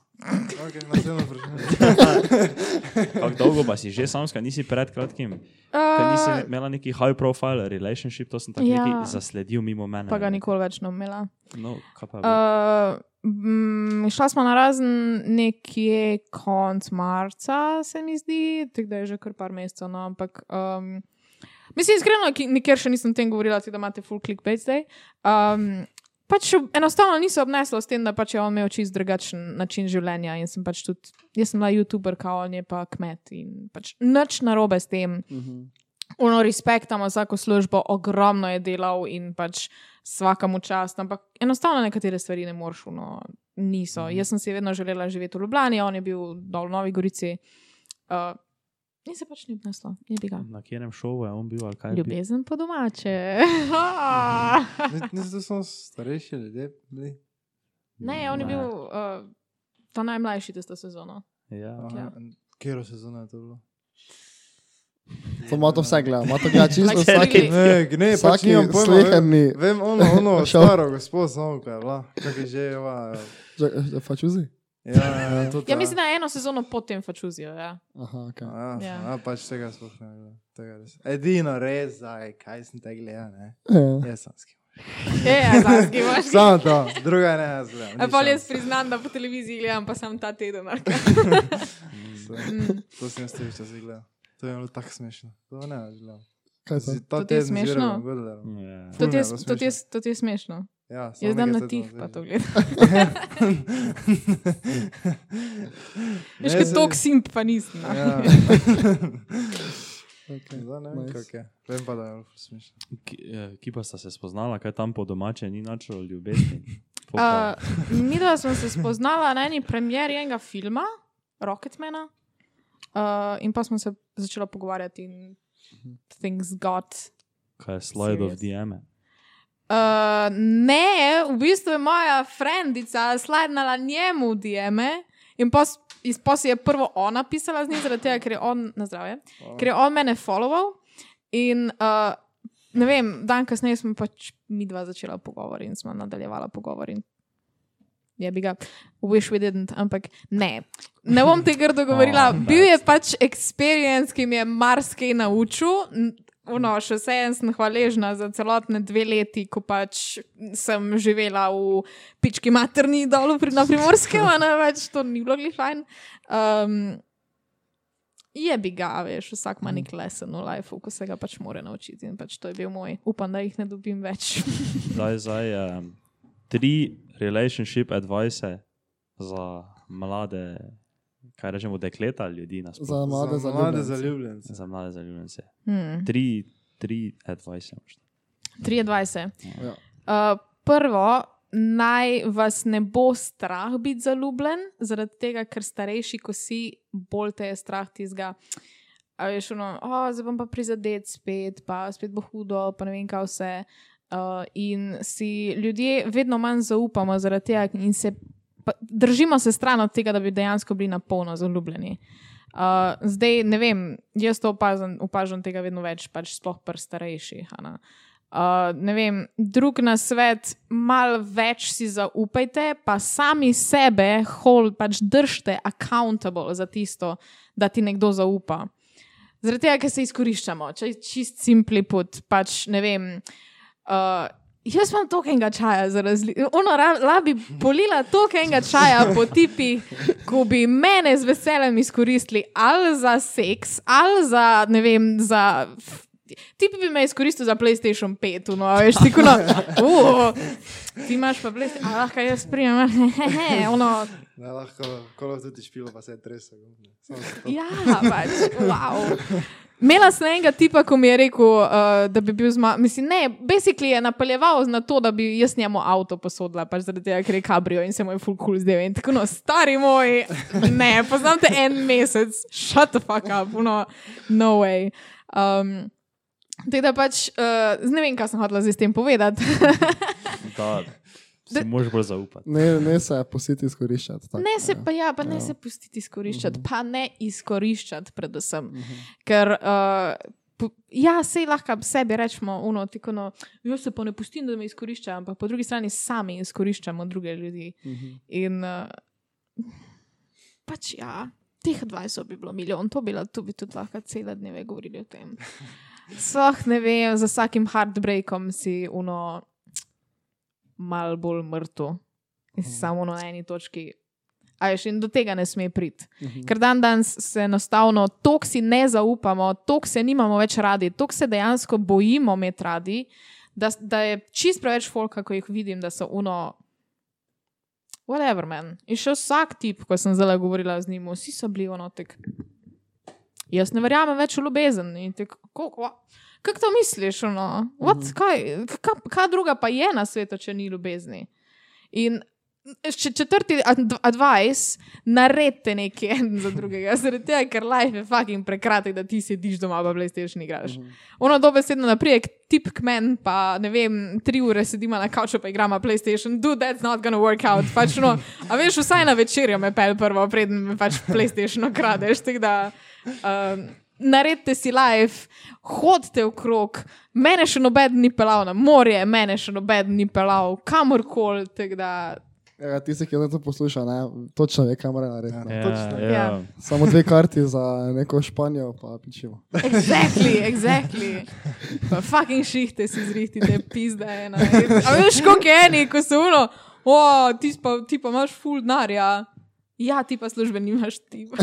[SPEAKER 3] Ok, naslednje vprašanje.
[SPEAKER 2] Kako dolgo pa si že samska, nisi pred kratkim? Ker nisi
[SPEAKER 1] Uh,
[SPEAKER 2] imela neki high profile relationship, to sem tako
[SPEAKER 1] Ja.
[SPEAKER 2] ja. neki zasledil mimo mene.
[SPEAKER 1] pa ga nikoli več ne omela.
[SPEAKER 2] No, kaj pa. Uh,
[SPEAKER 1] Uh, mm, šla smo na razen nekje konc marca, se mi zdi, tako da je že kar par mesecev. No, ampak, um, mislim, iskreno, ki- nikjer še nisem o tem govorila, tako da imate full clickbait zdaj. Um, Pač enostavno niso obneslo s tem, da pač je on imel čist drugačen način življenja. In sem pač tudi, jaz sem bila YouTuber, kao on je pa kmet in pač nič narobe s tem.
[SPEAKER 3] Mhm.
[SPEAKER 1] Uno respektamo vsako službo, ogromno je delal in pač vsakemu čast, ampak enostavno nekatere stvari ne moreš, no, niso. Jaz sem si vedno želela živeti v Ljubljani, on je bil dol v Novi Gorici. Uh, in se pač ni obneslo, je bi ga.
[SPEAKER 2] na katerem šovu je on bil, ali kaj? je bil?
[SPEAKER 1] Ljubezen po domače.
[SPEAKER 3] Ni- Niso to samo starejši ljudje? bili?
[SPEAKER 1] ne, on je bil uh, ta najmlajši tisto sezono.
[SPEAKER 2] Ja.
[SPEAKER 3] Aha,
[SPEAKER 1] Ja.
[SPEAKER 3] in Katero sezono je to bilo?
[SPEAKER 4] To ima to vse gleda, ima to
[SPEAKER 3] [LAUGHS]
[SPEAKER 4] gleda čisto
[SPEAKER 1] Like
[SPEAKER 4] vsak.
[SPEAKER 1] every-
[SPEAKER 3] Ne, ne, pač
[SPEAKER 4] Vsaki
[SPEAKER 3] nimam pojma. vem-
[SPEAKER 4] sleherni-
[SPEAKER 3] Vem, ono, [LAUGHS] ono,
[SPEAKER 4] Šel.
[SPEAKER 3] staro gospod, samo kaj je bila, kak je že ova.
[SPEAKER 4] Fačuzi?
[SPEAKER 3] Ja, ja, to ta.
[SPEAKER 1] Ja, mislim, da je eno sezono potem fačuzijo. Ja.
[SPEAKER 4] Aha, ok.
[SPEAKER 3] A,
[SPEAKER 1] Ja.
[SPEAKER 3] ja, a, pač tega sploh ne gledam. tega res. Edino res, zdaj, kaj sem te gledal, ne?
[SPEAKER 4] Ja.
[SPEAKER 3] Jaz sem skil.
[SPEAKER 1] Je, ja, zanski imaš.
[SPEAKER 3] [LAUGHS] Samo to, druga ne jaz gledam.
[SPEAKER 1] E,
[SPEAKER 3] ni
[SPEAKER 1] pa jaz
[SPEAKER 3] šans.
[SPEAKER 1] priznam, da po televiziji gledam, pa sem ta teden. Mm. ali kaj.
[SPEAKER 3] Se- To sem jaz tebi včasih gledal. To je bilo tako smešno. To ne jaz gledam.
[SPEAKER 4] Kaj je to?
[SPEAKER 3] Si Ta
[SPEAKER 1] To ti je
[SPEAKER 3] teden z
[SPEAKER 1] smešno?
[SPEAKER 3] Jeremom Godlerjem.
[SPEAKER 2] Ja.
[SPEAKER 1] To
[SPEAKER 3] Ful
[SPEAKER 1] ti je-
[SPEAKER 3] ne, to
[SPEAKER 1] to ti je- To ti je smešno.
[SPEAKER 3] Ja, samo
[SPEAKER 1] Jaz dam
[SPEAKER 3] nekaj
[SPEAKER 1] na
[SPEAKER 3] tednov
[SPEAKER 1] tih,
[SPEAKER 3] zdaj
[SPEAKER 1] pa
[SPEAKER 3] že.
[SPEAKER 1] to
[SPEAKER 3] [LAUGHS]
[SPEAKER 1] gledam. [LAUGHS]
[SPEAKER 3] Ne,
[SPEAKER 1] Veš, kot
[SPEAKER 3] se-
[SPEAKER 1] tok simp, pa nisem. no.
[SPEAKER 4] [LAUGHS]
[SPEAKER 3] Ja.
[SPEAKER 4] Okay.
[SPEAKER 3] Zdaj ne vem,
[SPEAKER 4] Nice.
[SPEAKER 3] kako je. Vem pa, da je bilo smešno.
[SPEAKER 2] Ki, eh, ki pa sta se spoznala, kaj tam po domače ni načelo ljubezni. Pol pa-
[SPEAKER 1] Uh, mi dva smo se spoznala na eni premjeri enega filma, Rocketmana, uh, in pa smo se začela pogovarjati in things got.
[SPEAKER 2] Kaj je slide of
[SPEAKER 1] serious.
[SPEAKER 2] DM?
[SPEAKER 1] Uh, ne, v bistvu je moja frendica slidnala njemu v DM-e in pos, iz pos je prvo ona pisala z njim, zaradi tega, ker je on na zdravje. ker je on mene followal. In uh, ne vem, dan kasneje smo pač mi dva začela pogovor in smo nadaljevala pogovor. In je bi ga, wish we didn't, ampak ne. Ne bom te grdo govorila.
[SPEAKER 2] Oh,
[SPEAKER 1] Bil je pač experience, ki mi je marsikaj naučil. N- No, še vseeno sem hvaležna za celotne dve leti, ko pač sem živela v pički materni dolu pri, na primorskem, a ne več to ni bilo glih fajn. Um, Je bi ga, veš, vsak ima nek lesen v lifeu, ko se ga pač mora naučiti. In pač to je bil moj, upam, da jih ne dobim več.
[SPEAKER 2] Daj zdaj um, tri relationship advice za mlade, kaj rečemo, dekleta ljudi na
[SPEAKER 4] Za
[SPEAKER 2] splošno.
[SPEAKER 4] mlade
[SPEAKER 3] Za mlade
[SPEAKER 4] zaljubljence.
[SPEAKER 3] zaljubljence.
[SPEAKER 2] Za mlade zaljubljence.
[SPEAKER 1] Hmm.
[SPEAKER 2] Tri, tri advice.
[SPEAKER 1] 23.
[SPEAKER 4] Ja.
[SPEAKER 1] Uh, prvo, naj vas ne bo strah biti zaljubljen, zaradi tega, ker starejši, ko si, bolj te je strah tizga. A veš, ono, oh, zdaj bom pa prizadet spet, pa spet bo hudo, pa ne vem, kaj vse. Uh, in si ljudje vedno manj zaupamo zaradi tega, in se pa, držimo se stran od tega, da bi dejansko bili na polno zaljubljeni. Uh, zdaj, ne vem, jaz to opazam, opažam tega vedno več, pač sploh pri starejših. a ne. Uh, ne vem, drug na svet, malo več si zaupajte, pa sami sebe, hol, pač držite accountable za tisto, da ti nekdo zaupa. Zaradi tega, ker se izkoriščamo, če je čist simpli pot, pač ne vem. Uh, jaz imam tokenga čaja za razliko. Ono ra- rabi polila tokenga čaja po tipih, ko bi mene z veseljem izkoristili ali za seks, ali za ne vem, za. f- Tipi bi me izkoristil za PlayStation 5, no, a veš, ti kuno. Uh, ti imaš pa PlayStation, a lahko jaz [LAUGHS] prijemem, hehe, ono.
[SPEAKER 3] Da lahko kolo tudi špilo, pa se je tresel.
[SPEAKER 1] Ja, pač, wow. Mela sem enega tipa, ko mi je rekel, uh, da bi bil zma. Mislim, ne, basically je napeljeval na to, da bi jaz njemu avto posodila, pač zaradi tega, ker je kabrio in se mu je full cool zdel. In tako, no, stari moj, ne, poznam te en mesec, shut the fuck up, no, no way. Um, Tako da pač, uh, ne vem, kaj sem hodila zdaj s tem povedati.
[SPEAKER 2] Da si moraš bolj zaupati.
[SPEAKER 4] Ne, ne se positi izkoriščati. tako,
[SPEAKER 1] Ne se
[SPEAKER 4] ja.
[SPEAKER 1] pa, ja, pa ne
[SPEAKER 4] Ja.
[SPEAKER 1] se pustiti izkoriščati, pa ne izkoriščati, predvsem. Ker uh, po- Ja, sej lahko sebi rečemo, uno, tako no, jaz se pa ne pustim, da me izkorišča, ampak po drugi strani sami izkoriščamo druge ljudi. In uh, pač ja, teh 20 bi bilo milijon, to bi, to bi tudi lahko cele dneve govorili o tem. Sploh ne vem, za vsakim heartbreakom si uno mal bolj mrtev in si samo na eni točki. A je še in do tega ne sme priti. Ker dan danes se enostavno toliko si ne zaupamo, toliko se nimamo več radi, toliko se dejansko bojimo imeti radi, da, s- da je čist preveč folka, ko jih vidim, da so uno. Whatever, man. In še vsak tip, ko sem zdaj govorila z njim, vsi so bili onotek. Jaz ne verjamem več v ljubezen. in tako, "Ko- ko- Kako to misliš? ono? What, kaj, kaj, kaj druga pa je na svetu, če ni ljubezni? In še četrti ad- advice, naredite nekaj en za drugega, zaradi tega, ker life je fucking prekratek, da ti sediš doma, pa PlayStation igraš. Ono dobesedno naprijek, tip k meni, pa ne vem, tri ure sedima na kavču, pa igrama PlayStation, dude, that's not gonna work out. Pač, no, a veš, vsaj na večerjo me pel prvo, preden me pač PlayStation okradeš. tako Da, um, naredite si life, hodite okrog, mene še noben ni pelal na morje, mene še noben ni pelal kamorkoli. tako da,
[SPEAKER 4] Ja, tisti, ki to posluša, ne, točno ve, kam mora narediti. ne.
[SPEAKER 2] Ja,
[SPEAKER 3] Točno.
[SPEAKER 2] ja.
[SPEAKER 4] Samo dve karti za neko Španijo, pa pičimo.
[SPEAKER 1] Exactly, exactly. Pa fucking šihte si zrihtite, pizda ena. A veš, koliko je eni, ko se uno, o, ti pa, ti pa imaš full denarja. Ja, ti pa službe nimaš ti. pa."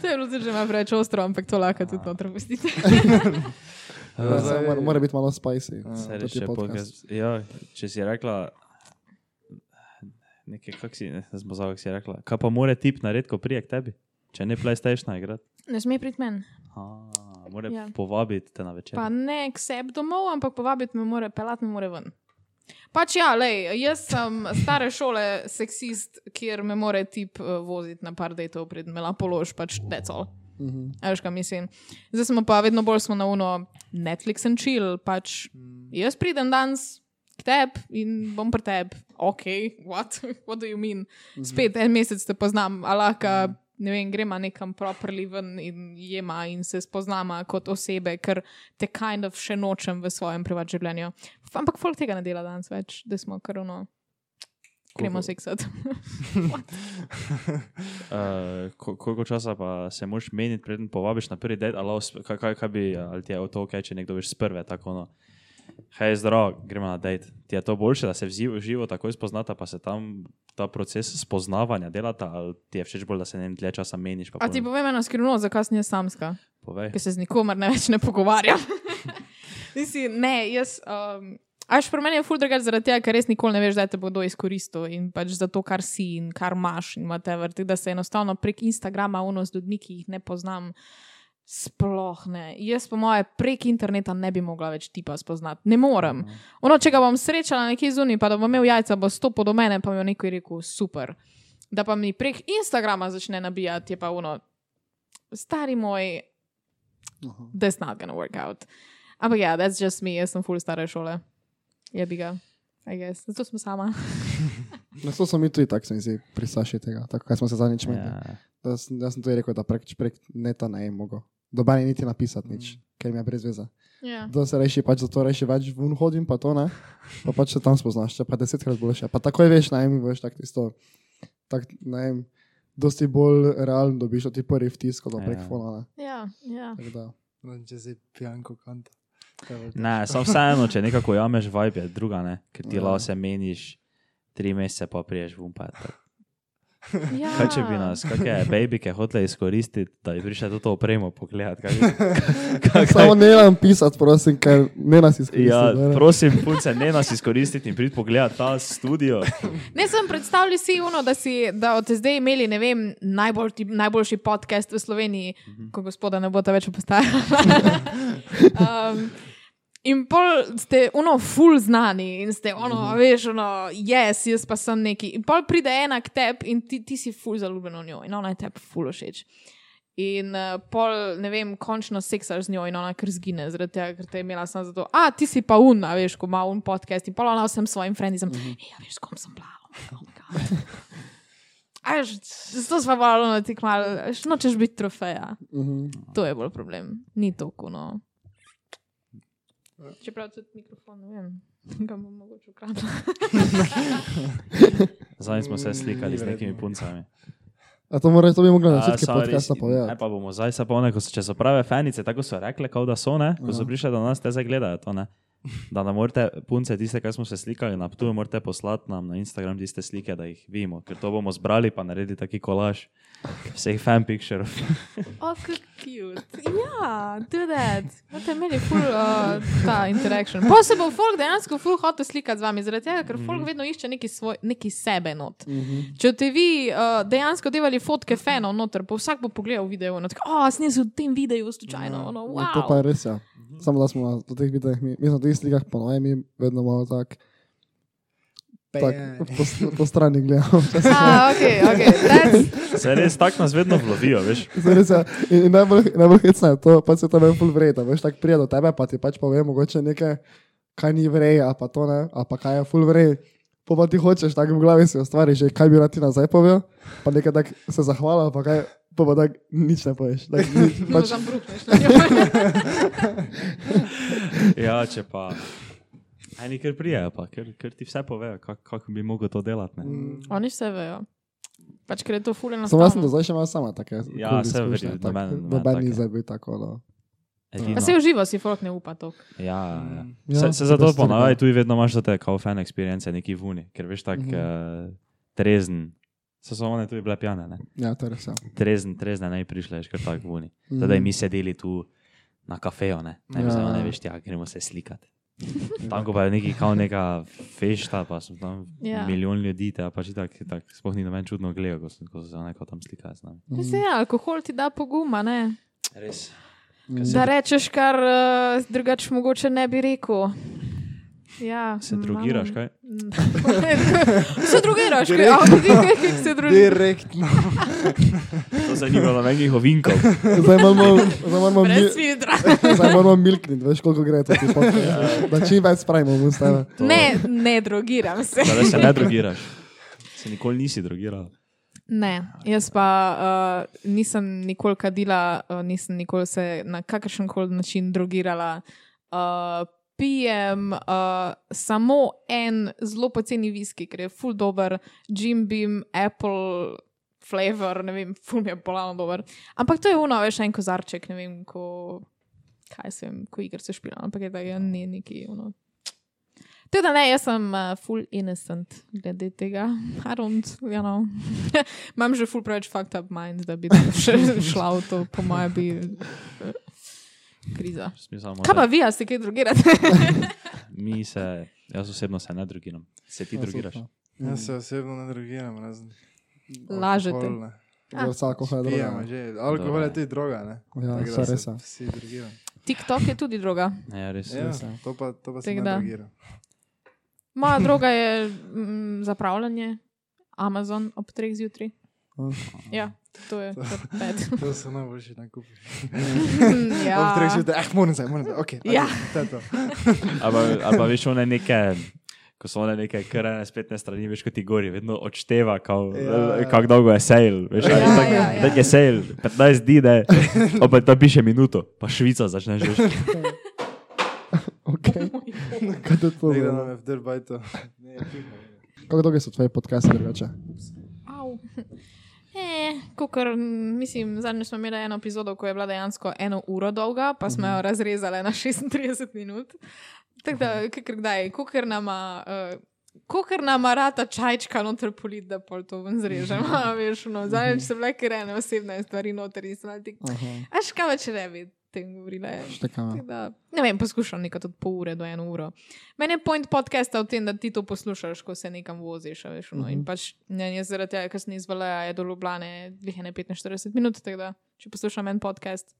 [SPEAKER 1] to je bilo že malo preveč ostro, ampak to lahko tudi noter pustite.
[SPEAKER 4] [LAUGHS] Ja, zdaj Ja. mora, mora biti malo spicy.
[SPEAKER 2] Saj
[SPEAKER 4] to
[SPEAKER 2] še
[SPEAKER 4] ti je podcast.
[SPEAKER 2] podcast. Ja, če si rekla, nekaj, kak si, ne zdaj smo zavek si rekla, kaj pa mora tip narediti, ko prije k tebi, če ne PlayStation igra.
[SPEAKER 1] Ne sme priti meni.
[SPEAKER 2] Mora
[SPEAKER 1] Ja.
[SPEAKER 2] ja. povabiti te na večer.
[SPEAKER 1] Pa ne k sebi domov, ampak povabiti me more, pelati me more ven. Pač ja, lej, jaz sem stare šole seksist, kjer me more tip eh, voziti na par dejtov, pred me lahko polož, pač decol.
[SPEAKER 4] Mhm.
[SPEAKER 1] A Veš, kaj mislim. Zdaj smo pa vedno bolj smo na uno Netflix and chill. Pač jaz pridem danes k tebi in bom pri tebi. Ok, what? [LAUGHS] what do you mean? Spet en mesec te poznam, a lahko, ne vem, gremo nekam properly ven in jema in se spoznama kot osebe, ker te kind of še nočem v svojem privat življenju. F- Ampak folk tega ne dela danes več, da smo kar uno. Gremo seksati.
[SPEAKER 2] Uh, ko- koliko časa pa se moraš meniti, preden povabiš na prvi dejt, ali, lahko s- kaj, kaj, kaj bi, ali ti je to ok, če nekdo veš sprve, tako ono. Hej, zdrav, gremo na dejt. Ti je to boljše, da se v zi- v živo takoj spoznata, pa se tam ta proces spoznavanja delata, ali ti je všeč bolj, da se ne vem, dlje časa meniš.
[SPEAKER 1] A ti povem eno skrivnost, zakaj sem jaz samska?
[SPEAKER 2] povej?
[SPEAKER 1] ker se z nikomer ne več ne pogovarjam. Nisi, ne, jaz. Um, Až pri meni je ful drugače zaradi tega, ker res nikoli ne veš, da te bo kdo izkoristil in pač za to, kar si in kar imaš in whatever. Tako da se enostavno prek Instagrama uno z ljudmi, ki jih ne poznam, sploh ne. Jaz, po moje, prek interneta ne bi mogla več tipa spoznati. Ne morem. Ono, če ga bom srečala nekje zunaj, pa da bom imel jajca, bo stopil do mene, pa mi je nekaj rekel super. Da pa mi prek Instagrama začne nabijati, je pa uno, stari moj,
[SPEAKER 4] Aha.
[SPEAKER 1] that's not gonna work out. Ampak ja, that's just me, jaz sem full stare šole. Je bi ga, I guess. Zato sem sama.
[SPEAKER 4] Na to smo mi tudi tako, se mi zdi, prisaši tega, tako kaj smo se zadnjič menili.
[SPEAKER 2] Ja.
[SPEAKER 4] Da sem- Jaz sem tudi rekel, da prek, prek neta ne je mogel. Dobani niti napisati nič,
[SPEAKER 2] Mm.
[SPEAKER 4] ker mi je brez veze.
[SPEAKER 1] Yeah.
[SPEAKER 4] Da se reši, pač zato reši več vun hodim, pa to ne. Pa pač se tam spoznaš, če pa desetkrat boljše. Pa takoj veš, najem, veš, tako isto. Tak, najem, dosti bolj realen dobiš od ti prvi vtis, kot pa prek
[SPEAKER 2] Ja.
[SPEAKER 4] fona. ne.
[SPEAKER 1] Ja,
[SPEAKER 4] [LAUGHS]
[SPEAKER 1] ja.
[SPEAKER 4] Tako da,
[SPEAKER 3] No, Če si pijanko kanta. To je to.
[SPEAKER 2] Ne, samo vseeno, če nekako jameš vibe, je druga ne, ker ti
[SPEAKER 4] Ja.
[SPEAKER 2] lahko se meniš tri mesece, pa priješ v umpa.
[SPEAKER 1] ja.
[SPEAKER 2] Kaj če bi nas, kakšne babike hotele izkoristiti, da bi prišla to opremo pogledat? Kaj, kaj,
[SPEAKER 4] Samo ne nam pisati, prosim, ker ne nas izkoristi.
[SPEAKER 2] Ja,
[SPEAKER 4] ne, ne.
[SPEAKER 2] prosim, punce, ne nas izkoristiti in prid pogledat ta studio.
[SPEAKER 1] Ne, sem predstavljal si uno, da, si, da od zdaj imeli, ne vem, najbolj, ti- najboljši podcast v Sloveniji, mm -hmm. ko gospoda ne bo ta več postajala. um, in pol ste uno, full znani in ste ono, mm -hmm. veš, ono, jaz, yes, jaz pa sem neki. In pol pride enak tep in ti, ti si full zaljubljen v njo in ona je tep full všeč. In uh, pol, ne vem, končno seksaš z njo in ona kar zgine, zaradi tega, ker te je imela samo zato. A ti si pa un, a veš, ko ima un podcast in pol ona vsem svojim frendizem. Mm -hmm. Ja, veš, s kom sem bila. Oh my God." Až, zato smo malo na tik malo, a veš, nočeš biti trofeja.
[SPEAKER 4] Mhm.
[SPEAKER 1] To je bolj problem, ni no. to kuno. Čeprav tudi mikrofon, ne vem, [LAUGHS] ga bom mogoče ukradla.
[SPEAKER 2] Zdaj smo se
[SPEAKER 3] Mm,
[SPEAKER 2] slikali
[SPEAKER 3] ni
[SPEAKER 2] z nekimi
[SPEAKER 3] verjetno.
[SPEAKER 2] puncami.
[SPEAKER 4] A to, mora, to bi mogla na
[SPEAKER 2] A,
[SPEAKER 4] začetku
[SPEAKER 2] sorry,
[SPEAKER 4] podcasta
[SPEAKER 2] si-
[SPEAKER 4] povedati.
[SPEAKER 2] Ne, pa bomo zdaj se povne, ko so, če so prave fanice, tako so rekle, kao da so, ne? ko so
[SPEAKER 4] Ja.
[SPEAKER 2] prišle do nas, te zdaj gledajo to. Ne? Da nam morate, punce, tiste, ki smo se slikali na Ptuju, morate poslati nam na Instagram tiste slike, da jih vidimo, ker to bomo zbrali pa naredili taki kolaž vseh fan pictures.
[SPEAKER 1] Oh, kako cute. Ja, do that. Boste imeli full uh, ta interaction. Pa se bo folk dejansko full hotel slikati z vami, zaradi tega, ker folk vedno išče neki, svoj, neki sebe not.
[SPEAKER 4] Mhm.
[SPEAKER 1] Če te vi uh, dejansko delali fotke fanov noter, pa vsak bo pogledal video in tako, oh, snem se v tem videu slučajno. Ono,
[SPEAKER 4] Ja, To
[SPEAKER 1] No,
[SPEAKER 4] pa
[SPEAKER 1] wow.
[SPEAKER 4] je res. Ja. Samo da smo na do teh videih, mi, mi smo na teh slikah ponovno, mi vedno malo tako tak, po, s- po no. strani [LAUGHS] gledamo. včasih.
[SPEAKER 1] Ah, ok, ok.
[SPEAKER 4] [LAUGHS]
[SPEAKER 1] That's,
[SPEAKER 2] [LAUGHS] Se res tako nas vedno lovijo, veš?
[SPEAKER 4] Zdaj res je, in, in najbolj, najbolj hecno je to, pa se to meni ful vreda. Veš, tako prije do tebe, pa ti pač pove mogoče nekaj, kaj ni vrej, a pa to ne, a pa kaj je ful vrej. Pa pa ti hočeš, tako v glavi si ustvariš, že kaj bi rad ti nazaj povedal, pa nekaj tak se zahvala, pa kaj, pa pa tak nič ne poveš. Tak, ni,
[SPEAKER 1] no,
[SPEAKER 4] pač,
[SPEAKER 1] tam brukneš. na njo.
[SPEAKER 2] Ja, če pa. Aj nekaj prijejo, pa, ker, ker ti vse povejo, kako kak bi mogel to delati. Ne?
[SPEAKER 1] [LAUGHS]
[SPEAKER 4] Mm.
[SPEAKER 1] Oni se vejo. Pač, ker je to full
[SPEAKER 4] Samo jaz sem
[SPEAKER 1] enostavno.
[SPEAKER 4] do zdaj še malo sama take.
[SPEAKER 2] Ja,
[SPEAKER 4] kul
[SPEAKER 2] saj
[SPEAKER 4] izkušnje,
[SPEAKER 2] verjetno,
[SPEAKER 4] tako,
[SPEAKER 2] noben- noben
[SPEAKER 4] Noben ni
[SPEAKER 2] take.
[SPEAKER 4] zdaj bil tako. No.
[SPEAKER 1] Pa
[SPEAKER 2] Edino.
[SPEAKER 1] se uživa, si folk ne upa to.
[SPEAKER 2] Ja, ja.
[SPEAKER 4] Ja,
[SPEAKER 2] Se, se
[SPEAKER 4] to
[SPEAKER 2] zato
[SPEAKER 4] je stvar,
[SPEAKER 2] ponavadi
[SPEAKER 4] ja.
[SPEAKER 2] tudi vedno imaš za te kao fan experience neki vuni, ker veš tako
[SPEAKER 4] Mhm.
[SPEAKER 2] mm -hmm. uh, trezen. So samo one tudi bile pijane, ne?
[SPEAKER 4] Ja, to je res. Ja.
[SPEAKER 2] Trezen, trezne naj prišleš, ker tako vuni.
[SPEAKER 4] Mhm.
[SPEAKER 2] Zdaj mi sedeli tu na kafeju, ne? Naj bi
[SPEAKER 4] Ja.
[SPEAKER 2] zdaj ne veš, ja, gremo se slikati. Tam ko pa je neki kao neka fešta, pa so tam
[SPEAKER 1] Ja.
[SPEAKER 2] yeah. milijon ljudi, te pa že tako, tak, sploh ni noben čudno gledal, ko, so- ko so se neko tam slikali z nami.
[SPEAKER 4] Mhm.
[SPEAKER 1] Mm. Se, ja, alkohol ti da poguma, ne?
[SPEAKER 2] Res.
[SPEAKER 4] mm.
[SPEAKER 1] Da rečeš, kar uh, drugače mogoče ne bi rekel. Ja,
[SPEAKER 2] Se
[SPEAKER 1] imamo-
[SPEAKER 2] drogiraš, kaj?
[SPEAKER 1] [LAUGHS] se drogiraš, kaj? Ampak ti kaj, kaj [LAUGHS] se drogiraš?
[SPEAKER 4] [LAUGHS]
[SPEAKER 3] Direktno.
[SPEAKER 2] To se ni bilo nobenih ovinkov.
[SPEAKER 4] Zdaj moramo, zdaj moramo, mil,
[SPEAKER 1] Brez vidra.
[SPEAKER 4] zdaj moramo milkniti, veš koliko gre to. ti podcast. Da čim več spravimo v ustave.
[SPEAKER 2] To-
[SPEAKER 1] Ne, ne drogiram se.
[SPEAKER 2] Zdaj se ne drogiraš. Se nikoli nisi drogiral.
[SPEAKER 1] Ne, jaz pa uh, nisem nikoli kadila, uh, nisem nikoli se na kakršen koli način drogirala. Uh, pijem uh, samo en zelo poceni viski, ker je full dobr, Jim Beam, Apple. Flavor, ne vem, ful mi je polano dober. Ampak to je uno, veš, en kozarček, ne vem, ko, kaj se vem, ko igr se špila, ampak je tako, ne, neki, uno. Tudi da ne, jaz sem uh, full innocent glede tega. I don't, you know. Imam že full preveč fucked up mind, da bi [LAUGHS] še šla v to, po mojem, bi eh, kriza.
[SPEAKER 2] Smisel,
[SPEAKER 1] Kaj pa vi, a ste kaj drugirate?
[SPEAKER 2] Mi se, jaz osebno se ne drogiram. Se
[SPEAKER 4] Ja,
[SPEAKER 2] ti Ja, drogiraš?
[SPEAKER 4] Mm.
[SPEAKER 3] Jaz Ja, se osebno ne drogiram, razen.
[SPEAKER 1] Lažete.
[SPEAKER 3] alkohol, ne.
[SPEAKER 1] Ah.
[SPEAKER 4] Vse alkohol je droga.
[SPEAKER 3] Pijemo že. Alkohol je tudi droga, ne?
[SPEAKER 4] Ja,
[SPEAKER 3] Tako da
[SPEAKER 4] saj
[SPEAKER 3] se
[SPEAKER 4] res je.
[SPEAKER 3] Vsi drogiram.
[SPEAKER 1] [LAUGHS] TikTok je tudi droga.
[SPEAKER 2] Ne, ja, res.
[SPEAKER 3] Ja,
[SPEAKER 2] Ja.
[SPEAKER 4] je.
[SPEAKER 3] to pa, to pa se
[SPEAKER 1] Tako
[SPEAKER 3] ne
[SPEAKER 1] da. [LAUGHS]
[SPEAKER 3] drogiram.
[SPEAKER 1] Moja droga je mm, zapravljanje Amazon ob treh zjutraj.
[SPEAKER 4] Mm.
[SPEAKER 1] Ja, to je top
[SPEAKER 3] [LAUGHS]
[SPEAKER 1] pet. [LAUGHS]
[SPEAKER 3] To so najboljši nakupi. Ob treh
[SPEAKER 1] Ja.
[SPEAKER 3] zjutraj, ah, moram zdaj, moram zdaj. Okay,
[SPEAKER 1] Ja.
[SPEAKER 3] To je to.
[SPEAKER 2] Ali pa veš, one neke. Ko so one neke krene spletne strani, veš, kot ti gori, vedno odšteva, kao,
[SPEAKER 3] Ja, ja.
[SPEAKER 2] kako dolgo je sejl. Veš,
[SPEAKER 1] Ja,
[SPEAKER 2] ali tako-
[SPEAKER 1] ja, ja.
[SPEAKER 2] tako je sejl, 15 dni, ne, opet tam piše minuto, pa Švica začneš. Veš.
[SPEAKER 1] Ja.
[SPEAKER 4] Okay. Kaj je to?
[SPEAKER 3] Nekdo
[SPEAKER 4] za-
[SPEAKER 3] nam je vdrbaj to.
[SPEAKER 4] Kako dolge so tvoje podcaste drugače?
[SPEAKER 1] Au. [LAUGHS] Eh, kukor, mislim, zadnjič smo imeli eno epizodo, ko je bila dejansko eno uro dolga, pa smo jo razrezali na [LAUGHS] 36 minut. Tako da, kakor kdaj, kukor nama. Uh, Kukor nam rata čajčka noter polit, da pol to ven zrežem. a Veš, no, zadnjič sem bila kerena, osebna je stvari noter in sem ti.
[SPEAKER 4] Ja.
[SPEAKER 1] A še kaj več ne bi tem govorila. ja. je.
[SPEAKER 4] Štekam.
[SPEAKER 1] Tako Da, ne vem, poskušam nekaj od pol ure do eno uro. Meni je point podcasta v tem, da ti to poslušaš, ko se nekam voziš. a Veš, no, In pač ne, jaz zaradi tega, ker sem iz Valeja do Ljubljane, jih je ne 45 minut, tako da če poslušam en podcast,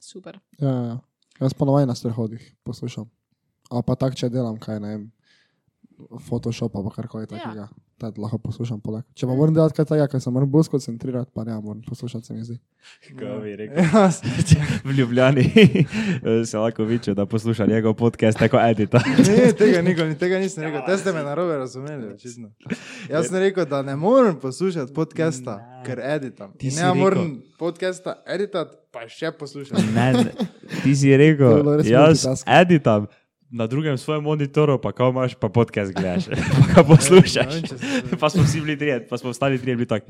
[SPEAKER 1] super.
[SPEAKER 4] Ja, ja. Jaz ponovaj na sprehodih Ja. poslušam. A pa tak, če delam kaj, ne vem, Photoshop ali pa karkoli takega. da lahko poslušam polak. Če pa moram delati kaj takega, ker se moram bolj skoncentrirati, pa ne moram poslušati, se mi zdi.
[SPEAKER 2] Kako bi rekel?
[SPEAKER 3] Ja, [LAUGHS]
[SPEAKER 2] V Ljubljani [LAUGHS] se lahko viče, da posluša njegov podcast, tako edita.
[SPEAKER 3] Ne,
[SPEAKER 2] [LAUGHS] Ja,
[SPEAKER 3] tega, nikoli, tega nisem rekel, te ste me narobe razumeli. Očitno.
[SPEAKER 2] Ja.
[SPEAKER 3] Jaz sem rekel, da ne morem poslušati podcasta, ker editam.
[SPEAKER 2] Ti si
[SPEAKER 3] In Ne
[SPEAKER 2] rekel.
[SPEAKER 3] morem podcasta editati, pa še
[SPEAKER 2] [LAUGHS]
[SPEAKER 3] poslušati.
[SPEAKER 2] Ne, ne, ti si
[SPEAKER 4] To je
[SPEAKER 2] rekel,
[SPEAKER 4] bilo res
[SPEAKER 2] jaz
[SPEAKER 4] multitasking.
[SPEAKER 2] editam na drugem svojem monitoru, pa kao imaš, pa podcast gledaš, [LAUGHS] pa ga poslušaš.
[SPEAKER 3] Ne vem, če se-
[SPEAKER 2] Pa smo vsi bili trije, pa smo ostali trije bili tako.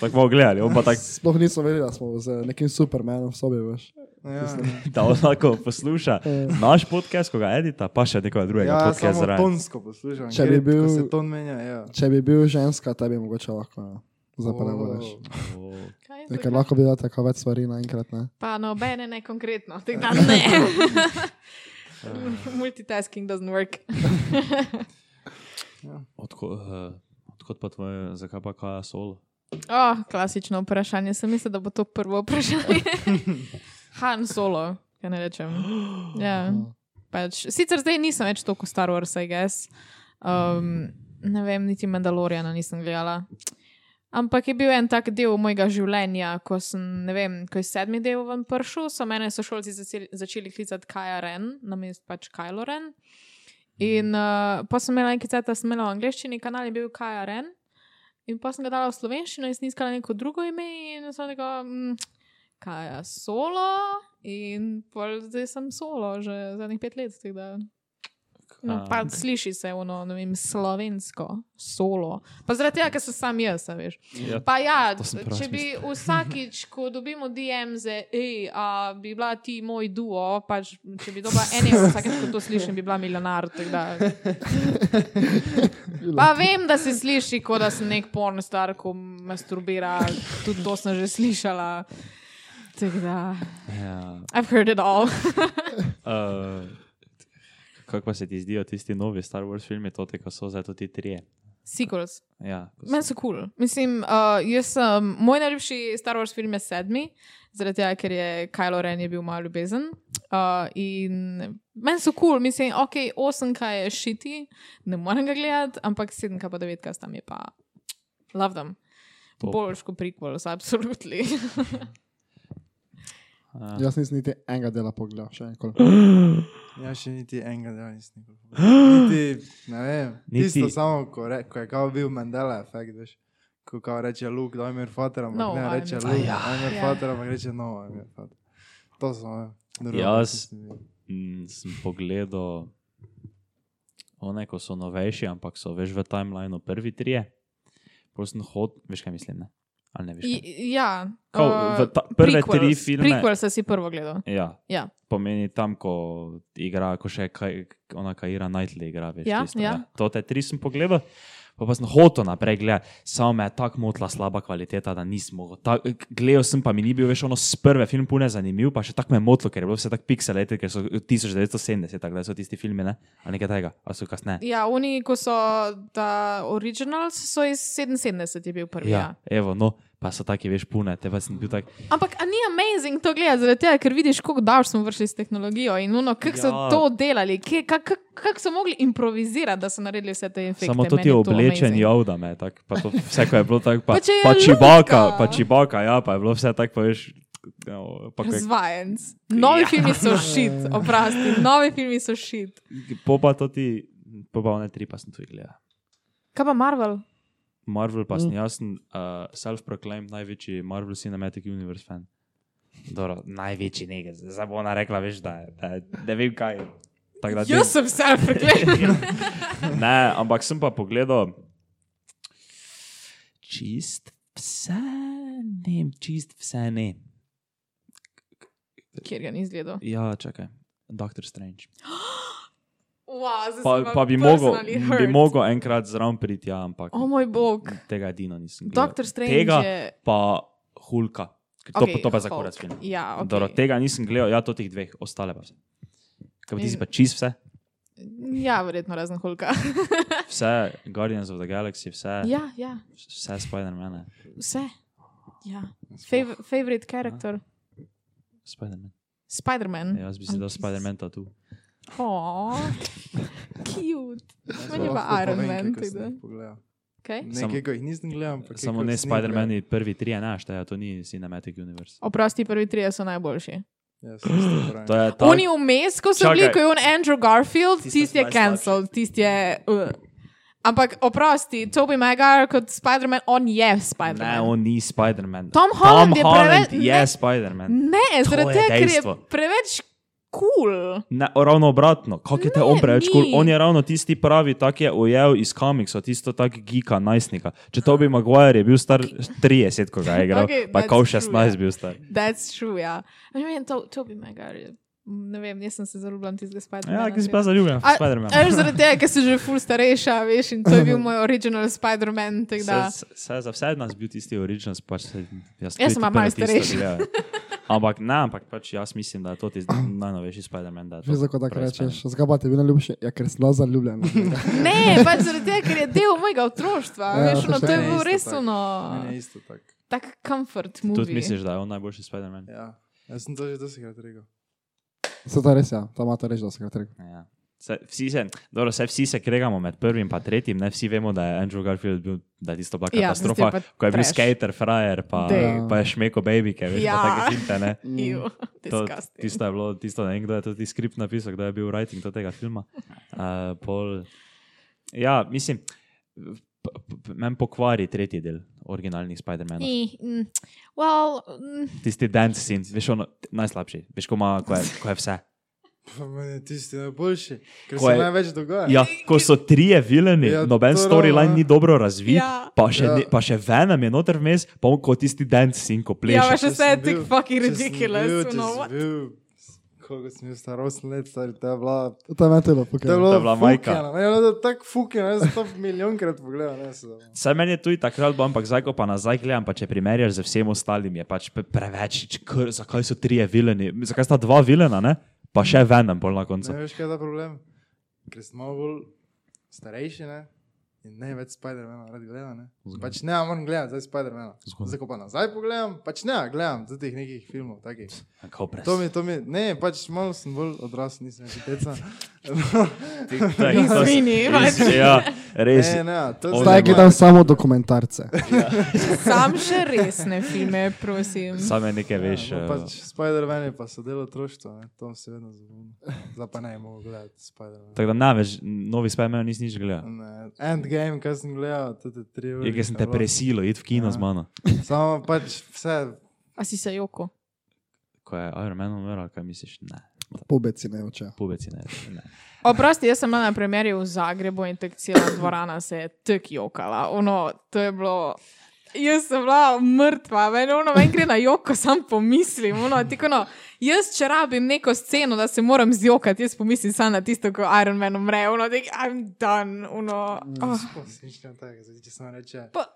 [SPEAKER 2] Tako bomo gledali, on pa tako,
[SPEAKER 4] Sploh nismo vedeli, da smo z nekim supermenom v sobi, veš.
[SPEAKER 3] Ja,
[SPEAKER 2] da on lahko posluša
[SPEAKER 4] Ja.
[SPEAKER 2] naš podcast, ko ga edita, pa še nekoga drugega
[SPEAKER 3] ja
[SPEAKER 2] podcast
[SPEAKER 3] samo
[SPEAKER 2] zraven.
[SPEAKER 3] tonsko poslušam,
[SPEAKER 4] Če
[SPEAKER 3] ker
[SPEAKER 4] bi
[SPEAKER 3] je- ko
[SPEAKER 4] bil-
[SPEAKER 3] se ton menja. Ja. Oh.
[SPEAKER 4] Če bi bil ženska, tebi je mogoče lahko zapravljati.
[SPEAKER 3] O,
[SPEAKER 1] Kaj je to?
[SPEAKER 4] Ker lahko bi dal tako več stvari naenkrat, ne?
[SPEAKER 1] Pa nobene ne konkretno, tega ne. [LAUGHS] Multitasking doesn't work.
[SPEAKER 2] Odkot, eh, odkot pa tvoje, zakaj pa kaja sol?
[SPEAKER 1] Oh, klasično vprašanje. Sem mislil, da bo to prvo vprašanje. Han solo, kaj ne rečem. Ja, pač. Sicer zdaj nisem več toliko Star Wars, I guess. Um, ne vem, niti Mandaloriana nisem gledala. Ampak je bil en tak del mojega življenja, ko sem, ne vem, ko je sedmi del ven prišel, so mene sošolci začeli, začeli klicati Kaja Ren, namest pač Kylo Ren. In uh, pa sem imela nekaj ceta, sem imela v angleščini, kanal je bil Kaja Ren. In pa sem ga dala v slovenščino in sem iskala neko drugo ime in sem rekla, mm, kaj je solo. In pol zdaj sem solo, že zadnjih pet let. tako Da, no, pa sliši se ono, ne vem, slovensko, solo. Pa zaradi tega, ker sem sam jaz, a veš.
[SPEAKER 2] Ja,
[SPEAKER 1] Pa ja,
[SPEAKER 2] To sem prav
[SPEAKER 1] če bi vsakič, ko dobimo DM, za, ej, a, bi bila ti moj duo, pač, če bi dobila en evro, vsakeč, ko to slišim, bi bila milijonar. tako
[SPEAKER 2] [LAUGHS]
[SPEAKER 1] da. Pa vem, da se sliši, kot da sem nek porn star, ko masturbira, tudi to sem že slišala. Tako da,
[SPEAKER 2] ja.
[SPEAKER 1] I've heard it all. [LAUGHS]
[SPEAKER 2] Uh, kako pa se ti zdijo tisti novi Star Wars filmi, to te, ko so zdaj tudi trije?
[SPEAKER 1] Sequels.
[SPEAKER 2] Ja, ko so-
[SPEAKER 1] Meni so kul. Cool. Mislim, uh, jaz sem, um, moj najljubši Star Wars film je sedmi, zaradi tega, ker je Kylo Ren je bil malo ljubezen. Uh, in meni so kul, cool. mislim, ok, osemka je šiti, ne morem ga gledati, ampak sedemka pa devetka sta mi pa. Love them.
[SPEAKER 2] Top.
[SPEAKER 1] Boljš kot prequels,
[SPEAKER 2] [LAUGHS]
[SPEAKER 1] absolutely.
[SPEAKER 2] A,
[SPEAKER 4] Jaz nisem niti enega dela pogledal, še enkoli.
[SPEAKER 3] Ja, še niti enega dela nisem nikoli
[SPEAKER 2] [GASPS]
[SPEAKER 3] pogledal. Niti, ne vem,
[SPEAKER 2] Niti-
[SPEAKER 3] niti. tisto samo, ko, re, ko je kao bil Mandela efekt, veš. Ko kao reče Luke, da imaš fatera, ampak
[SPEAKER 1] No,
[SPEAKER 3] no, ne
[SPEAKER 1] I'm-
[SPEAKER 3] reče Luke,
[SPEAKER 1] Aja.
[SPEAKER 3] da imaš
[SPEAKER 1] Ja.
[SPEAKER 3] fatera, ampak reče no, imaš fatera. To sem jaz.
[SPEAKER 2] Jaz- Mm, Sem pogledal one, ko so novejši, ampak so veš v timelineu prvi trije. Prosim, hod, veš kaj mislim, ne? Ali ne veš? Kaj?
[SPEAKER 1] I, ja,
[SPEAKER 2] Kao, v ta, prve
[SPEAKER 1] prequels,
[SPEAKER 2] tri filme.
[SPEAKER 1] Prequels si prvo gledal.
[SPEAKER 2] Ja,
[SPEAKER 1] Ja.
[SPEAKER 2] pomeni tam, ko igra, ko še kaj, ona Kajira Knightley igra, veš,
[SPEAKER 1] Ja,
[SPEAKER 2] tisto,
[SPEAKER 1] ja.
[SPEAKER 2] ne. To te tri sem pogledal, pa pa sem hotel naprej gledati, samo me je tako motila slaba kvaliteta, da nisem mogel. Ta- Gledal sem, pa mi ni bil več ono s prve film pune zanimiv, pa še tako me je motilo, ker je bilo vse tako pixelate, ker so 1970, tako da so tisti filmi, ne? Ali nekaj tega, ali so kasneje.
[SPEAKER 1] Ja, oni, ko so ta originals, so iz 77 je bil prvi. Ja.
[SPEAKER 2] Ja, evo, no, pa so taki veš pune, te pa sem bil tak.
[SPEAKER 1] Ampak a ni amazing to gledati, zaradi tega, ker vidiš, kako daleč smo vršili s tehnologijo in ono, kako so
[SPEAKER 2] Ja.
[SPEAKER 1] ja. to delali, kje- kako kak, kak so mogli improvizirati, da so naredili vse te efekte.
[SPEAKER 2] Samo to
[SPEAKER 1] Meni
[SPEAKER 2] ti
[SPEAKER 1] je
[SPEAKER 2] je oblečen,
[SPEAKER 1] amazing.
[SPEAKER 2] jovda me, tako, pa to vse, ko je bilo tako, pa,
[SPEAKER 1] [LAUGHS] Pa če je
[SPEAKER 2] pa čibaka,
[SPEAKER 1] Luka.
[SPEAKER 2] pa čibaka, ja, pa je bilo vse tako, pa veš, ja, pa ko je-
[SPEAKER 1] Razvajenc. Novi
[SPEAKER 2] Ja.
[SPEAKER 1] ja. filmi so šit, oprosti, novi filmi so šit.
[SPEAKER 2] po pa to ti, po pa one tri pa sem tudi gledal.
[SPEAKER 1] Kaj pa Marvel?
[SPEAKER 2] Marvel pa
[SPEAKER 1] Mm.
[SPEAKER 2] sem jaz, sem, uh, self-proclaimed največji Marvel Cinematic Universe fan. Dobro, največji nekaj, zdaj bo ona rekla, veš, da, je- da je- ne vem kaj. Tak, da,
[SPEAKER 1] Jaz sem se preklenil.
[SPEAKER 2] Ne, ampak sem pa pogledal čist vse, ne, vem, čist vse ne.
[SPEAKER 1] [LAUGHS] Kjer ga ni izgledal.
[SPEAKER 2] Ja, čakaj. Doctor Strange.
[SPEAKER 1] Wow, zdaj
[SPEAKER 2] Pa,
[SPEAKER 1] sem
[SPEAKER 2] pa bi mogel,
[SPEAKER 1] personally
[SPEAKER 2] bi
[SPEAKER 1] hurt. Oh
[SPEAKER 2] mogel enkrat zraven priti, ja, ampak
[SPEAKER 1] O moj bog.
[SPEAKER 2] tega edino nisem. gledal.
[SPEAKER 1] Doktor Strange
[SPEAKER 2] Ja. Tega
[SPEAKER 1] je.
[SPEAKER 2] pa Hulka. Ker To, okay,
[SPEAKER 1] Okej,
[SPEAKER 2] to pa za
[SPEAKER 1] Hulk.
[SPEAKER 2] korac film.
[SPEAKER 1] Ja, okay.
[SPEAKER 2] Dobro, tega nisem gledal, ja, to teh dveh, ostale pa vse. Kaj pa ti si
[SPEAKER 1] In-
[SPEAKER 2] pa čist vse?
[SPEAKER 1] ja verjetno razen
[SPEAKER 2] [LAUGHS]
[SPEAKER 1] Hulka.
[SPEAKER 2] Vse Guardians of the Galaxy, vse, ja.
[SPEAKER 1] ja, ja,
[SPEAKER 2] vse Spider-Man.
[SPEAKER 1] vse. Ja.
[SPEAKER 2] Oh.
[SPEAKER 1] Fav favorite character?
[SPEAKER 2] Ja. Spider-Man. Ja,
[SPEAKER 1] Spider-Man. [LAUGHS]
[SPEAKER 2] Jaz bi si dal Spider-Man tu.
[SPEAKER 1] Oh. Cute.
[SPEAKER 3] Jaz
[SPEAKER 1] Meni
[SPEAKER 3] pa
[SPEAKER 1] pa
[SPEAKER 3] lahko
[SPEAKER 1] Iron
[SPEAKER 3] povem,
[SPEAKER 1] Man,
[SPEAKER 3] kako sem
[SPEAKER 1] tako da.
[SPEAKER 3] jih pogledal.
[SPEAKER 1] Okay.
[SPEAKER 2] Samo-
[SPEAKER 3] Nekaj, ko jih nisem gledal, ampak
[SPEAKER 2] Samo
[SPEAKER 3] kakor
[SPEAKER 2] ne
[SPEAKER 3] sem jih gledal.
[SPEAKER 2] Spider-Man, prvi tri je naš, to ni Cinematic Universe.
[SPEAKER 1] Oprosti, prvi trije so najboljši.
[SPEAKER 3] Jaz ja, sem isto pravim.
[SPEAKER 2] To je ta,
[SPEAKER 1] Oni vmes, ko so bili,
[SPEAKER 2] Čakaj.
[SPEAKER 1] ko je on Andrew Garfield,
[SPEAKER 2] Tisti so
[SPEAKER 1] tisti je
[SPEAKER 2] najslabši.
[SPEAKER 1] cancelled, tisti je. Uh. Ampak oprosti, Toby Maguire kot Spider-Man, on je
[SPEAKER 2] ne,
[SPEAKER 1] Spider-Man.
[SPEAKER 2] on ni Spider-Man.
[SPEAKER 1] Tom Holland je
[SPEAKER 2] Tom Holland
[SPEAKER 1] preveč-
[SPEAKER 2] je
[SPEAKER 1] ne.
[SPEAKER 2] Spider-Man.
[SPEAKER 1] Ne, zaradi
[SPEAKER 2] je
[SPEAKER 1] tega, ker je
[SPEAKER 2] dejstvo.
[SPEAKER 1] preveč kul. Cool.
[SPEAKER 2] Ne, ravno obratno, kako je te
[SPEAKER 1] Ne,
[SPEAKER 2] on preveč kul,
[SPEAKER 1] ni.
[SPEAKER 2] on je ravno tisti pravi, tak je ujel iz komiksa, tisto tak geeka, najstnika. Če to bi Maguire je bil star 30, ko ga je igral,
[SPEAKER 1] Okay,
[SPEAKER 2] pa
[SPEAKER 1] that's
[SPEAKER 2] kao
[SPEAKER 1] true,
[SPEAKER 2] 16
[SPEAKER 1] ja.
[SPEAKER 2] bil star.
[SPEAKER 1] That's true, ja. I mean, to, Toby Maguire, je- ne vem, jaz sem se zaljubljam tistega Spider-Mana.
[SPEAKER 2] Ja, ki si pa zaljubljen,
[SPEAKER 1] A-
[SPEAKER 2] Spider-Man.
[SPEAKER 1] Eš, zaradi tega, ker si že ful starejša, veš, in to je
[SPEAKER 2] [LAUGHS]
[SPEAKER 1] bil moj original Spider-Man. tako da-
[SPEAKER 2] Se, se, za vse nas bil tisti original, pač se, jaz,
[SPEAKER 1] Jaz sem pa malo starejša.
[SPEAKER 2] ja. Ampak ne, ampak pač jaz mislim, da je to tisti najnovejši Spider-Man. da je to
[SPEAKER 4] Že tako da
[SPEAKER 2] pravi Spider-Man.
[SPEAKER 4] rečeš, zgaba ti je bil najljubši, ja, ker sem bila [LAUGHS] zaljubljena.
[SPEAKER 1] Ne, pač zaradi tega, ker je del mojega otroštva.
[SPEAKER 4] Ja,
[SPEAKER 1] veš,
[SPEAKER 4] to
[SPEAKER 1] ono,
[SPEAKER 4] še
[SPEAKER 1] No, to je bil res
[SPEAKER 3] isto
[SPEAKER 4] ne,
[SPEAKER 3] tako.
[SPEAKER 1] ono,
[SPEAKER 3] Meni je isto tako.
[SPEAKER 1] tak comfort
[SPEAKER 2] Tudi
[SPEAKER 1] [LAUGHS] movie.
[SPEAKER 2] misliš, da je on najboljši Spider-Man?
[SPEAKER 3] Ja. Jaz sem to že dosekrat rekel. [LAUGHS]
[SPEAKER 4] Se to res, ja, tam ima to reči, da se ga treba.
[SPEAKER 2] Ja. Se, vsi, se, dobro, se, vsi se kregamo med prvim in tretjim, ne vsi vemo, da je Andrew Garfield bil da je tisto bila
[SPEAKER 1] Ja, tisto
[SPEAKER 2] katastrofa, ja,
[SPEAKER 1] je pa
[SPEAKER 2] ko je bil
[SPEAKER 1] trash.
[SPEAKER 2] skater, frajer, pa,
[SPEAKER 1] Dej.
[SPEAKER 2] pa je šmeko baby, ki
[SPEAKER 1] Ja.
[SPEAKER 2] je ja. tako finte.
[SPEAKER 1] [LAUGHS]
[SPEAKER 2] ne.
[SPEAKER 1] Iu,
[SPEAKER 2] mm, To,
[SPEAKER 1] disgusting.
[SPEAKER 2] tisto je bilo, tisto ne vem, kdo je tudi skript napisal, kdo je bil writing to tega filma. Uh, pol, ja, mislim, p- p- meni pokvari tretji del originalnih Spider-Manov.
[SPEAKER 1] Ni, mm, Well, mm,
[SPEAKER 2] Tisti dance scene, veš, ono, najslabši, veš, ko, ima, ko, je, ko je vse.
[SPEAKER 3] Pa meni je tisti najboljši, ker
[SPEAKER 2] Ko
[SPEAKER 3] se
[SPEAKER 2] je-
[SPEAKER 3] največ dogaja.
[SPEAKER 2] Ja, ko so trije vileni, ja,
[SPEAKER 3] Ja,
[SPEAKER 2] noben
[SPEAKER 3] to
[SPEAKER 2] storyline
[SPEAKER 3] ravno.
[SPEAKER 2] ni dobro razvit,
[SPEAKER 1] Ja.
[SPEAKER 2] ja. pa, še
[SPEAKER 3] Ja.
[SPEAKER 2] ja. ne, pa še Venom je noter vmes, pa on kot tisti dance scene, ko
[SPEAKER 1] ja,
[SPEAKER 2] pleše.
[SPEAKER 1] veš,
[SPEAKER 3] Če
[SPEAKER 1] vse je
[SPEAKER 3] sem
[SPEAKER 1] tako
[SPEAKER 3] bil-
[SPEAKER 1] fucking
[SPEAKER 3] če sem
[SPEAKER 1] ridiculous.
[SPEAKER 3] bil- če
[SPEAKER 1] ono,
[SPEAKER 3] sem
[SPEAKER 1] what?
[SPEAKER 3] bil- Koliko sem bil star, 8 let, star, to je bila.
[SPEAKER 4] To je bilo,
[SPEAKER 3] To je
[SPEAKER 4] pokaj.
[SPEAKER 3] bila,
[SPEAKER 2] bila majka.
[SPEAKER 3] fukena, meni je bilo tako fukeno, jaz sem to milijonkrat pogledal. Ne, se da-
[SPEAKER 2] Saj meni je tudi takrat, bilo, ampak zdaj, ko pa nazaj gledam, pa če primerjaš z vsem ostalim, je pač pe- preveč, č- kr, zakaj so trije vileni, zakaj sta dva vilena, ne? pa še Venom bolj na
[SPEAKER 3] ne
[SPEAKER 2] koncu.
[SPEAKER 3] veš, kaj je ta problem. Ker smo malo bolj starejši ne? in ne več Spider-Mana rad gledam. Ne? Pač ne, moram gledati zdaj Spider-Mana.
[SPEAKER 2] Zgodaj.
[SPEAKER 3] Zdaj, ko pa nazaj pogledam, pač ne, gledam tudi teh nekih filmov. Takih.
[SPEAKER 2] Kako pres.
[SPEAKER 3] To mi, to mi, ne, pač malo sem bolj odrasel, nisem več teca.
[SPEAKER 1] [LAUGHS]
[SPEAKER 2] Tak, to s-
[SPEAKER 1] Izvini,
[SPEAKER 2] res,
[SPEAKER 1] pač.
[SPEAKER 2] ja, res.
[SPEAKER 3] Ne, ne, to
[SPEAKER 2] Zdaj
[SPEAKER 4] Zdaj
[SPEAKER 2] Oziroma-
[SPEAKER 4] gledam samo [LAUGHS] dokumentarce.
[SPEAKER 1] Sam še resne filme, prosim.
[SPEAKER 2] Same nekaj veš.
[SPEAKER 3] Ja,
[SPEAKER 2] eh,
[SPEAKER 3] no, pač Spider-Man je pa so delo otroštva, ne, tam se vedno zabavim. Zdaj pa ne bi mogel gledati Spider-Man.
[SPEAKER 2] Tako da ne veš, novi Spider-Man nisi nič gledal.
[SPEAKER 3] Ne, Endgame, kar sem gledal, tudi tri ure.
[SPEAKER 2] Je, ker Ja, sem te presilo, id v kino
[SPEAKER 3] Ja.
[SPEAKER 2] z mano.
[SPEAKER 3] Samo pač vse,
[SPEAKER 1] A si se joko?
[SPEAKER 2] Ko je Iron Man umrl, kaj misliš? Ne.
[SPEAKER 4] Pobeci ne oče.
[SPEAKER 2] Pubeci ne. ne.
[SPEAKER 1] Oprosti, jaz sem bila na premjeri v Zagrebu in tako cela dvorana se je tek jokala. Ono, to je bilo. Jaz sem bila mrtva, meni ono, meni gre na joko, sam pomislim. Ono, tako ono, jaz če rabim neko sceno, da se moram zjokati, jaz pomislim samo na tisto, ko Iron Man umre, ono, tako, I'm done, ono.
[SPEAKER 2] Mm.
[SPEAKER 1] Oh.
[SPEAKER 3] spomniščam tega, zdaj če sem reče.
[SPEAKER 1] Pa-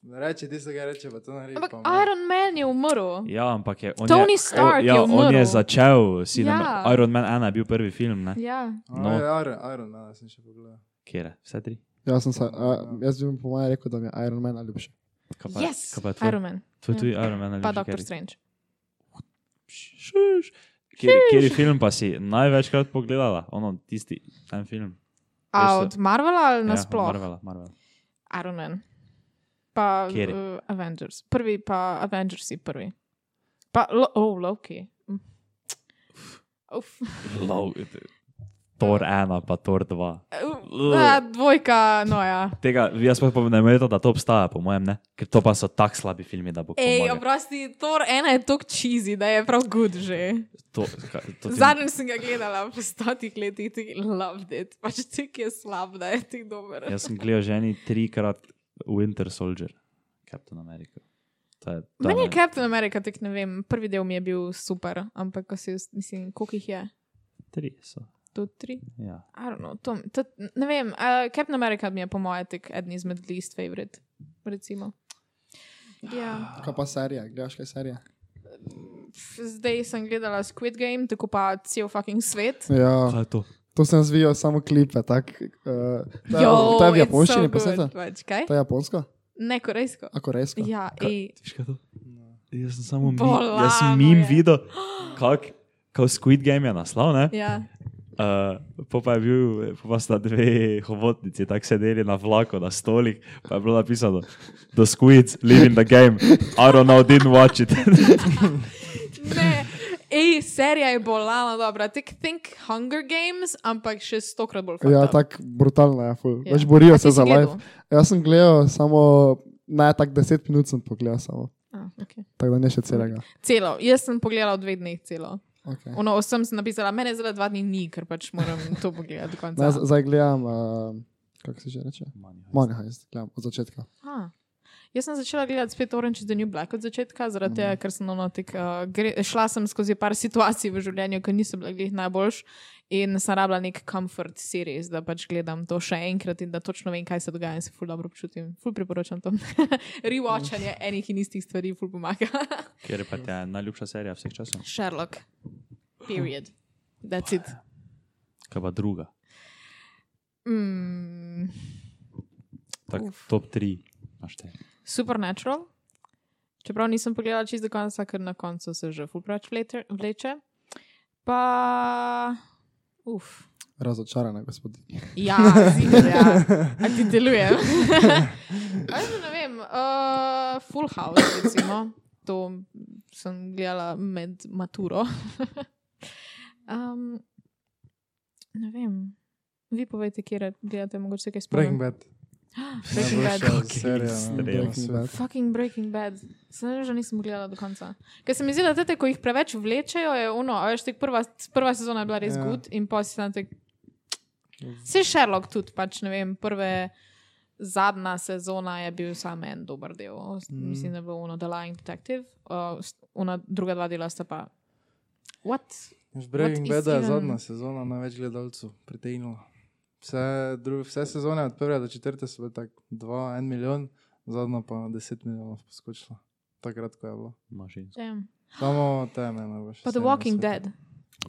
[SPEAKER 3] Reče, ti se ga reče, pa to naredi.
[SPEAKER 1] Ampak
[SPEAKER 3] pa umre.
[SPEAKER 1] Iron Man je umrl.
[SPEAKER 2] Ja, ampak je on.
[SPEAKER 1] Tony
[SPEAKER 2] je,
[SPEAKER 1] Stark
[SPEAKER 2] o, ja,
[SPEAKER 1] je
[SPEAKER 2] on je
[SPEAKER 1] umrl.
[SPEAKER 2] začel, cinema,
[SPEAKER 1] Ja.
[SPEAKER 2] ja. Iron Man 1 je bil prvi film, ne?
[SPEAKER 1] Ja.
[SPEAKER 3] A,
[SPEAKER 2] no.
[SPEAKER 3] ja, Iron, Iron Man, sem še pogledal.
[SPEAKER 2] Kjer je? Vse tri.
[SPEAKER 4] Jaz sem se, a, jaz bi po mojem rekel, da mi je Iron Man najljubši.
[SPEAKER 2] Kaj pa-
[SPEAKER 1] Yes,
[SPEAKER 2] kaj pa je tvoj?
[SPEAKER 1] Iron Man.
[SPEAKER 2] Tvoj
[SPEAKER 1] Ja.
[SPEAKER 2] tudi Iron Man ali
[SPEAKER 1] Pa Doctor Strange.
[SPEAKER 2] Strange. Kjer je film, pa si največkrat pogledala, ono tisti en film.
[SPEAKER 1] A
[SPEAKER 2] Res je.
[SPEAKER 1] od Marvela ali
[SPEAKER 2] Ja,
[SPEAKER 1] nasploh?
[SPEAKER 2] Marvela, Marvela.
[SPEAKER 1] Iron Man. Pa
[SPEAKER 2] Kateri?
[SPEAKER 1] uh, Avengers. Prvi, pa Avengersi prvi. Pa, lo, oh, Loki. Mm. Uf.
[SPEAKER 2] Lov, Thor 1, pa Thor 2.
[SPEAKER 1] Uh, ja, dvojka, no ja.
[SPEAKER 2] Tega, jaz pa ne vem, da to obstaja, po mojem, ne? Ker to pa so tako slabi filmi, da bo
[SPEAKER 1] Ej,
[SPEAKER 2] komu.
[SPEAKER 1] oprosti, Thor ena je tako cheesy, da je prav good že.
[SPEAKER 2] To, ka- to ti-
[SPEAKER 1] Zadnjič sem ga gledala po stotih letih, ti loved it. Pač ti je slab, da je ti dober.
[SPEAKER 2] Jaz sem gledal že eni trikrat Winter Soldier, Captain America. To je, to
[SPEAKER 1] Meni je
[SPEAKER 2] ne-
[SPEAKER 1] Captain America, tako ne vem, prvi del mi je bil super, ampak ko si, mislim, koliko jih je?
[SPEAKER 2] Tri so.
[SPEAKER 1] Do tri?
[SPEAKER 2] Ja.
[SPEAKER 1] I don't know, to, to, ne vem, uh, Captain America mi je po mojem tek eden izmed least favorite, recimo. Ja.
[SPEAKER 4] Kaj pa serija, gledaš kaj serija?
[SPEAKER 1] F- Zdaj sem gledala Squid Game, tako pa cel fucking svet.
[SPEAKER 4] Ja,
[SPEAKER 2] Kaj je to?
[SPEAKER 4] to sem zvijal samo klipe, tak. Uh, to je-
[SPEAKER 1] Jo,
[SPEAKER 4] to je
[SPEAKER 1] it's
[SPEAKER 4] v
[SPEAKER 1] so
[SPEAKER 4] japonščini,
[SPEAKER 1] good,
[SPEAKER 4] posnete?
[SPEAKER 1] Pač, kaj?
[SPEAKER 4] To je japonsko?
[SPEAKER 1] Ne korejsko.
[SPEAKER 4] A korejsko?
[SPEAKER 1] Ja, ej,
[SPEAKER 2] Veš kaj je to? No. Jaz sem samo mi,
[SPEAKER 1] Bolano
[SPEAKER 2] jaz sem
[SPEAKER 1] je.
[SPEAKER 2] mim videl, kak, kako Squid Game je naslov, ne?
[SPEAKER 1] ja.
[SPEAKER 2] Uh, po pa je bil, po pa sta dve hobotnici tako sedeli na vlaku, na stolih, pa je bilo napisano: The squids live in the game, I don't know, didn't watch [LAUGHS] it.
[SPEAKER 1] Ne, ej, serija je bolala dobra. Tik think Hunger Games, ampak še stokrat bolj fajn.
[SPEAKER 4] Ja, tako brutalno je. ful.
[SPEAKER 1] Ja.
[SPEAKER 4] Veš, borijo
[SPEAKER 1] A ti
[SPEAKER 4] se
[SPEAKER 1] si
[SPEAKER 4] za live.
[SPEAKER 1] gledal?
[SPEAKER 4] Jaz sem gledal samo, naj tak 10 minut sem pogledal samo,
[SPEAKER 1] A, okay.
[SPEAKER 4] tako da ne še celega.
[SPEAKER 1] Ah, Celo, jaz sem pogledala v dveh dneh celo.
[SPEAKER 4] Okay.
[SPEAKER 1] Ono, vsem sem napisala, mene zdaj dva dni ni, ker pač moram to pogledati do konca.
[SPEAKER 4] Ne, z- zdaj gledam, uh, kako se že reče? Moneyheist, gledam od začetka.
[SPEAKER 1] Aha. Jaz sem začela gledati spet Orange is the New Black od začetka, zaradi tega, ker sem ono, tek, uh, gre, šla sem skozi par situacij v življenju, ki niso bile glih najboljš in sem rabila nek comfort series, da pač gledam to še enkrat in da točno vem, kaj se dogaja in se ful dobro počutim. Ful priporočam to. [LAUGHS] Rewatchanje enih in istih stvari ful pomaga. [LAUGHS]
[SPEAKER 2] Ker je pa ta najljubša serija vseh časov.
[SPEAKER 1] Sherlock. Period. That's it.
[SPEAKER 2] Kaj pa druga?
[SPEAKER 1] Mm.
[SPEAKER 2] Tak,
[SPEAKER 1] Uf.
[SPEAKER 2] top 3. Našte.
[SPEAKER 1] Supernatural. Čeprav nisem pogledala čisto do konca, ker na koncu se že ful preveč vlete- vleče. Pa. Uf.
[SPEAKER 4] Razočarana, gospodinja.
[SPEAKER 1] Ja, [LAUGHS] ziger, ja. A ti deluje. Aj, ne vem. Uh, full House, recimo. To sem gledala med maturo. [LAUGHS] um, ne vem. Vi povejte, kje gledate, mogoče se kaj
[SPEAKER 3] Breaking
[SPEAKER 1] spomnim.
[SPEAKER 3] Bad. Ja,
[SPEAKER 1] Breaking Bad.
[SPEAKER 3] Najboljša
[SPEAKER 2] Fucking
[SPEAKER 3] serija,
[SPEAKER 2] strel.
[SPEAKER 3] no, na
[SPEAKER 4] Breaking
[SPEAKER 3] svetu.
[SPEAKER 4] Bad.
[SPEAKER 1] Fucking Breaking Bad. Sem že nisem gledala do konca. Ker se mi zdi, da te, ko jih preveč vlečejo, je ono, a veš, tek prva, prva sezona je bila res
[SPEAKER 3] Ja.
[SPEAKER 1] gud in pa si tam tek. Se Sherlock tudi, pač ne vem, prve, zadnja sezona je bil samo en dober del. Mm. Mislim, da je bilo ono The Lying Detective, uh, s- ona druga dva dela sta pa. What?
[SPEAKER 3] V Breaking
[SPEAKER 1] What is
[SPEAKER 3] Bada je
[SPEAKER 1] even-
[SPEAKER 3] zadnja sezona največ gledalcev pritegnila. Vse, dru, vse sezone od prve do četrte so bile tako 2-1 milijon, zadnja pa 10 milijonov poskočila. Takrat, ko je bilo.
[SPEAKER 2] Mašinsko.
[SPEAKER 1] Damn.
[SPEAKER 3] Samo teme najboljše.
[SPEAKER 1] Pa The
[SPEAKER 3] serije na
[SPEAKER 1] Walking
[SPEAKER 3] svetu.
[SPEAKER 1] Dead.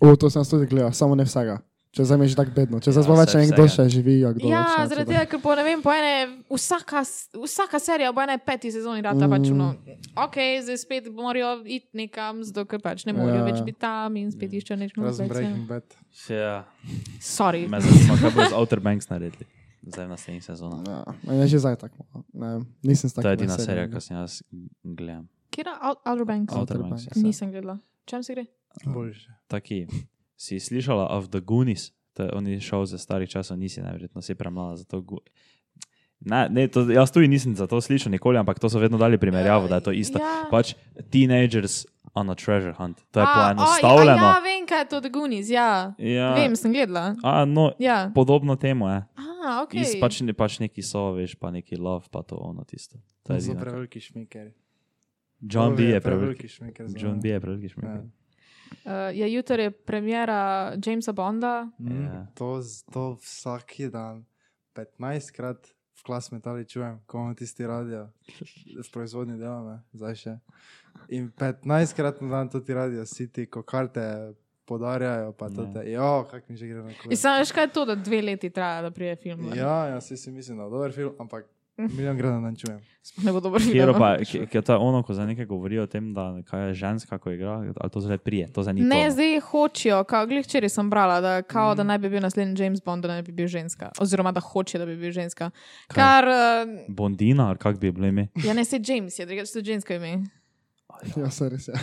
[SPEAKER 4] O, to sem jaz tudi gledal, samo ne vsega. Če zdaj mi je že tako bedno, če zdaj
[SPEAKER 2] Ja,
[SPEAKER 4] smo več
[SPEAKER 2] saj
[SPEAKER 4] nekdo
[SPEAKER 2] vsega.
[SPEAKER 4] še živi, ja, kdo več
[SPEAKER 1] Ja,
[SPEAKER 4] ne,
[SPEAKER 1] zaradi
[SPEAKER 4] tako da-
[SPEAKER 1] tega, ker po ne vem, po ene, vsaka, s- vsaka serija po ene peti sezoni rata mm. pač
[SPEAKER 4] Mm.
[SPEAKER 1] uno. Ok, zdaj spet morajo iti nekam, zato ker pač ne
[SPEAKER 4] Ja,
[SPEAKER 1] morejo
[SPEAKER 4] ja.
[SPEAKER 1] več biti tam in spet iščejo nekaj
[SPEAKER 3] Razen Breaking Bad.
[SPEAKER 2] Ja.
[SPEAKER 1] Sorry.
[SPEAKER 2] Me zanima, kaj bo z Outer Banks naredili. Zdaj v naslednjih sezonah.
[SPEAKER 4] Ja, meni je že zdaj tako. no. Ne, vem, nisem s
[SPEAKER 2] To je
[SPEAKER 4] takimi
[SPEAKER 2] edina serija,
[SPEAKER 4] serijami.
[SPEAKER 2] ki sem jaz gledam.
[SPEAKER 1] Kje je Out- Outer Banks?
[SPEAKER 2] Out-
[SPEAKER 4] no. Outer
[SPEAKER 2] Outer
[SPEAKER 4] Banks,
[SPEAKER 2] Banks,
[SPEAKER 4] ja.
[SPEAKER 1] Nisem gledala. Čem se gre?
[SPEAKER 3] Boljše.
[SPEAKER 2] Taki, si slišala of the Goonies, to je oni šel za starih časov, nisi najverjetno si premlada za to. Gu- Na, ne, to, jaz tudi nisem za to slišal nikoli, ampak to so vedno dali primerjavo, da je to isto.
[SPEAKER 1] Ja.
[SPEAKER 2] Pač teenagers on a treasure hunt, to je
[SPEAKER 1] A,
[SPEAKER 2] poenostavljeno.
[SPEAKER 1] oj, Ja, vem, kaj je to The Goonies, ja.
[SPEAKER 2] Ja,
[SPEAKER 1] ja. Vem, sem gledala.
[SPEAKER 2] A, no,
[SPEAKER 1] Ja.
[SPEAKER 2] podobno temu je.
[SPEAKER 1] Aha, ok.
[SPEAKER 2] Okay. Pač, ne- pač neki so, veš, pa neki love, pa to ono tisto. To
[SPEAKER 3] To
[SPEAKER 2] je
[SPEAKER 3] so
[SPEAKER 2] edino, kar-
[SPEAKER 3] preveliki šmikeri.
[SPEAKER 2] John B. je prevelik.
[SPEAKER 3] preveliki šmiker. za
[SPEAKER 2] John
[SPEAKER 3] mene.
[SPEAKER 2] B. je prevelik.
[SPEAKER 3] Ja.
[SPEAKER 1] Uh, ja, jutri je premjera Jamesa Bonda.
[SPEAKER 3] Mm,
[SPEAKER 2] Ja.
[SPEAKER 3] To, z- to vsak dan, 15krat v klas metali čujem, ko imamo tisti radio, v proizvodni delamo, zdaj še. In 15krat na dan to ti radio, si ti, ko karte podarjajo, pa to
[SPEAKER 2] Ja.
[SPEAKER 3] te, jo, kak mi že gre na
[SPEAKER 4] Ja.
[SPEAKER 1] In
[SPEAKER 3] kolo.
[SPEAKER 1] sam veš, kaj je to, da dve leti traja, da prije film. ven?
[SPEAKER 3] Ja, ja, si si mislim, da je dober film, ampak
[SPEAKER 1] Hm.
[SPEAKER 3] milijon krat na dan čujem.
[SPEAKER 1] Ne bo dobro
[SPEAKER 2] Kjer
[SPEAKER 1] film. [LAUGHS]
[SPEAKER 2] pa ki- ki- to je ono, ko za nekaj govorijo o tem, da kaj je ženska, ko igra, ali to zdaj prije, to zdaj ni.
[SPEAKER 1] Ne,
[SPEAKER 2] to.
[SPEAKER 1] zdaj hočejo, kao glih včeraj sem brala, da, kao, no. mm. da naj bi bil naslednji James Bond, da naj bi bil ženska. Oziroma, da hoče, da bi bil ženska.
[SPEAKER 2] Kaj?
[SPEAKER 1] Kar, uh,
[SPEAKER 2] Bondina, ali kak bi bilo [LAUGHS] ime?
[SPEAKER 1] ja ne se James, je drugače to žensko [LAUGHS] ime.
[SPEAKER 4] Ja, se res
[SPEAKER 1] [LAUGHS]
[SPEAKER 4] je.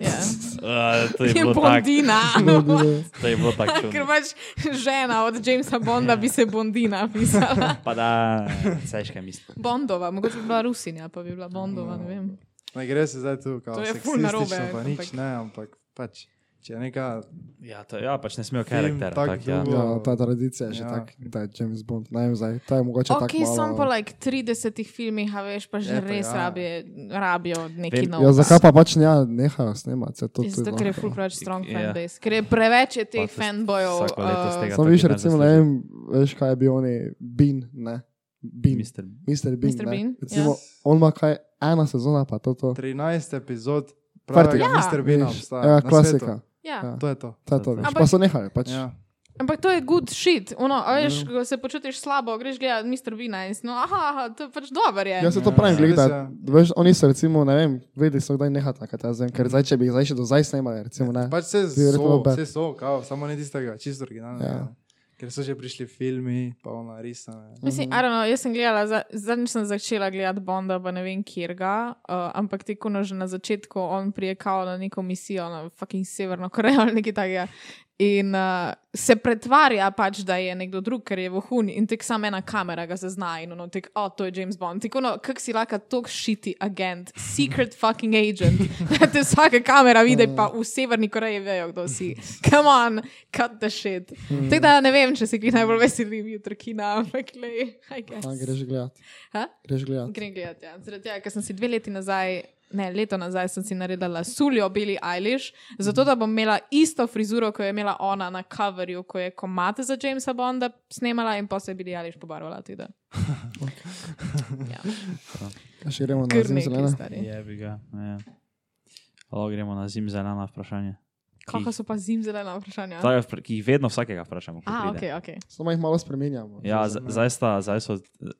[SPEAKER 1] Ja.
[SPEAKER 2] Uh, to
[SPEAKER 1] Je bondina. [LAUGHS]
[SPEAKER 2] To je bilo tako
[SPEAKER 1] Ker pač žena od Jamesa Bonda bi se bondina pisala.
[SPEAKER 2] Pa da, saj kaj mislim.
[SPEAKER 1] [LAUGHS] Bondova, mogoče bi bila Rusinja, pa bi bila Bondova, ne vem.
[SPEAKER 3] Ne gre se zdaj tu,
[SPEAKER 1] To
[SPEAKER 3] kao,
[SPEAKER 1] je ful narobe,
[SPEAKER 3] seksistično, pa nič
[SPEAKER 1] ampak-
[SPEAKER 3] ne, ampak pač, če je neka
[SPEAKER 2] Ja, to, ja, pač ne smejo
[SPEAKER 3] Film
[SPEAKER 2] karakter.
[SPEAKER 3] tak
[SPEAKER 2] Tak, ja.
[SPEAKER 3] dolgo.
[SPEAKER 4] Ja, ta tradicija je že
[SPEAKER 3] Ja.
[SPEAKER 4] tako, da je James Bond, ne vem zdaj, to je mogoče
[SPEAKER 1] Ok,
[SPEAKER 4] tako. malo-
[SPEAKER 1] sem po like 30 filmih, a veš, pa že
[SPEAKER 3] Je pa
[SPEAKER 1] res
[SPEAKER 3] ja.
[SPEAKER 1] rabijo, rabijo neki
[SPEAKER 2] Vem,
[SPEAKER 1] nov.
[SPEAKER 4] Ja, zakaj pa pač ne nehajo snemati? se To, to
[SPEAKER 1] Zato, ker je ful preveč strong
[SPEAKER 2] Ja.
[SPEAKER 1] yeah. fanbase, ker je preveč je teh
[SPEAKER 2] Pa to
[SPEAKER 1] fanbojev.
[SPEAKER 2] vsako leto z
[SPEAKER 1] eh,
[SPEAKER 2] tega
[SPEAKER 4] Sam
[SPEAKER 2] to
[SPEAKER 4] viš,
[SPEAKER 2] bi naj
[SPEAKER 4] recimo, ne
[SPEAKER 2] zaslužil.
[SPEAKER 4] vem, veš, kaj je bil oni, Bean, ne? Bean.
[SPEAKER 2] Mister,
[SPEAKER 4] Mister Bean.
[SPEAKER 1] Mr.
[SPEAKER 4] ne.
[SPEAKER 1] Bean,
[SPEAKER 4] Recimo,
[SPEAKER 3] ja.
[SPEAKER 4] on ima kaj, ena sezona pa to. to.
[SPEAKER 3] 13 epizod
[SPEAKER 4] Fertik.
[SPEAKER 3] pravega
[SPEAKER 1] Ja.
[SPEAKER 3] Mr. Bina
[SPEAKER 4] Veš,
[SPEAKER 3] obstaja.
[SPEAKER 4] Ja,
[SPEAKER 3] na svetu.
[SPEAKER 4] klasika.
[SPEAKER 1] ja.
[SPEAKER 4] Ja.
[SPEAKER 3] To je to.
[SPEAKER 4] To je to, veš.
[SPEAKER 1] Ampak-
[SPEAKER 4] Pa so nehali, pač.
[SPEAKER 3] Ja.
[SPEAKER 1] Ampak to je good shit. Ono, a veš,
[SPEAKER 4] Ja.
[SPEAKER 1] ko se počutiš slabo, greš gledat Mr. Bean in no, aha, aha, to je pač dober je.
[SPEAKER 4] Jaz se to
[SPEAKER 3] Ja,
[SPEAKER 4] pravim,
[SPEAKER 3] res
[SPEAKER 4] gledaj, veš, oni so recimo, ne vem, vedeli so kdaj nehati, kaj ta zem,
[SPEAKER 1] Mm.
[SPEAKER 4] ker zdaj, če bi jih zdaj še do zdaj snemali, recimo, ne.
[SPEAKER 3] Pač se
[SPEAKER 4] Bi verjetno bilo
[SPEAKER 3] so,
[SPEAKER 4] bad.
[SPEAKER 3] se so, kao, samo ne tistega, čisto originalnega.
[SPEAKER 4] Ja.
[SPEAKER 3] Ja. Ker so že prišli filmi, pa ona risana.
[SPEAKER 1] Mislim, I don't know, jaz sem gledala, za- zadnjič sem začela gledati Bonda, pa ne vem, kjer ga, uh, ampak ti kuno že na začetku on prijekal na neko misijo na fucking Severno Korejo ali nekaj takega. In uh, se pretvarja pač, da je nekdo drug, ker je vohun in tek samo ena kamera ga zazna in ono, tek, o, oh, to je James Bond. Tako, no, kak si laka tok šiti agent, secret fucking agent. [LAUGHS] Da te vsaka kamera vidi, pa v Severni Koreji vejo, kdo si. Come on, cut the shit. Tako da ne vem, če se ki najbolj veselim jutri kina, ampak le, I guess.
[SPEAKER 4] A, greš gledat.
[SPEAKER 1] Ha?
[SPEAKER 4] Greš gledat.
[SPEAKER 1] Grem gledat, ja. Zaradi tega, ker sem si dve leti nazaj, ne, leto nazaj sem si naredila suljo Billie Eilish, zato da bom imela isto frizuro, kot je imela ona na coverju, ko je komate za Jamesa Bonda snemala in pa se je Billie Eilish pobarvala. tako da.
[SPEAKER 4] A še gremo na
[SPEAKER 1] Kar
[SPEAKER 4] zim
[SPEAKER 1] nekaj
[SPEAKER 4] zelena.
[SPEAKER 1] stari.
[SPEAKER 2] Je bi ga. Ja. Lahko gremo na zim zelena vprašanje.
[SPEAKER 1] Kakšna so pa zim zelena vprašanja?
[SPEAKER 2] Tako, vpra- ki jih vedno vsakega vprašamo. ko
[SPEAKER 1] A,
[SPEAKER 2] pride.
[SPEAKER 1] ok, ok.
[SPEAKER 4] Samo jih malo spremenjamo.
[SPEAKER 2] Ja, z- zdaj sta, zdaj so,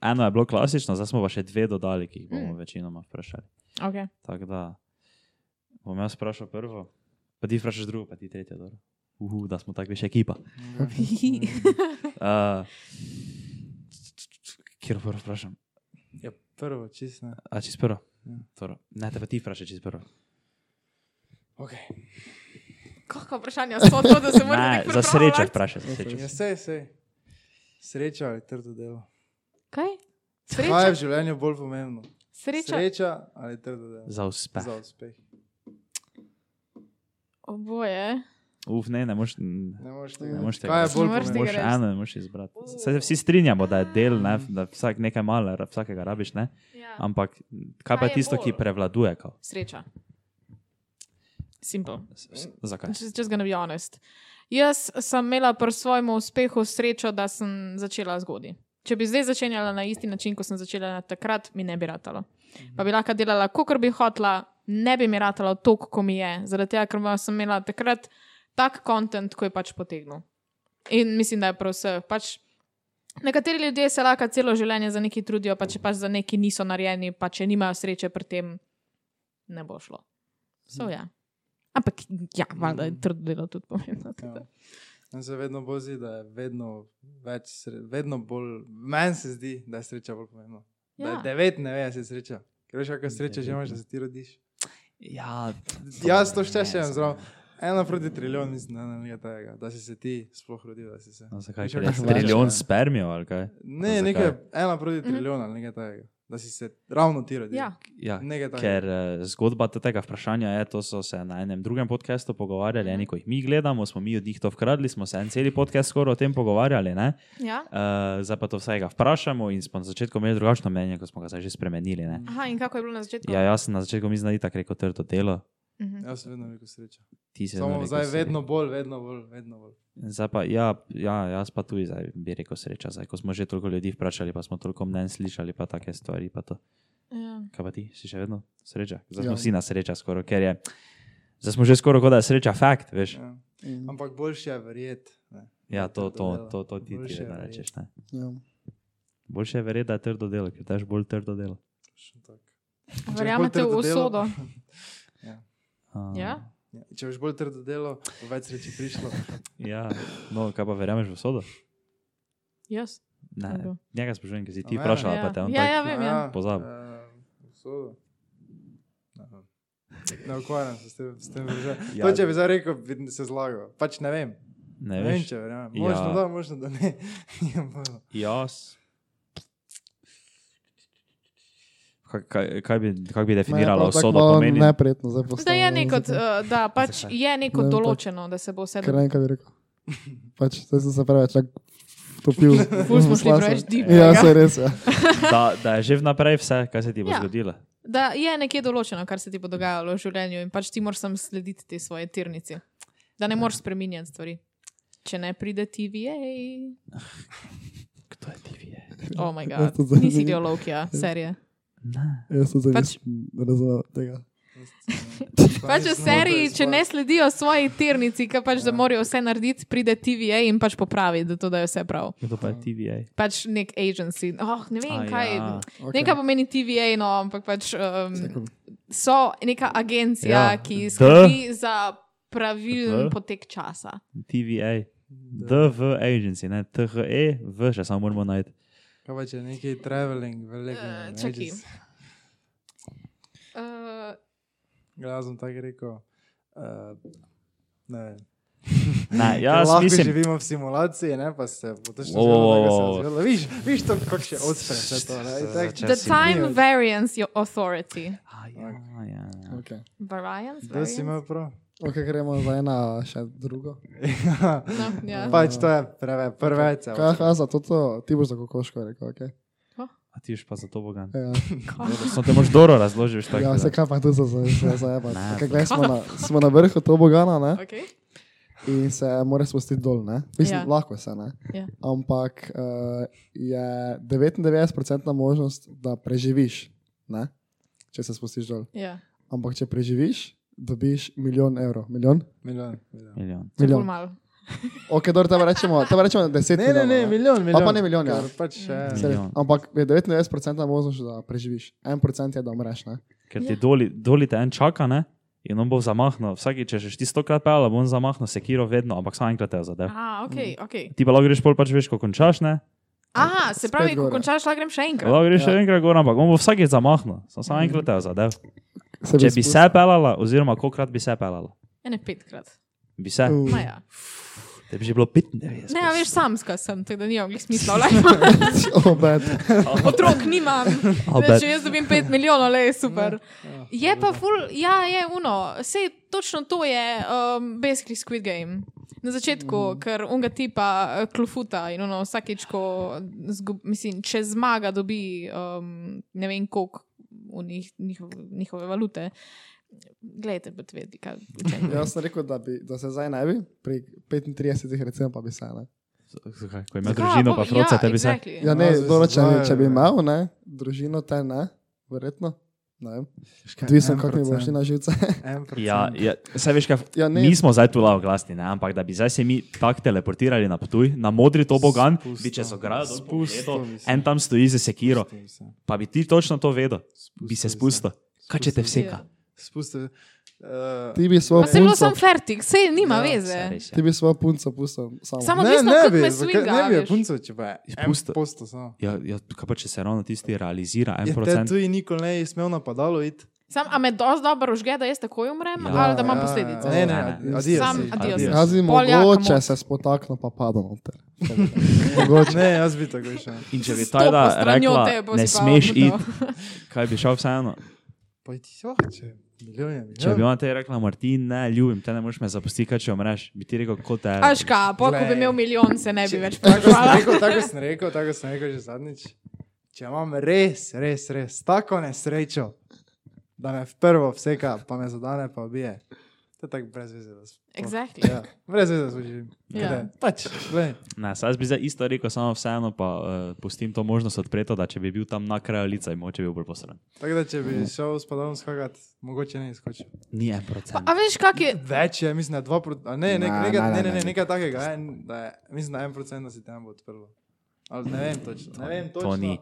[SPEAKER 2] eno je bilo klasično, zdaj smo pa še dve dodali, ki jih bomo mm. večinoma vprašali. [LAUGHS]
[SPEAKER 1] okay.
[SPEAKER 2] Tako da bom jaz vprašal prvo, pa ti vprašaš drugo, pa ti tretje. Dobro. Uhu, da smo tako več ekipa.
[SPEAKER 3] [LAUGHS]
[SPEAKER 2] Uh, Kjer prvo vprašam?
[SPEAKER 3] Ja, prvo, čisto. ne.
[SPEAKER 2] A čez prvo?
[SPEAKER 3] Ja.
[SPEAKER 2] Toro. Ne, te pa ti vprašaj čez prvo.
[SPEAKER 3] Okay.
[SPEAKER 1] Kakšna vprašanja so to, da se
[SPEAKER 2] Ne,
[SPEAKER 1] moraš
[SPEAKER 2] za srečo vprašaj. Za srečo.
[SPEAKER 3] Ja, sej, sej. Sreča ali trdo delo?
[SPEAKER 1] Kaj?
[SPEAKER 3] Kaj je v
[SPEAKER 1] Sreča.
[SPEAKER 3] življenju bolj pomembno?
[SPEAKER 1] Sreča.
[SPEAKER 3] Sreča ali trdo delo?
[SPEAKER 2] Za uspeh.
[SPEAKER 3] Za uspeh.
[SPEAKER 1] Oboje.
[SPEAKER 2] Uf, ne, ne moreš. n-
[SPEAKER 3] Ne moreš
[SPEAKER 4] Ne
[SPEAKER 3] tega.
[SPEAKER 2] moreš
[SPEAKER 3] reči.
[SPEAKER 2] tega
[SPEAKER 3] Kaj je
[SPEAKER 2] reči.
[SPEAKER 1] Ne
[SPEAKER 3] bolj
[SPEAKER 1] moreš
[SPEAKER 2] Ne
[SPEAKER 1] tega
[SPEAKER 3] pomembno?
[SPEAKER 2] moreš
[SPEAKER 1] reči.
[SPEAKER 2] eno, ne moreš izbrati. Saj se vsi strinjamo, da je del, ne, da vsak nekaj malo, ra- vsakega rabiš, ne?
[SPEAKER 1] Ja.
[SPEAKER 2] Ampak kaj pa
[SPEAKER 1] Kaj
[SPEAKER 2] je
[SPEAKER 1] je
[SPEAKER 2] tisto, ki
[SPEAKER 1] bolj?
[SPEAKER 2] prevladuje? Kao?
[SPEAKER 1] Sreča. Simple.
[SPEAKER 2] S- s- Zakaj?
[SPEAKER 1] Če ga ne bi honest. Jaz sem imela pri svojem uspehu srečo, da sem začela zgodaj. Če bi zdaj začenjala na isti način, kot sem začela na takrat, mi ne bi ratalo. Pa bi lahko delala, kot bi hotla, ne bi mi ratalo toliko, kot mi je, zaradi tega, ker ma- sem imela takrat tak kontent, ko je pač potegnil. In mislim, da je prav vse. Pač nekateri ljudje se lahko celo življenje za nekaj trudijo, pa če pač za nekaj niso narejeni, pa če nimajo sreče pri tem, ne bo šlo.
[SPEAKER 4] Mhm.
[SPEAKER 1] So, ja. Ampak ja, valjda je trdo delo tudi pomembno. tako da.
[SPEAKER 3] Ja. Meni se vedno bolj zdi, da je vedno več, sre- vedno bolj, meni se zdi, da je sreča bolj pomembna. Da je
[SPEAKER 1] Ja.
[SPEAKER 3] devet, ne veš, je sreča. Ker veš, kakšna sreča že imaš, da se ti rodiš.
[SPEAKER 2] Ja,
[SPEAKER 3] Jaz to še še zdrav. Ena proti trilijon, mislim, da ne nekaj takega, da si se ti sploh rodil, da si se.
[SPEAKER 2] No, Zakaj?
[SPEAKER 3] Veš,
[SPEAKER 2] Ker
[SPEAKER 3] kakšna
[SPEAKER 2] je
[SPEAKER 3] sreča
[SPEAKER 2] Trilijon
[SPEAKER 3] je?
[SPEAKER 2] spermijev ali kaj? no,
[SPEAKER 3] Ne,
[SPEAKER 2] Zakaj?
[SPEAKER 3] nekaj, ena proti trilijon ali nekaj takega, da si se ravno ti
[SPEAKER 1] Mhm.
[SPEAKER 3] rodil.
[SPEAKER 1] Ja.
[SPEAKER 2] Ja,
[SPEAKER 3] Nekaj takega.
[SPEAKER 2] Ker eh, zgodba te- tega vprašanja je, to so se na enem drugem podkastu pogovarjali, eni, ko jih mi gledamo, smo mi od njih to vkradli, smo se en cel podcast skoraj o tem pogovarjali. ne.
[SPEAKER 1] Ja.
[SPEAKER 2] Eh, Zdaj pa to vsega vprašamo in smo na začetku imeli drugačno mnenje, ko smo ga zdaj že spremenili. ne.
[SPEAKER 1] Aha, in kako je bilo na začetku?
[SPEAKER 2] Ja, jaz sem na začetku mislil, da je tako rekel trdo delo.
[SPEAKER 1] Mhm.
[SPEAKER 3] Jaz sem vedno rekel sreča.
[SPEAKER 2] Ti si vedno
[SPEAKER 3] Samo
[SPEAKER 2] rekel
[SPEAKER 3] zdaj
[SPEAKER 2] sreča.
[SPEAKER 3] vedno bolj, vedno bolj, vedno bolj.
[SPEAKER 2] Zdaj pa, ja, ja, jaz pa tudi zdaj bi rekel sreča. Zdaj, ko smo že toliko ljudi vprašali, pa smo toliko mnen slišali, pa take stvari. Pa to.
[SPEAKER 1] Ja.
[SPEAKER 2] Kaj pa ti, si še vedno sreča? Zdaj smo ja.
[SPEAKER 4] Ja.
[SPEAKER 2] vsi na sreča skoraj, ker je. Zdaj smo že skoraj kot da je sreča fakt, veš.
[SPEAKER 3] Ja.
[SPEAKER 1] Mm.
[SPEAKER 3] Ampak boljše je verjeti. ne.
[SPEAKER 2] Mhm. Ja, to, to,
[SPEAKER 3] Trdo delo.
[SPEAKER 2] to, to ti, ti
[SPEAKER 3] Boljše je
[SPEAKER 2] vedno
[SPEAKER 3] verjeti.
[SPEAKER 2] rečeš. Ne?
[SPEAKER 4] Ja.
[SPEAKER 2] Boljše je verjeti, da je trdo delo, ker daš bolj trdo delo.
[SPEAKER 3] Točno tako.
[SPEAKER 1] Verjamete v
[SPEAKER 3] bolj trdo
[SPEAKER 1] usodo.
[SPEAKER 3] delo-
[SPEAKER 4] [LAUGHS]
[SPEAKER 2] A,
[SPEAKER 1] Ja?
[SPEAKER 3] Ja, Če boš bolj trdo delo, bo več sreče prišlo.
[SPEAKER 2] ja. No, kaj pa verjameš v sodo?
[SPEAKER 1] Jaz.
[SPEAKER 2] Ne.
[SPEAKER 4] Ja.
[SPEAKER 1] Kdo?
[SPEAKER 2] Njega sprašujem, ker si ti
[SPEAKER 3] A mene?
[SPEAKER 2] vprašala,
[SPEAKER 1] Ja.
[SPEAKER 2] pa te on
[SPEAKER 1] Ja, [LAUGHS]
[SPEAKER 2] tak-
[SPEAKER 1] ja, vem, ja.
[SPEAKER 2] Pozabil.
[SPEAKER 3] Eh, Usodo. Ne ukvarjam se s tem, s tem veže.
[SPEAKER 2] [LAUGHS] Ja.
[SPEAKER 3] To, če bi zdaj rekel, bi se zlagal. Pač ne vem.
[SPEAKER 2] Ne
[SPEAKER 3] Ne vem,
[SPEAKER 2] veš.
[SPEAKER 3] če verjamem.
[SPEAKER 2] Ja.
[SPEAKER 3] Možno da, možno da ne. [LAUGHS] Ja, Nimam pojma.
[SPEAKER 2] Jaz. Kaj, kaj, kaj, bi, kaj bi
[SPEAKER 4] Meni je
[SPEAKER 2] definirala
[SPEAKER 4] prav tako
[SPEAKER 2] usodo?
[SPEAKER 4] malo
[SPEAKER 2] Pomeni,
[SPEAKER 4] Neprijetno zdaj
[SPEAKER 1] Da
[SPEAKER 4] postalo.
[SPEAKER 1] je neko, eh, da pač
[SPEAKER 2] Zakaj?
[SPEAKER 1] je neko
[SPEAKER 4] Ne vem, pač-
[SPEAKER 1] določeno, da se bo vse
[SPEAKER 4] Ker
[SPEAKER 1] dobro.
[SPEAKER 4] ne vem, kaj bi
[SPEAKER 1] [LAUGHS]
[SPEAKER 4] rekel. Pač, zdaj sem se preveč tako topil.
[SPEAKER 1] [LAUGHS] Ful smo šli preveč deep,
[SPEAKER 4] Ja,
[SPEAKER 1] tega.
[SPEAKER 4] se res. Ja.
[SPEAKER 2] [LAUGHS] da, da je že vnaprej vse, kar se ti bo
[SPEAKER 1] Ja.
[SPEAKER 2] ja. zgodilo.
[SPEAKER 1] Da je nekje določeno, kar se ti bo dogajalo v življenju in pač ti moraš sam slediti te svoje tirnici. Da ne
[SPEAKER 2] Ja.
[SPEAKER 1] moreš spreminjati stvari. Če ne pride TVA,
[SPEAKER 2] Kdo je ti vi?
[SPEAKER 1] oh moj
[SPEAKER 4] Ja,
[SPEAKER 1] bog,
[SPEAKER 4] to zdaj
[SPEAKER 1] nisi
[SPEAKER 2] Ja.
[SPEAKER 4] ni-
[SPEAKER 1] ideologija, serije.
[SPEAKER 4] Jaz sem se
[SPEAKER 1] Pač-
[SPEAKER 4] pač... razumel tega.
[SPEAKER 1] Pač v seriji, če ne sledijo svoji tirnici, ki pač, da
[SPEAKER 2] Ja.
[SPEAKER 1] morajo vse narediti, pride TVA in pač popravi, da to dajo vse prav.
[SPEAKER 2] Kdo pa je TVA?
[SPEAKER 1] Pač nek agency. Oh, ne vem,
[SPEAKER 2] A,
[SPEAKER 1] kaj.
[SPEAKER 2] ja.
[SPEAKER 1] Okay. Nekaj pomeni TVA, no, ampak pač um, so neka agencija,
[SPEAKER 2] Ja.
[SPEAKER 1] ja. ki
[SPEAKER 2] D.
[SPEAKER 1] skrbi za pravilen
[SPEAKER 2] D.
[SPEAKER 1] potek časa.
[SPEAKER 2] TVA. DV agency, ne THE, V, še samo moramo najti.
[SPEAKER 3] Kaj pa če je neki traveling, velik.
[SPEAKER 1] Eh, čakaj. Uh,
[SPEAKER 3] Jaz sem tako rekel. Uh, ne vem.
[SPEAKER 4] [LAUGHS]
[SPEAKER 2] Ne, Ja,
[SPEAKER 3] Ja,
[SPEAKER 2] jaz
[SPEAKER 3] lahko mislim...
[SPEAKER 2] mislim,
[SPEAKER 3] živimo v simulaciji, ne pa se bo to še
[SPEAKER 2] Wow, wow, wow.
[SPEAKER 3] zgodilo. Viš, viš to, kako še odpre se to. Ne? In tako-
[SPEAKER 2] Če
[SPEAKER 1] the
[SPEAKER 2] si-
[SPEAKER 1] time variance your authority.
[SPEAKER 2] A, ja, ja, ja.
[SPEAKER 4] Okay.
[SPEAKER 1] Variance?
[SPEAKER 3] Da
[SPEAKER 1] variance?
[SPEAKER 3] si imel prav.
[SPEAKER 4] ok, gremo za ena, še drugo.
[SPEAKER 1] No, ja.
[SPEAKER 3] [LAUGHS] Pač to je preve, prve cel.
[SPEAKER 4] Kaj je za to, to, ti boš za kokoško rekel, ok?
[SPEAKER 2] A ti už pa za to bogan.
[SPEAKER 4] Ja,
[SPEAKER 2] Samo te moraš dobro razložiti, šta
[SPEAKER 4] ja se
[SPEAKER 2] je.
[SPEAKER 4] kaj pa tu za zajeba.
[SPEAKER 2] Ne.
[SPEAKER 4] Kaj gledaj, smo na, smo na vrhu tobogana, ne?
[SPEAKER 1] Okay.
[SPEAKER 4] in se mora spustiti dol. Ne? Mislim,
[SPEAKER 1] Ja.
[SPEAKER 4] ja. lahko se ne.
[SPEAKER 1] Ja.
[SPEAKER 4] Ampak uh, je 99% možnost, da preživiš, ne? če se spustiš dol.
[SPEAKER 1] Ja.
[SPEAKER 4] Ampak če preživiš, dobiš milijon evrov. Milijon?
[SPEAKER 3] Milijon. milijon.
[SPEAKER 2] Milijon.
[SPEAKER 1] Bolj
[SPEAKER 4] milijon.
[SPEAKER 1] malo.
[SPEAKER 4] Ok, dobro, tam rečemo, tam rečemo 10
[SPEAKER 3] Ne, ne,
[SPEAKER 4] milijonov.
[SPEAKER 3] ne, milijon, milijon.
[SPEAKER 4] pa ne milijon, ja.
[SPEAKER 3] Ker Pač še,
[SPEAKER 4] Se res,
[SPEAKER 2] Milijon.
[SPEAKER 4] Ampak je 99% možnost, da preživiš. 1% je, da umreš. Ne?
[SPEAKER 2] Ker ti doli, doli te en čaka, ne? In on bo zamahnil. Vsaki, če še ti stokrat pel, bo on zamahnil sekiro vedno, ampak samo enkrat te zadev.
[SPEAKER 1] Aha,
[SPEAKER 4] Mm.
[SPEAKER 1] ok, ok.
[SPEAKER 2] Ti pa lahko greš pol, pač veš, ko končaš, ne?
[SPEAKER 1] Aha, se pravi,
[SPEAKER 4] Spet
[SPEAKER 1] ko
[SPEAKER 4] gore.
[SPEAKER 1] končaš, lahko grem še enkrat.
[SPEAKER 2] Lahko greš še
[SPEAKER 4] Ja. Mhm.
[SPEAKER 2] enkrat gor, ampak on bo vsakeč zamahnil. Samo samo enkrat te zadev.
[SPEAKER 4] Se
[SPEAKER 2] Če bi se pelala, oziroma kolikrat bi se pelala?
[SPEAKER 1] Ene petkrat.
[SPEAKER 2] Bi se.
[SPEAKER 4] spustil.
[SPEAKER 1] Ma ja.
[SPEAKER 2] Te bi že bilo 95.
[SPEAKER 1] Ne, a veš, samska sem, tako da nimam glih smisla. lej.
[SPEAKER 4] [LAUGHS] Uh, obed.
[SPEAKER 1] Otrok nimam.
[SPEAKER 2] A
[SPEAKER 1] Veš,
[SPEAKER 2] bed.
[SPEAKER 1] Če jaz dobim 5 milijonov, le je super. Je pa ful, ja, je uno. Sej točno to je um, basically Squid Game. Na
[SPEAKER 3] Mm.
[SPEAKER 1] začetku, ker unga tipa eh, klofuta in ono vsakeč, ko zgub, mislim, če zmaga, dobi um, ne vem koliko v njih, njihov, njihove valute. Glejte, bo tvedi, kaj. o čem
[SPEAKER 4] Ja, Jaz sem rekel, da, bi, da se zdaj ne bi, pri 35 recimo pa bi se ne.
[SPEAKER 2] Zakaj? Ko imaš
[SPEAKER 1] Ja,
[SPEAKER 2] družino,
[SPEAKER 1] bo-
[SPEAKER 2] pa froce,
[SPEAKER 1] ja,
[SPEAKER 2] te bi se.
[SPEAKER 1] Exactly.
[SPEAKER 4] Ja,
[SPEAKER 1] Ja.
[SPEAKER 4] ne,
[SPEAKER 3] No, zdaj
[SPEAKER 4] dobro,
[SPEAKER 3] se
[SPEAKER 4] če,
[SPEAKER 3] znajo,
[SPEAKER 4] bi- če bi
[SPEAKER 3] ja.
[SPEAKER 4] imel, ne, družino te ne, verjetno. Ne vem.
[SPEAKER 3] Ja,
[SPEAKER 4] Odvisno, kako mi boš šli na živce. [LAUGHS]
[SPEAKER 2] Ja, ja, saj veš, kaj,
[SPEAKER 4] Ja, ne.
[SPEAKER 2] mi smo zdaj tu lao glasni, ne? ampak da bi zdaj se mi tako teleportirali na potuj, na modri tobogan,
[SPEAKER 3] Spustil.
[SPEAKER 2] bi čez ogrado, dol
[SPEAKER 3] Spustil
[SPEAKER 2] pogledal,
[SPEAKER 3] bi se.
[SPEAKER 2] en tam stoji za sekiro, pa bi ti točno to vedel, bi se spustil. Kaj če te vseka?
[SPEAKER 3] Spustil. eh,
[SPEAKER 4] Ti bi svojo
[SPEAKER 1] Pa se je bilo
[SPEAKER 4] punco,
[SPEAKER 1] sam fertik, sej nima
[SPEAKER 3] Ja,
[SPEAKER 1] ja, veze.
[SPEAKER 2] Res je.
[SPEAKER 4] ti bi svojo punco pustil. Samo.
[SPEAKER 1] Samo- odvisno, kako me swinga,
[SPEAKER 3] ne bi je
[SPEAKER 1] veš.
[SPEAKER 3] punco, če pa je.
[SPEAKER 2] Spustil.
[SPEAKER 3] Posto samo.
[SPEAKER 2] Ja, ja, kaj pa če se ravno tisti realizira, en
[SPEAKER 3] Je te
[SPEAKER 2] procent.
[SPEAKER 3] tudi nikoli ne bi smel napadalo iti.
[SPEAKER 1] Sam, a me dosti dobro užge, da jaz takoj umrem,
[SPEAKER 2] Ja.
[SPEAKER 1] ja, ali da imam
[SPEAKER 3] Ja,
[SPEAKER 1] posledice.
[SPEAKER 2] Ne,
[SPEAKER 3] Ne, ne,
[SPEAKER 2] ne.
[SPEAKER 3] adijo.
[SPEAKER 1] Sam
[SPEAKER 3] si.
[SPEAKER 1] adijo
[SPEAKER 2] Adios.
[SPEAKER 1] sem.
[SPEAKER 4] Jaz bi
[SPEAKER 1] Pol jaka
[SPEAKER 4] mogoče
[SPEAKER 1] moč.
[SPEAKER 4] se spotaknil, pa padel noter.
[SPEAKER 3] Ne, jaz bi tako šel.
[SPEAKER 2] In če bi
[SPEAKER 1] Stopil
[SPEAKER 2] tajda
[SPEAKER 1] stranjo
[SPEAKER 2] rekla,
[SPEAKER 1] te, bo
[SPEAKER 2] ne
[SPEAKER 1] si pa
[SPEAKER 2] smeš
[SPEAKER 1] obudil.
[SPEAKER 2] iti, kaj bi šel vseeno.
[SPEAKER 3] Pa ti so, če milijonje.
[SPEAKER 2] Če bi ona te rekla, Martin, ne, ljubim te, ne moreš me zapustiti, kaj če umreš, bi ti rekel, kot te. je.
[SPEAKER 1] Aška, pol, ko bi
[SPEAKER 3] Glej.
[SPEAKER 1] imel milijon, se ne bi več
[SPEAKER 2] [LAUGHS]
[SPEAKER 3] Tako sem
[SPEAKER 1] vprašala.
[SPEAKER 3] rekel, tako sem rekel, tako sem rekel že zadnjič. Če imam res, res, res tako nesrečo, da me v prvo vseka, pa me zadane, pa bije. To je tako brez veze. da s-
[SPEAKER 1] Exactly.
[SPEAKER 3] Ja, brez veze služim.
[SPEAKER 1] Ja.
[SPEAKER 3] Pač, glej.
[SPEAKER 2] Ne, saj jaz bi zdaj isto rekel, samo vseeno pa uh, pustim to možnost odpreto, da če bi bil tam na kraju lica, bi moče bil bolj posreden.
[SPEAKER 3] Tako da, če bi šel s padalom skakat, mogoče ne izkočil.
[SPEAKER 2] Ni en procent.
[SPEAKER 1] A veš, kak je.
[SPEAKER 3] Več je, mislim, da dva proti. a Ne, ne,
[SPEAKER 4] Ne,
[SPEAKER 3] nekaj, ne,
[SPEAKER 4] ne, ne,
[SPEAKER 3] ne, ne,
[SPEAKER 4] ne.
[SPEAKER 3] nekaj takega. En, da je, mislim, da en procent, da si tam bo odprlo. Ali ne vem točno. Ne vem
[SPEAKER 2] To
[SPEAKER 3] točno.
[SPEAKER 2] ni.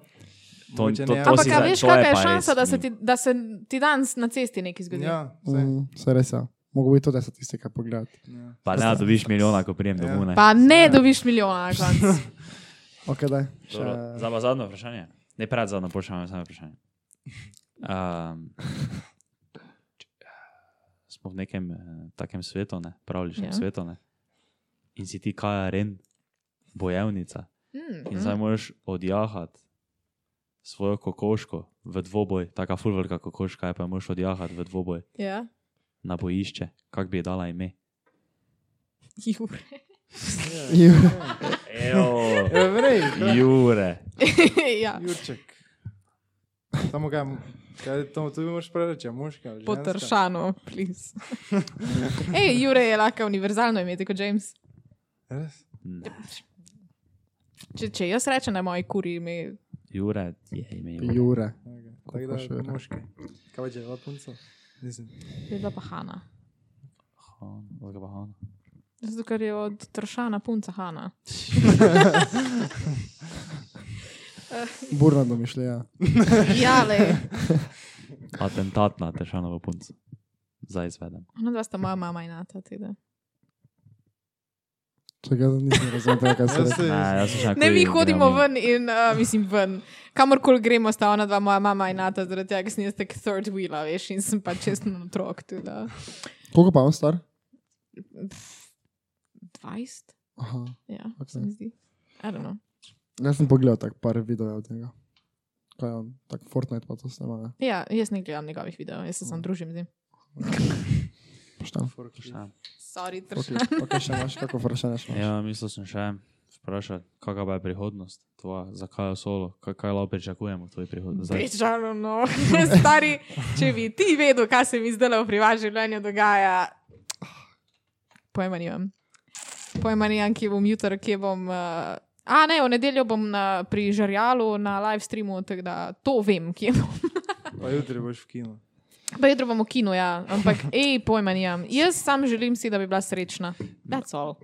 [SPEAKER 2] To-
[SPEAKER 3] Mogoče
[SPEAKER 2] to-
[SPEAKER 3] ne,
[SPEAKER 2] to
[SPEAKER 3] ampak-
[SPEAKER 1] Ampak,
[SPEAKER 2] si
[SPEAKER 1] a
[SPEAKER 2] zdaj-
[SPEAKER 1] veš,
[SPEAKER 2] to je
[SPEAKER 1] kakšna je
[SPEAKER 2] pa res hm.
[SPEAKER 1] šansa, da se,
[SPEAKER 2] ni.
[SPEAKER 1] ti, da se ti danes na cesti nekaj zgodi?
[SPEAKER 3] Ja, saj,
[SPEAKER 4] Mm, se res je. Mogoče bi to, da se tiste, kaj pogledati.
[SPEAKER 3] ja.
[SPEAKER 2] Pa ne, dobiš milijona, ko prijem
[SPEAKER 3] Ja.
[SPEAKER 2] domov. ne.
[SPEAKER 1] Pa ne dobiš
[SPEAKER 2] [LAUGHS]
[SPEAKER 1] milijona na koncu.
[SPEAKER 4] Ok, daj. Še...
[SPEAKER 2] Dobro, Zdaj pa zadnje vprašanje. Ne pred zadnjo vprašanje, samo vprašanje. Um, če- smo v nekem eh, takem svetu, ne pravličnem
[SPEAKER 1] Ja.
[SPEAKER 2] svetu. Ne? In si ti kaj aren, bojevnica.
[SPEAKER 1] Mm,
[SPEAKER 2] In
[SPEAKER 1] mm.
[SPEAKER 2] zdaj moraš odjahati svojo kokoško v dvoboj, tako fulvrka kokoška, je pa jo moraš odjahati v dvoboj
[SPEAKER 1] Ja.
[SPEAKER 2] na bojišče, kak bi ji dala ime.
[SPEAKER 1] Jure. [LAUGHS]
[SPEAKER 2] Evo,
[SPEAKER 3] Ja, vrej, kaj?
[SPEAKER 2] Jure.
[SPEAKER 1] ja.
[SPEAKER 3] Jurček. Samo kaj, kaj to, to bi moraš prereči, moška ali ženska.
[SPEAKER 1] Potršano, plis.
[SPEAKER 2] [LAUGHS]
[SPEAKER 1] Ej, Jure je lahko univerzalno ime, tako James.
[SPEAKER 3] Res?
[SPEAKER 2] Ne,
[SPEAKER 1] Če, če jaz rečem na moji kuri ime,
[SPEAKER 2] Jure je ime. Jure.
[SPEAKER 4] Jure.
[SPEAKER 3] Okay. Tako da,
[SPEAKER 4] Kokoš, Jure.
[SPEAKER 3] moški. Kaj pa če je bila punca? Nisem.
[SPEAKER 1] Je bila pa Hanna.
[SPEAKER 2] Han, zakaj pa Han?
[SPEAKER 1] Zato, ker je od Tršana punca Hanna.
[SPEAKER 4] Burna domišljija.
[SPEAKER 1] Ja, le.
[SPEAKER 2] Atentat na Tešanovo punco. Zdaj izvedem.
[SPEAKER 1] Ona dva sta moja mama in nata. tako da.
[SPEAKER 4] Čakaj, Jaz nisem razumel, tega, kaj se
[SPEAKER 3] Jaz
[SPEAKER 4] reče.
[SPEAKER 3] se-
[SPEAKER 2] Ne, jaz sem še ja,
[SPEAKER 1] Ne, mi hodimo ven in, uh, mislim, ven. Kamorkoli gremo, sta ona dva, moja mama in nata, zaradi tega, ker sem jaz tak third wheel, veš, in sem pa čestno otrok. tako da.
[SPEAKER 4] Koliko pa je on star?
[SPEAKER 1] Pff, 20?
[SPEAKER 4] Aha.
[SPEAKER 1] Ja,
[SPEAKER 4] Ok.
[SPEAKER 1] okay. se mi zdi. I don't know.
[SPEAKER 4] Jaz sem pogledal tak par videojev od njega. Kaj je on, tak Fortnite pa to snema, ne?
[SPEAKER 1] Ja, jaz ne gledam njegovih videov, jaz se samo družim z njim.
[SPEAKER 4] Pošten.
[SPEAKER 1] Sorry, Tršan.
[SPEAKER 4] Okay. ok, še imaš kako vprašanje? Še imaš?
[SPEAKER 2] Ja, mislil sem še vprašati, kakva pa je prihodnost tvoja, zakaj je solo, kaj, kaj lahko pričakujemo v tvoji prihodnosti.
[SPEAKER 1] Pričano, no. [LAUGHS] Stari, če bi ti vedel, kaj se mi zdaj v privatnem življenju dogaja, pojma nimam. Pojma nimam, kje bom jutro, kje bom. Uh, a ne, v nedeljo bom na, pri žarjalu na live streamu, tako da to vem, kje bom.
[SPEAKER 3] Pa jutri boš v kinu.
[SPEAKER 1] Pa jutro bom v kinu, ja, ampak ej, pojma nimam. Jaz sam želim si, da bi bila srečna. That's all.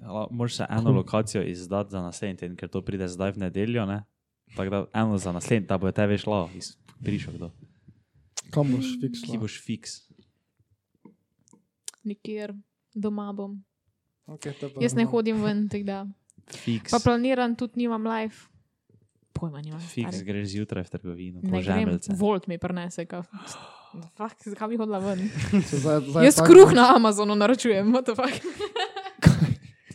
[SPEAKER 2] Ja, Moraš se eno lokacijo izdati za naslednji teden, ker to pride zdaj v nedeljo. Ne? Tako da eno za naslednji, da bo te veš lao, prišel kdo.
[SPEAKER 4] Kam boš fiksal?
[SPEAKER 2] Ki boš fiks.
[SPEAKER 1] Nikjer, doma bom.
[SPEAKER 3] Okay, to pa
[SPEAKER 1] Jaz ne
[SPEAKER 3] imam.
[SPEAKER 1] hodim ven, tako da.
[SPEAKER 2] Fiks.
[SPEAKER 1] Pa planiran tudi nimam live. Pojma nimam.
[SPEAKER 2] Fiks
[SPEAKER 1] stari.
[SPEAKER 2] greš zjutraj v trgovino, po
[SPEAKER 1] Ne grem,
[SPEAKER 2] žemelce.
[SPEAKER 1] volt mi prenese. ka- [GASPS] The Fuck, zakaj bi hodila ven?
[SPEAKER 4] Zdaj, zdaj
[SPEAKER 1] Jaz
[SPEAKER 4] tak-
[SPEAKER 1] kruh na Amazonu naročujem, what the fuck.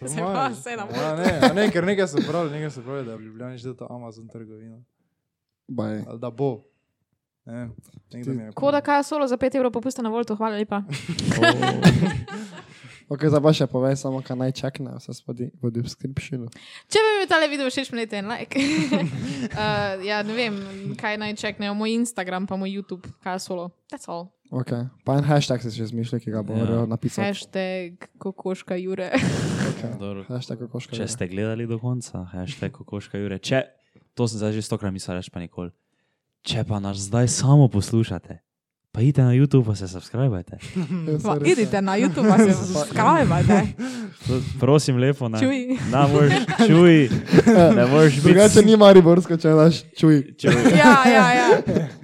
[SPEAKER 3] To
[SPEAKER 1] Se
[SPEAKER 3] imaš.
[SPEAKER 1] pa, saj na
[SPEAKER 3] Ja, ne, a ne, ker nekaj so pravili, nekaj so pravili, da je v Ljubljani že ta Amazon trgovina.
[SPEAKER 4] Baj.
[SPEAKER 3] Ali da bo. Ne vem, nekdo mi je
[SPEAKER 1] [LAUGHS] Koda kaj solo za 5 evrov popusta na voltu, hvala lepa.
[SPEAKER 4] Ok, zdaj pa še povej samo, kaj naj čakne, vse spodi v descriptionu.
[SPEAKER 1] Če bi mi tale video všeč, mnete en [LAUGHS] like. uh, ja, ne vem, kaj naj čeknejo moj Instagram, pa moj YouTube, kaj solo. That's all.
[SPEAKER 4] Ok, pa en hashtag si še zmišljal, ki ga bo
[SPEAKER 2] Ja.
[SPEAKER 4] ja. napisal.
[SPEAKER 1] Hashtag kokoška Jure.
[SPEAKER 2] Dobro.
[SPEAKER 4] Hashtag kako
[SPEAKER 2] Če
[SPEAKER 4] škoda.
[SPEAKER 2] ste gledali do konca, hashtag kokoška Jure. Če, to sem zdaj že stokrat mislil, reč pa nikoli. Če pa nas zdaj samo poslušate, pa idite na YouTube in se subskrbajte.
[SPEAKER 1] Pa, idite na YouTube, pa se subskrbajte.
[SPEAKER 2] Prosim, lepo na
[SPEAKER 1] Čuj.
[SPEAKER 2] Na mož, čuj, ne moreš biti.
[SPEAKER 4] Drugače ni mariborsko, če daš čuj.
[SPEAKER 2] Čuj.
[SPEAKER 1] Ja, ja, ja.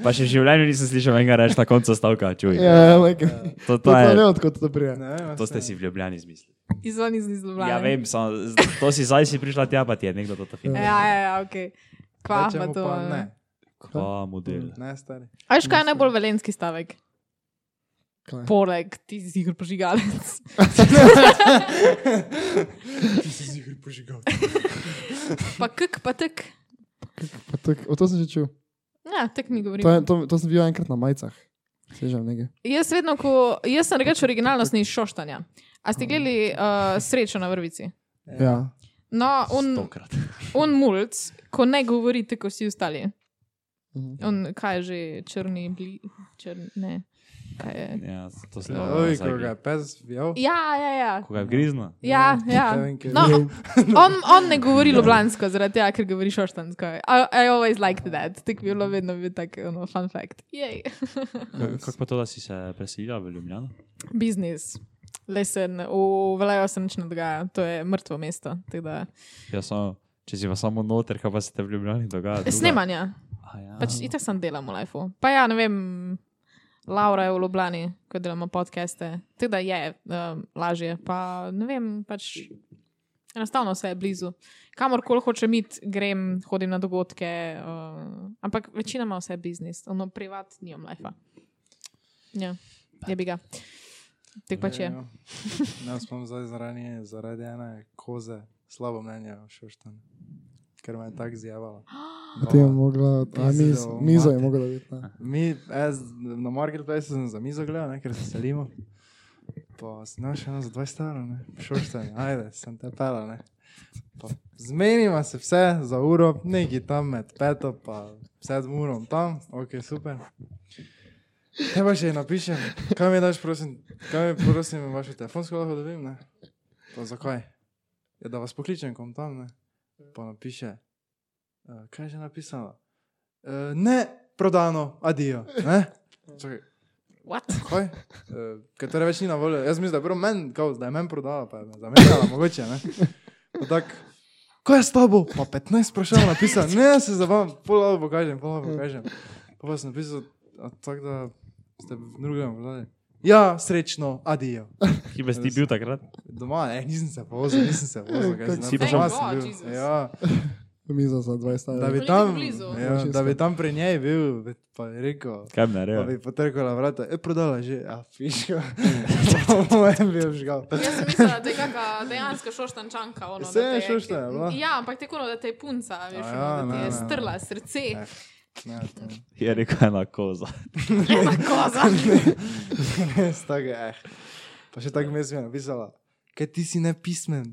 [SPEAKER 2] Pa še v življenju nisem slišal enega reči na koncu stavka, čuj.
[SPEAKER 4] Ja, like,
[SPEAKER 2] To,
[SPEAKER 4] to
[SPEAKER 2] to,
[SPEAKER 4] je ne
[SPEAKER 2] je,
[SPEAKER 4] odkot to prije.
[SPEAKER 3] Ne vem,
[SPEAKER 2] to ste si v Ljubljani izmislili.
[SPEAKER 1] Izvan iz Ljubljana.
[SPEAKER 2] Ja, vem, samo, z- to si zdaj si prišla tja, pa ti je nekdo to filmiral.
[SPEAKER 1] Ja, ja, ja, ok. Kva, pa
[SPEAKER 3] Rečemo
[SPEAKER 1] to.
[SPEAKER 3] Pa
[SPEAKER 1] ne.
[SPEAKER 3] ne,
[SPEAKER 2] Kva model.
[SPEAKER 3] ne stari.
[SPEAKER 1] A veš, kaj je najbolj velenski stavek?
[SPEAKER 4] Kaj?
[SPEAKER 1] Poleg, ti si jih prižigalec.
[SPEAKER 3] [LAUGHS] Ti si si jih
[SPEAKER 2] [LAUGHS]
[SPEAKER 3] požigal.
[SPEAKER 1] [LAUGHS] Pa kak, pa tek.
[SPEAKER 4] Pa To, o to sem že čutil.
[SPEAKER 1] Ja, tek mi govori.
[SPEAKER 4] To, je- to, to sem bil enkrat na majicah. Sežem nekaj.
[SPEAKER 1] Jaz vedno, ko jaz sem rekel originalnost ni iz šoštanja. A ste gledali uh, srečo na vrvici?
[SPEAKER 4] Ja.
[SPEAKER 1] No, on,
[SPEAKER 2] Stokrat.
[SPEAKER 1] on mulc, ko ne govori tako vsi ostali.
[SPEAKER 4] Mhm.
[SPEAKER 1] On kaj je že črni, bli, črn, ne. Kaj je?
[SPEAKER 2] Ja, to se
[SPEAKER 3] Oj, ko ga je pes vijal.
[SPEAKER 1] Ja, ja, ja.
[SPEAKER 2] Koga je grizno?
[SPEAKER 1] Ja, ja.
[SPEAKER 3] Ne vem, kje je.
[SPEAKER 1] No, on, on ne govori ljubljansko, zaradi tega, ker govori šoštansko. I, I always liked that. Tako je bilo vedno bil tak no, fun fact. Jej.
[SPEAKER 2] Kako pa to, da si se preselila v Ljubljano?
[SPEAKER 1] Biznis. Lesen, v Velaju se nič ne dogaja, to je mrtvo mesto. tako da-
[SPEAKER 2] Ja, samo, če si pa samo noter, kaj pa se te v Ljubljani dogaja? druga?
[SPEAKER 1] Snemanja,
[SPEAKER 2] A Ja.
[SPEAKER 1] pač itak sem delam v lifeu. Pa ja, ne vem, Laura je v Ljubljani, ko delamo podcaste, tako da je um, lažje. Pa ne vem, pač enostavno vse je blizu. Kamorkoli hočem iti, grem, hodim na dogodke, uh, ampak večinoma vse je biznis, ono privat, nimam lajfa. Ja, je bi ga. Tek pač je.
[SPEAKER 3] Ja. Ne spomnim zdaj zaradi, zaradi ene koze, slabo mnenje o šoštanju. Ker me je tako zjavala.
[SPEAKER 4] Ti je mogla, a
[SPEAKER 3] Pizdo,
[SPEAKER 4] miz, mizo je
[SPEAKER 3] mate.
[SPEAKER 4] mogla biti. ne.
[SPEAKER 3] Mi, jaz na marketplace sem za mizo gledal, ne, ker se selimo. Pa sem našel eno za 20 evrov, ne, šoštanje, ajde, sem te pela, ne. Pa zmeniva se vse za uro, neki tam med peto pa sedm urom tam, ok, super. Te pa še ji napišem, kaj mi daš, prosim, kaj mi prosim, vašo telefonsko lahko dobim, ne. Pa zakaj? Ja, da vas pokličem, kom tam, ne. Pa napiše, eh, kaj je že napisala? [LAUGHS] Eh, ne, prodano, adijo. Ne? Čakaj,
[SPEAKER 1] What?
[SPEAKER 3] Kaj? Eh, Katere več ni na voljo. Jaz mislim, da je bilo meni, kao, da je meni prodala, pa je me zamenjala, mogoče ne. Pa tak, kaj je s tabo? Pa 15 vprašanj napisal, ne, jaz se zabavam, pol lavo pokažem, pol lavo pokažem. Pa pa sem napisal, a tako da ste v drugem prodali. Ja, srečno, adijo.
[SPEAKER 2] Ki bi ti bil takrat?
[SPEAKER 3] Doma, ne, nisem se vozil, nisem se vozil. kaj
[SPEAKER 4] Kako
[SPEAKER 2] si
[SPEAKER 3] doma
[SPEAKER 2] prišel?
[SPEAKER 3] sem
[SPEAKER 1] Oh,
[SPEAKER 3] bil.
[SPEAKER 1] Jesus.
[SPEAKER 3] Ja,
[SPEAKER 4] Miza za 20
[SPEAKER 3] da
[SPEAKER 4] stari.
[SPEAKER 3] bi
[SPEAKER 1] Koliko
[SPEAKER 3] tam,
[SPEAKER 1] blizu?
[SPEAKER 3] ja, da bi tam pri njej bil, bi- pa je rekel.
[SPEAKER 2] Kaj bi
[SPEAKER 3] Pa
[SPEAKER 2] naredil?
[SPEAKER 3] bi potrkala vrata, je prodala že, a
[SPEAKER 2] [LAUGHS]
[SPEAKER 3] fiška. [LAUGHS] To je bil žgal.
[SPEAKER 1] Jaz sem mislila, da je kakšna dejanska šoštančanka. Ono,
[SPEAKER 3] Saj
[SPEAKER 1] da te
[SPEAKER 3] je
[SPEAKER 1] je-
[SPEAKER 3] šoštanja bila.
[SPEAKER 1] Ja, ampak te kono, da te je punca, veš,
[SPEAKER 3] A
[SPEAKER 1] ja,
[SPEAKER 3] ja,
[SPEAKER 1] da ti
[SPEAKER 3] ne,
[SPEAKER 1] je
[SPEAKER 3] ne, ne.
[SPEAKER 1] strla srce.
[SPEAKER 3] Ne. Ne, to ne. [LAUGHS]
[SPEAKER 2] Je rekel ena koza.
[SPEAKER 1] [LAUGHS] Ena koza.
[SPEAKER 3] Res tako je. eh. Pa še tako mi je napisala, kaj ti si nepismen.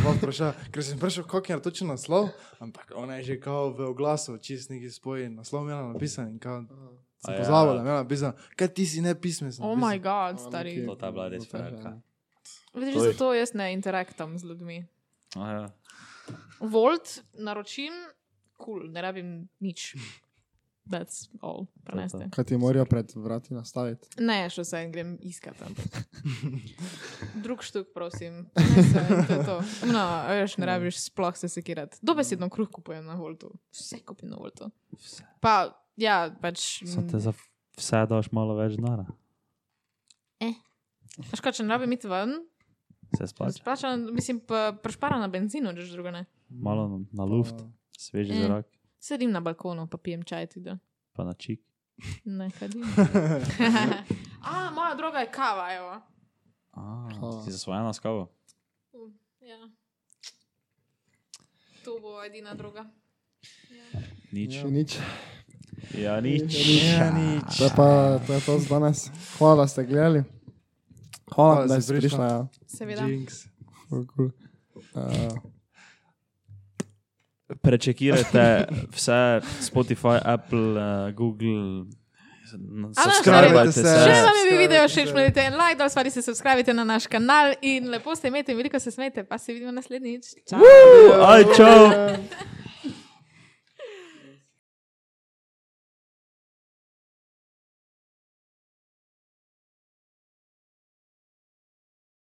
[SPEAKER 3] Pa vprašala, Ker sem vprašal, kako je točen naslov, ampak ona je že kao v oglasu, čist neki spoji, naslov imela napisan in kao.
[SPEAKER 2] A
[SPEAKER 3] Sem
[SPEAKER 2] ja.
[SPEAKER 3] pozabil, da je imela napisan, kaj ti si nepismen. sem
[SPEAKER 1] Oh moj
[SPEAKER 3] napisal.
[SPEAKER 1] bog, stari.
[SPEAKER 2] To ta bila res frajka.
[SPEAKER 1] Vidiš,
[SPEAKER 2] To je-
[SPEAKER 1] zato jaz ne interaktam z ljudmi.
[SPEAKER 2] Aja.
[SPEAKER 1] Volt naročim, kul, cool, ne rabim nič. That's all, preneste.
[SPEAKER 4] Kaj ti morajo pred vrati nastaviti?
[SPEAKER 1] Ne, še vse en grem iskat.
[SPEAKER 3] [LAUGHS]
[SPEAKER 1] ampak. Drug štuk, prosim. Ne, se, to je to. No, a veš,
[SPEAKER 3] Ja.
[SPEAKER 1] ne rabiš sploh se sekirati. Dobesedno kruh kupujem na Voltu. Vse kupim na Voltu.
[SPEAKER 2] Vse.
[SPEAKER 1] Pa, ja, pač.
[SPEAKER 2] Sem te za vse daš malo več denara.
[SPEAKER 1] Veš, kaj, če ne rabim iti ven,
[SPEAKER 2] Se splača.
[SPEAKER 1] splača, mislim, pa prešpara na benzinu, če že drugo ne.
[SPEAKER 2] Malo na- na luft, sveži
[SPEAKER 1] Mm.
[SPEAKER 2] zrak,
[SPEAKER 1] Sedim na balkonu, pa pijem čaj tudi.
[SPEAKER 2] pa na čik.
[SPEAKER 1] Ne, kadim. A, moja droga je kava, evo.
[SPEAKER 4] Aha.
[SPEAKER 2] Si zasvojena s kavo?
[SPEAKER 1] Ja. To bo edina droga.
[SPEAKER 2] Nič.
[SPEAKER 4] Še nič.
[SPEAKER 2] Ja, nič.
[SPEAKER 3] Ja, nič.
[SPEAKER 4] To je, pa, to je to za danes. Hvala, da ste gledali. Hvala,
[SPEAKER 3] Hvala,
[SPEAKER 4] Hvala
[SPEAKER 3] da
[SPEAKER 4] da
[SPEAKER 3] si
[SPEAKER 4] ste prišli.
[SPEAKER 3] prišla.
[SPEAKER 4] Ja.
[SPEAKER 1] Seveda.
[SPEAKER 3] Jinx.
[SPEAKER 4] Ful Cool. Uh,
[SPEAKER 2] Prečekirajte vse Spotify, Apple, eh, Google.
[SPEAKER 3] naredite
[SPEAKER 2] Subskrbajte
[SPEAKER 3] se.
[SPEAKER 1] Če
[SPEAKER 2] se.
[SPEAKER 1] vam je bil video všeč,
[SPEAKER 3] Subscribe.
[SPEAKER 1] pojdite en like, dol stvari se subskrbite na naš kanal in lepo se imejte, in veliko se smete, pa se vidimo naslednjič. Čau!
[SPEAKER 2] Aj, čau!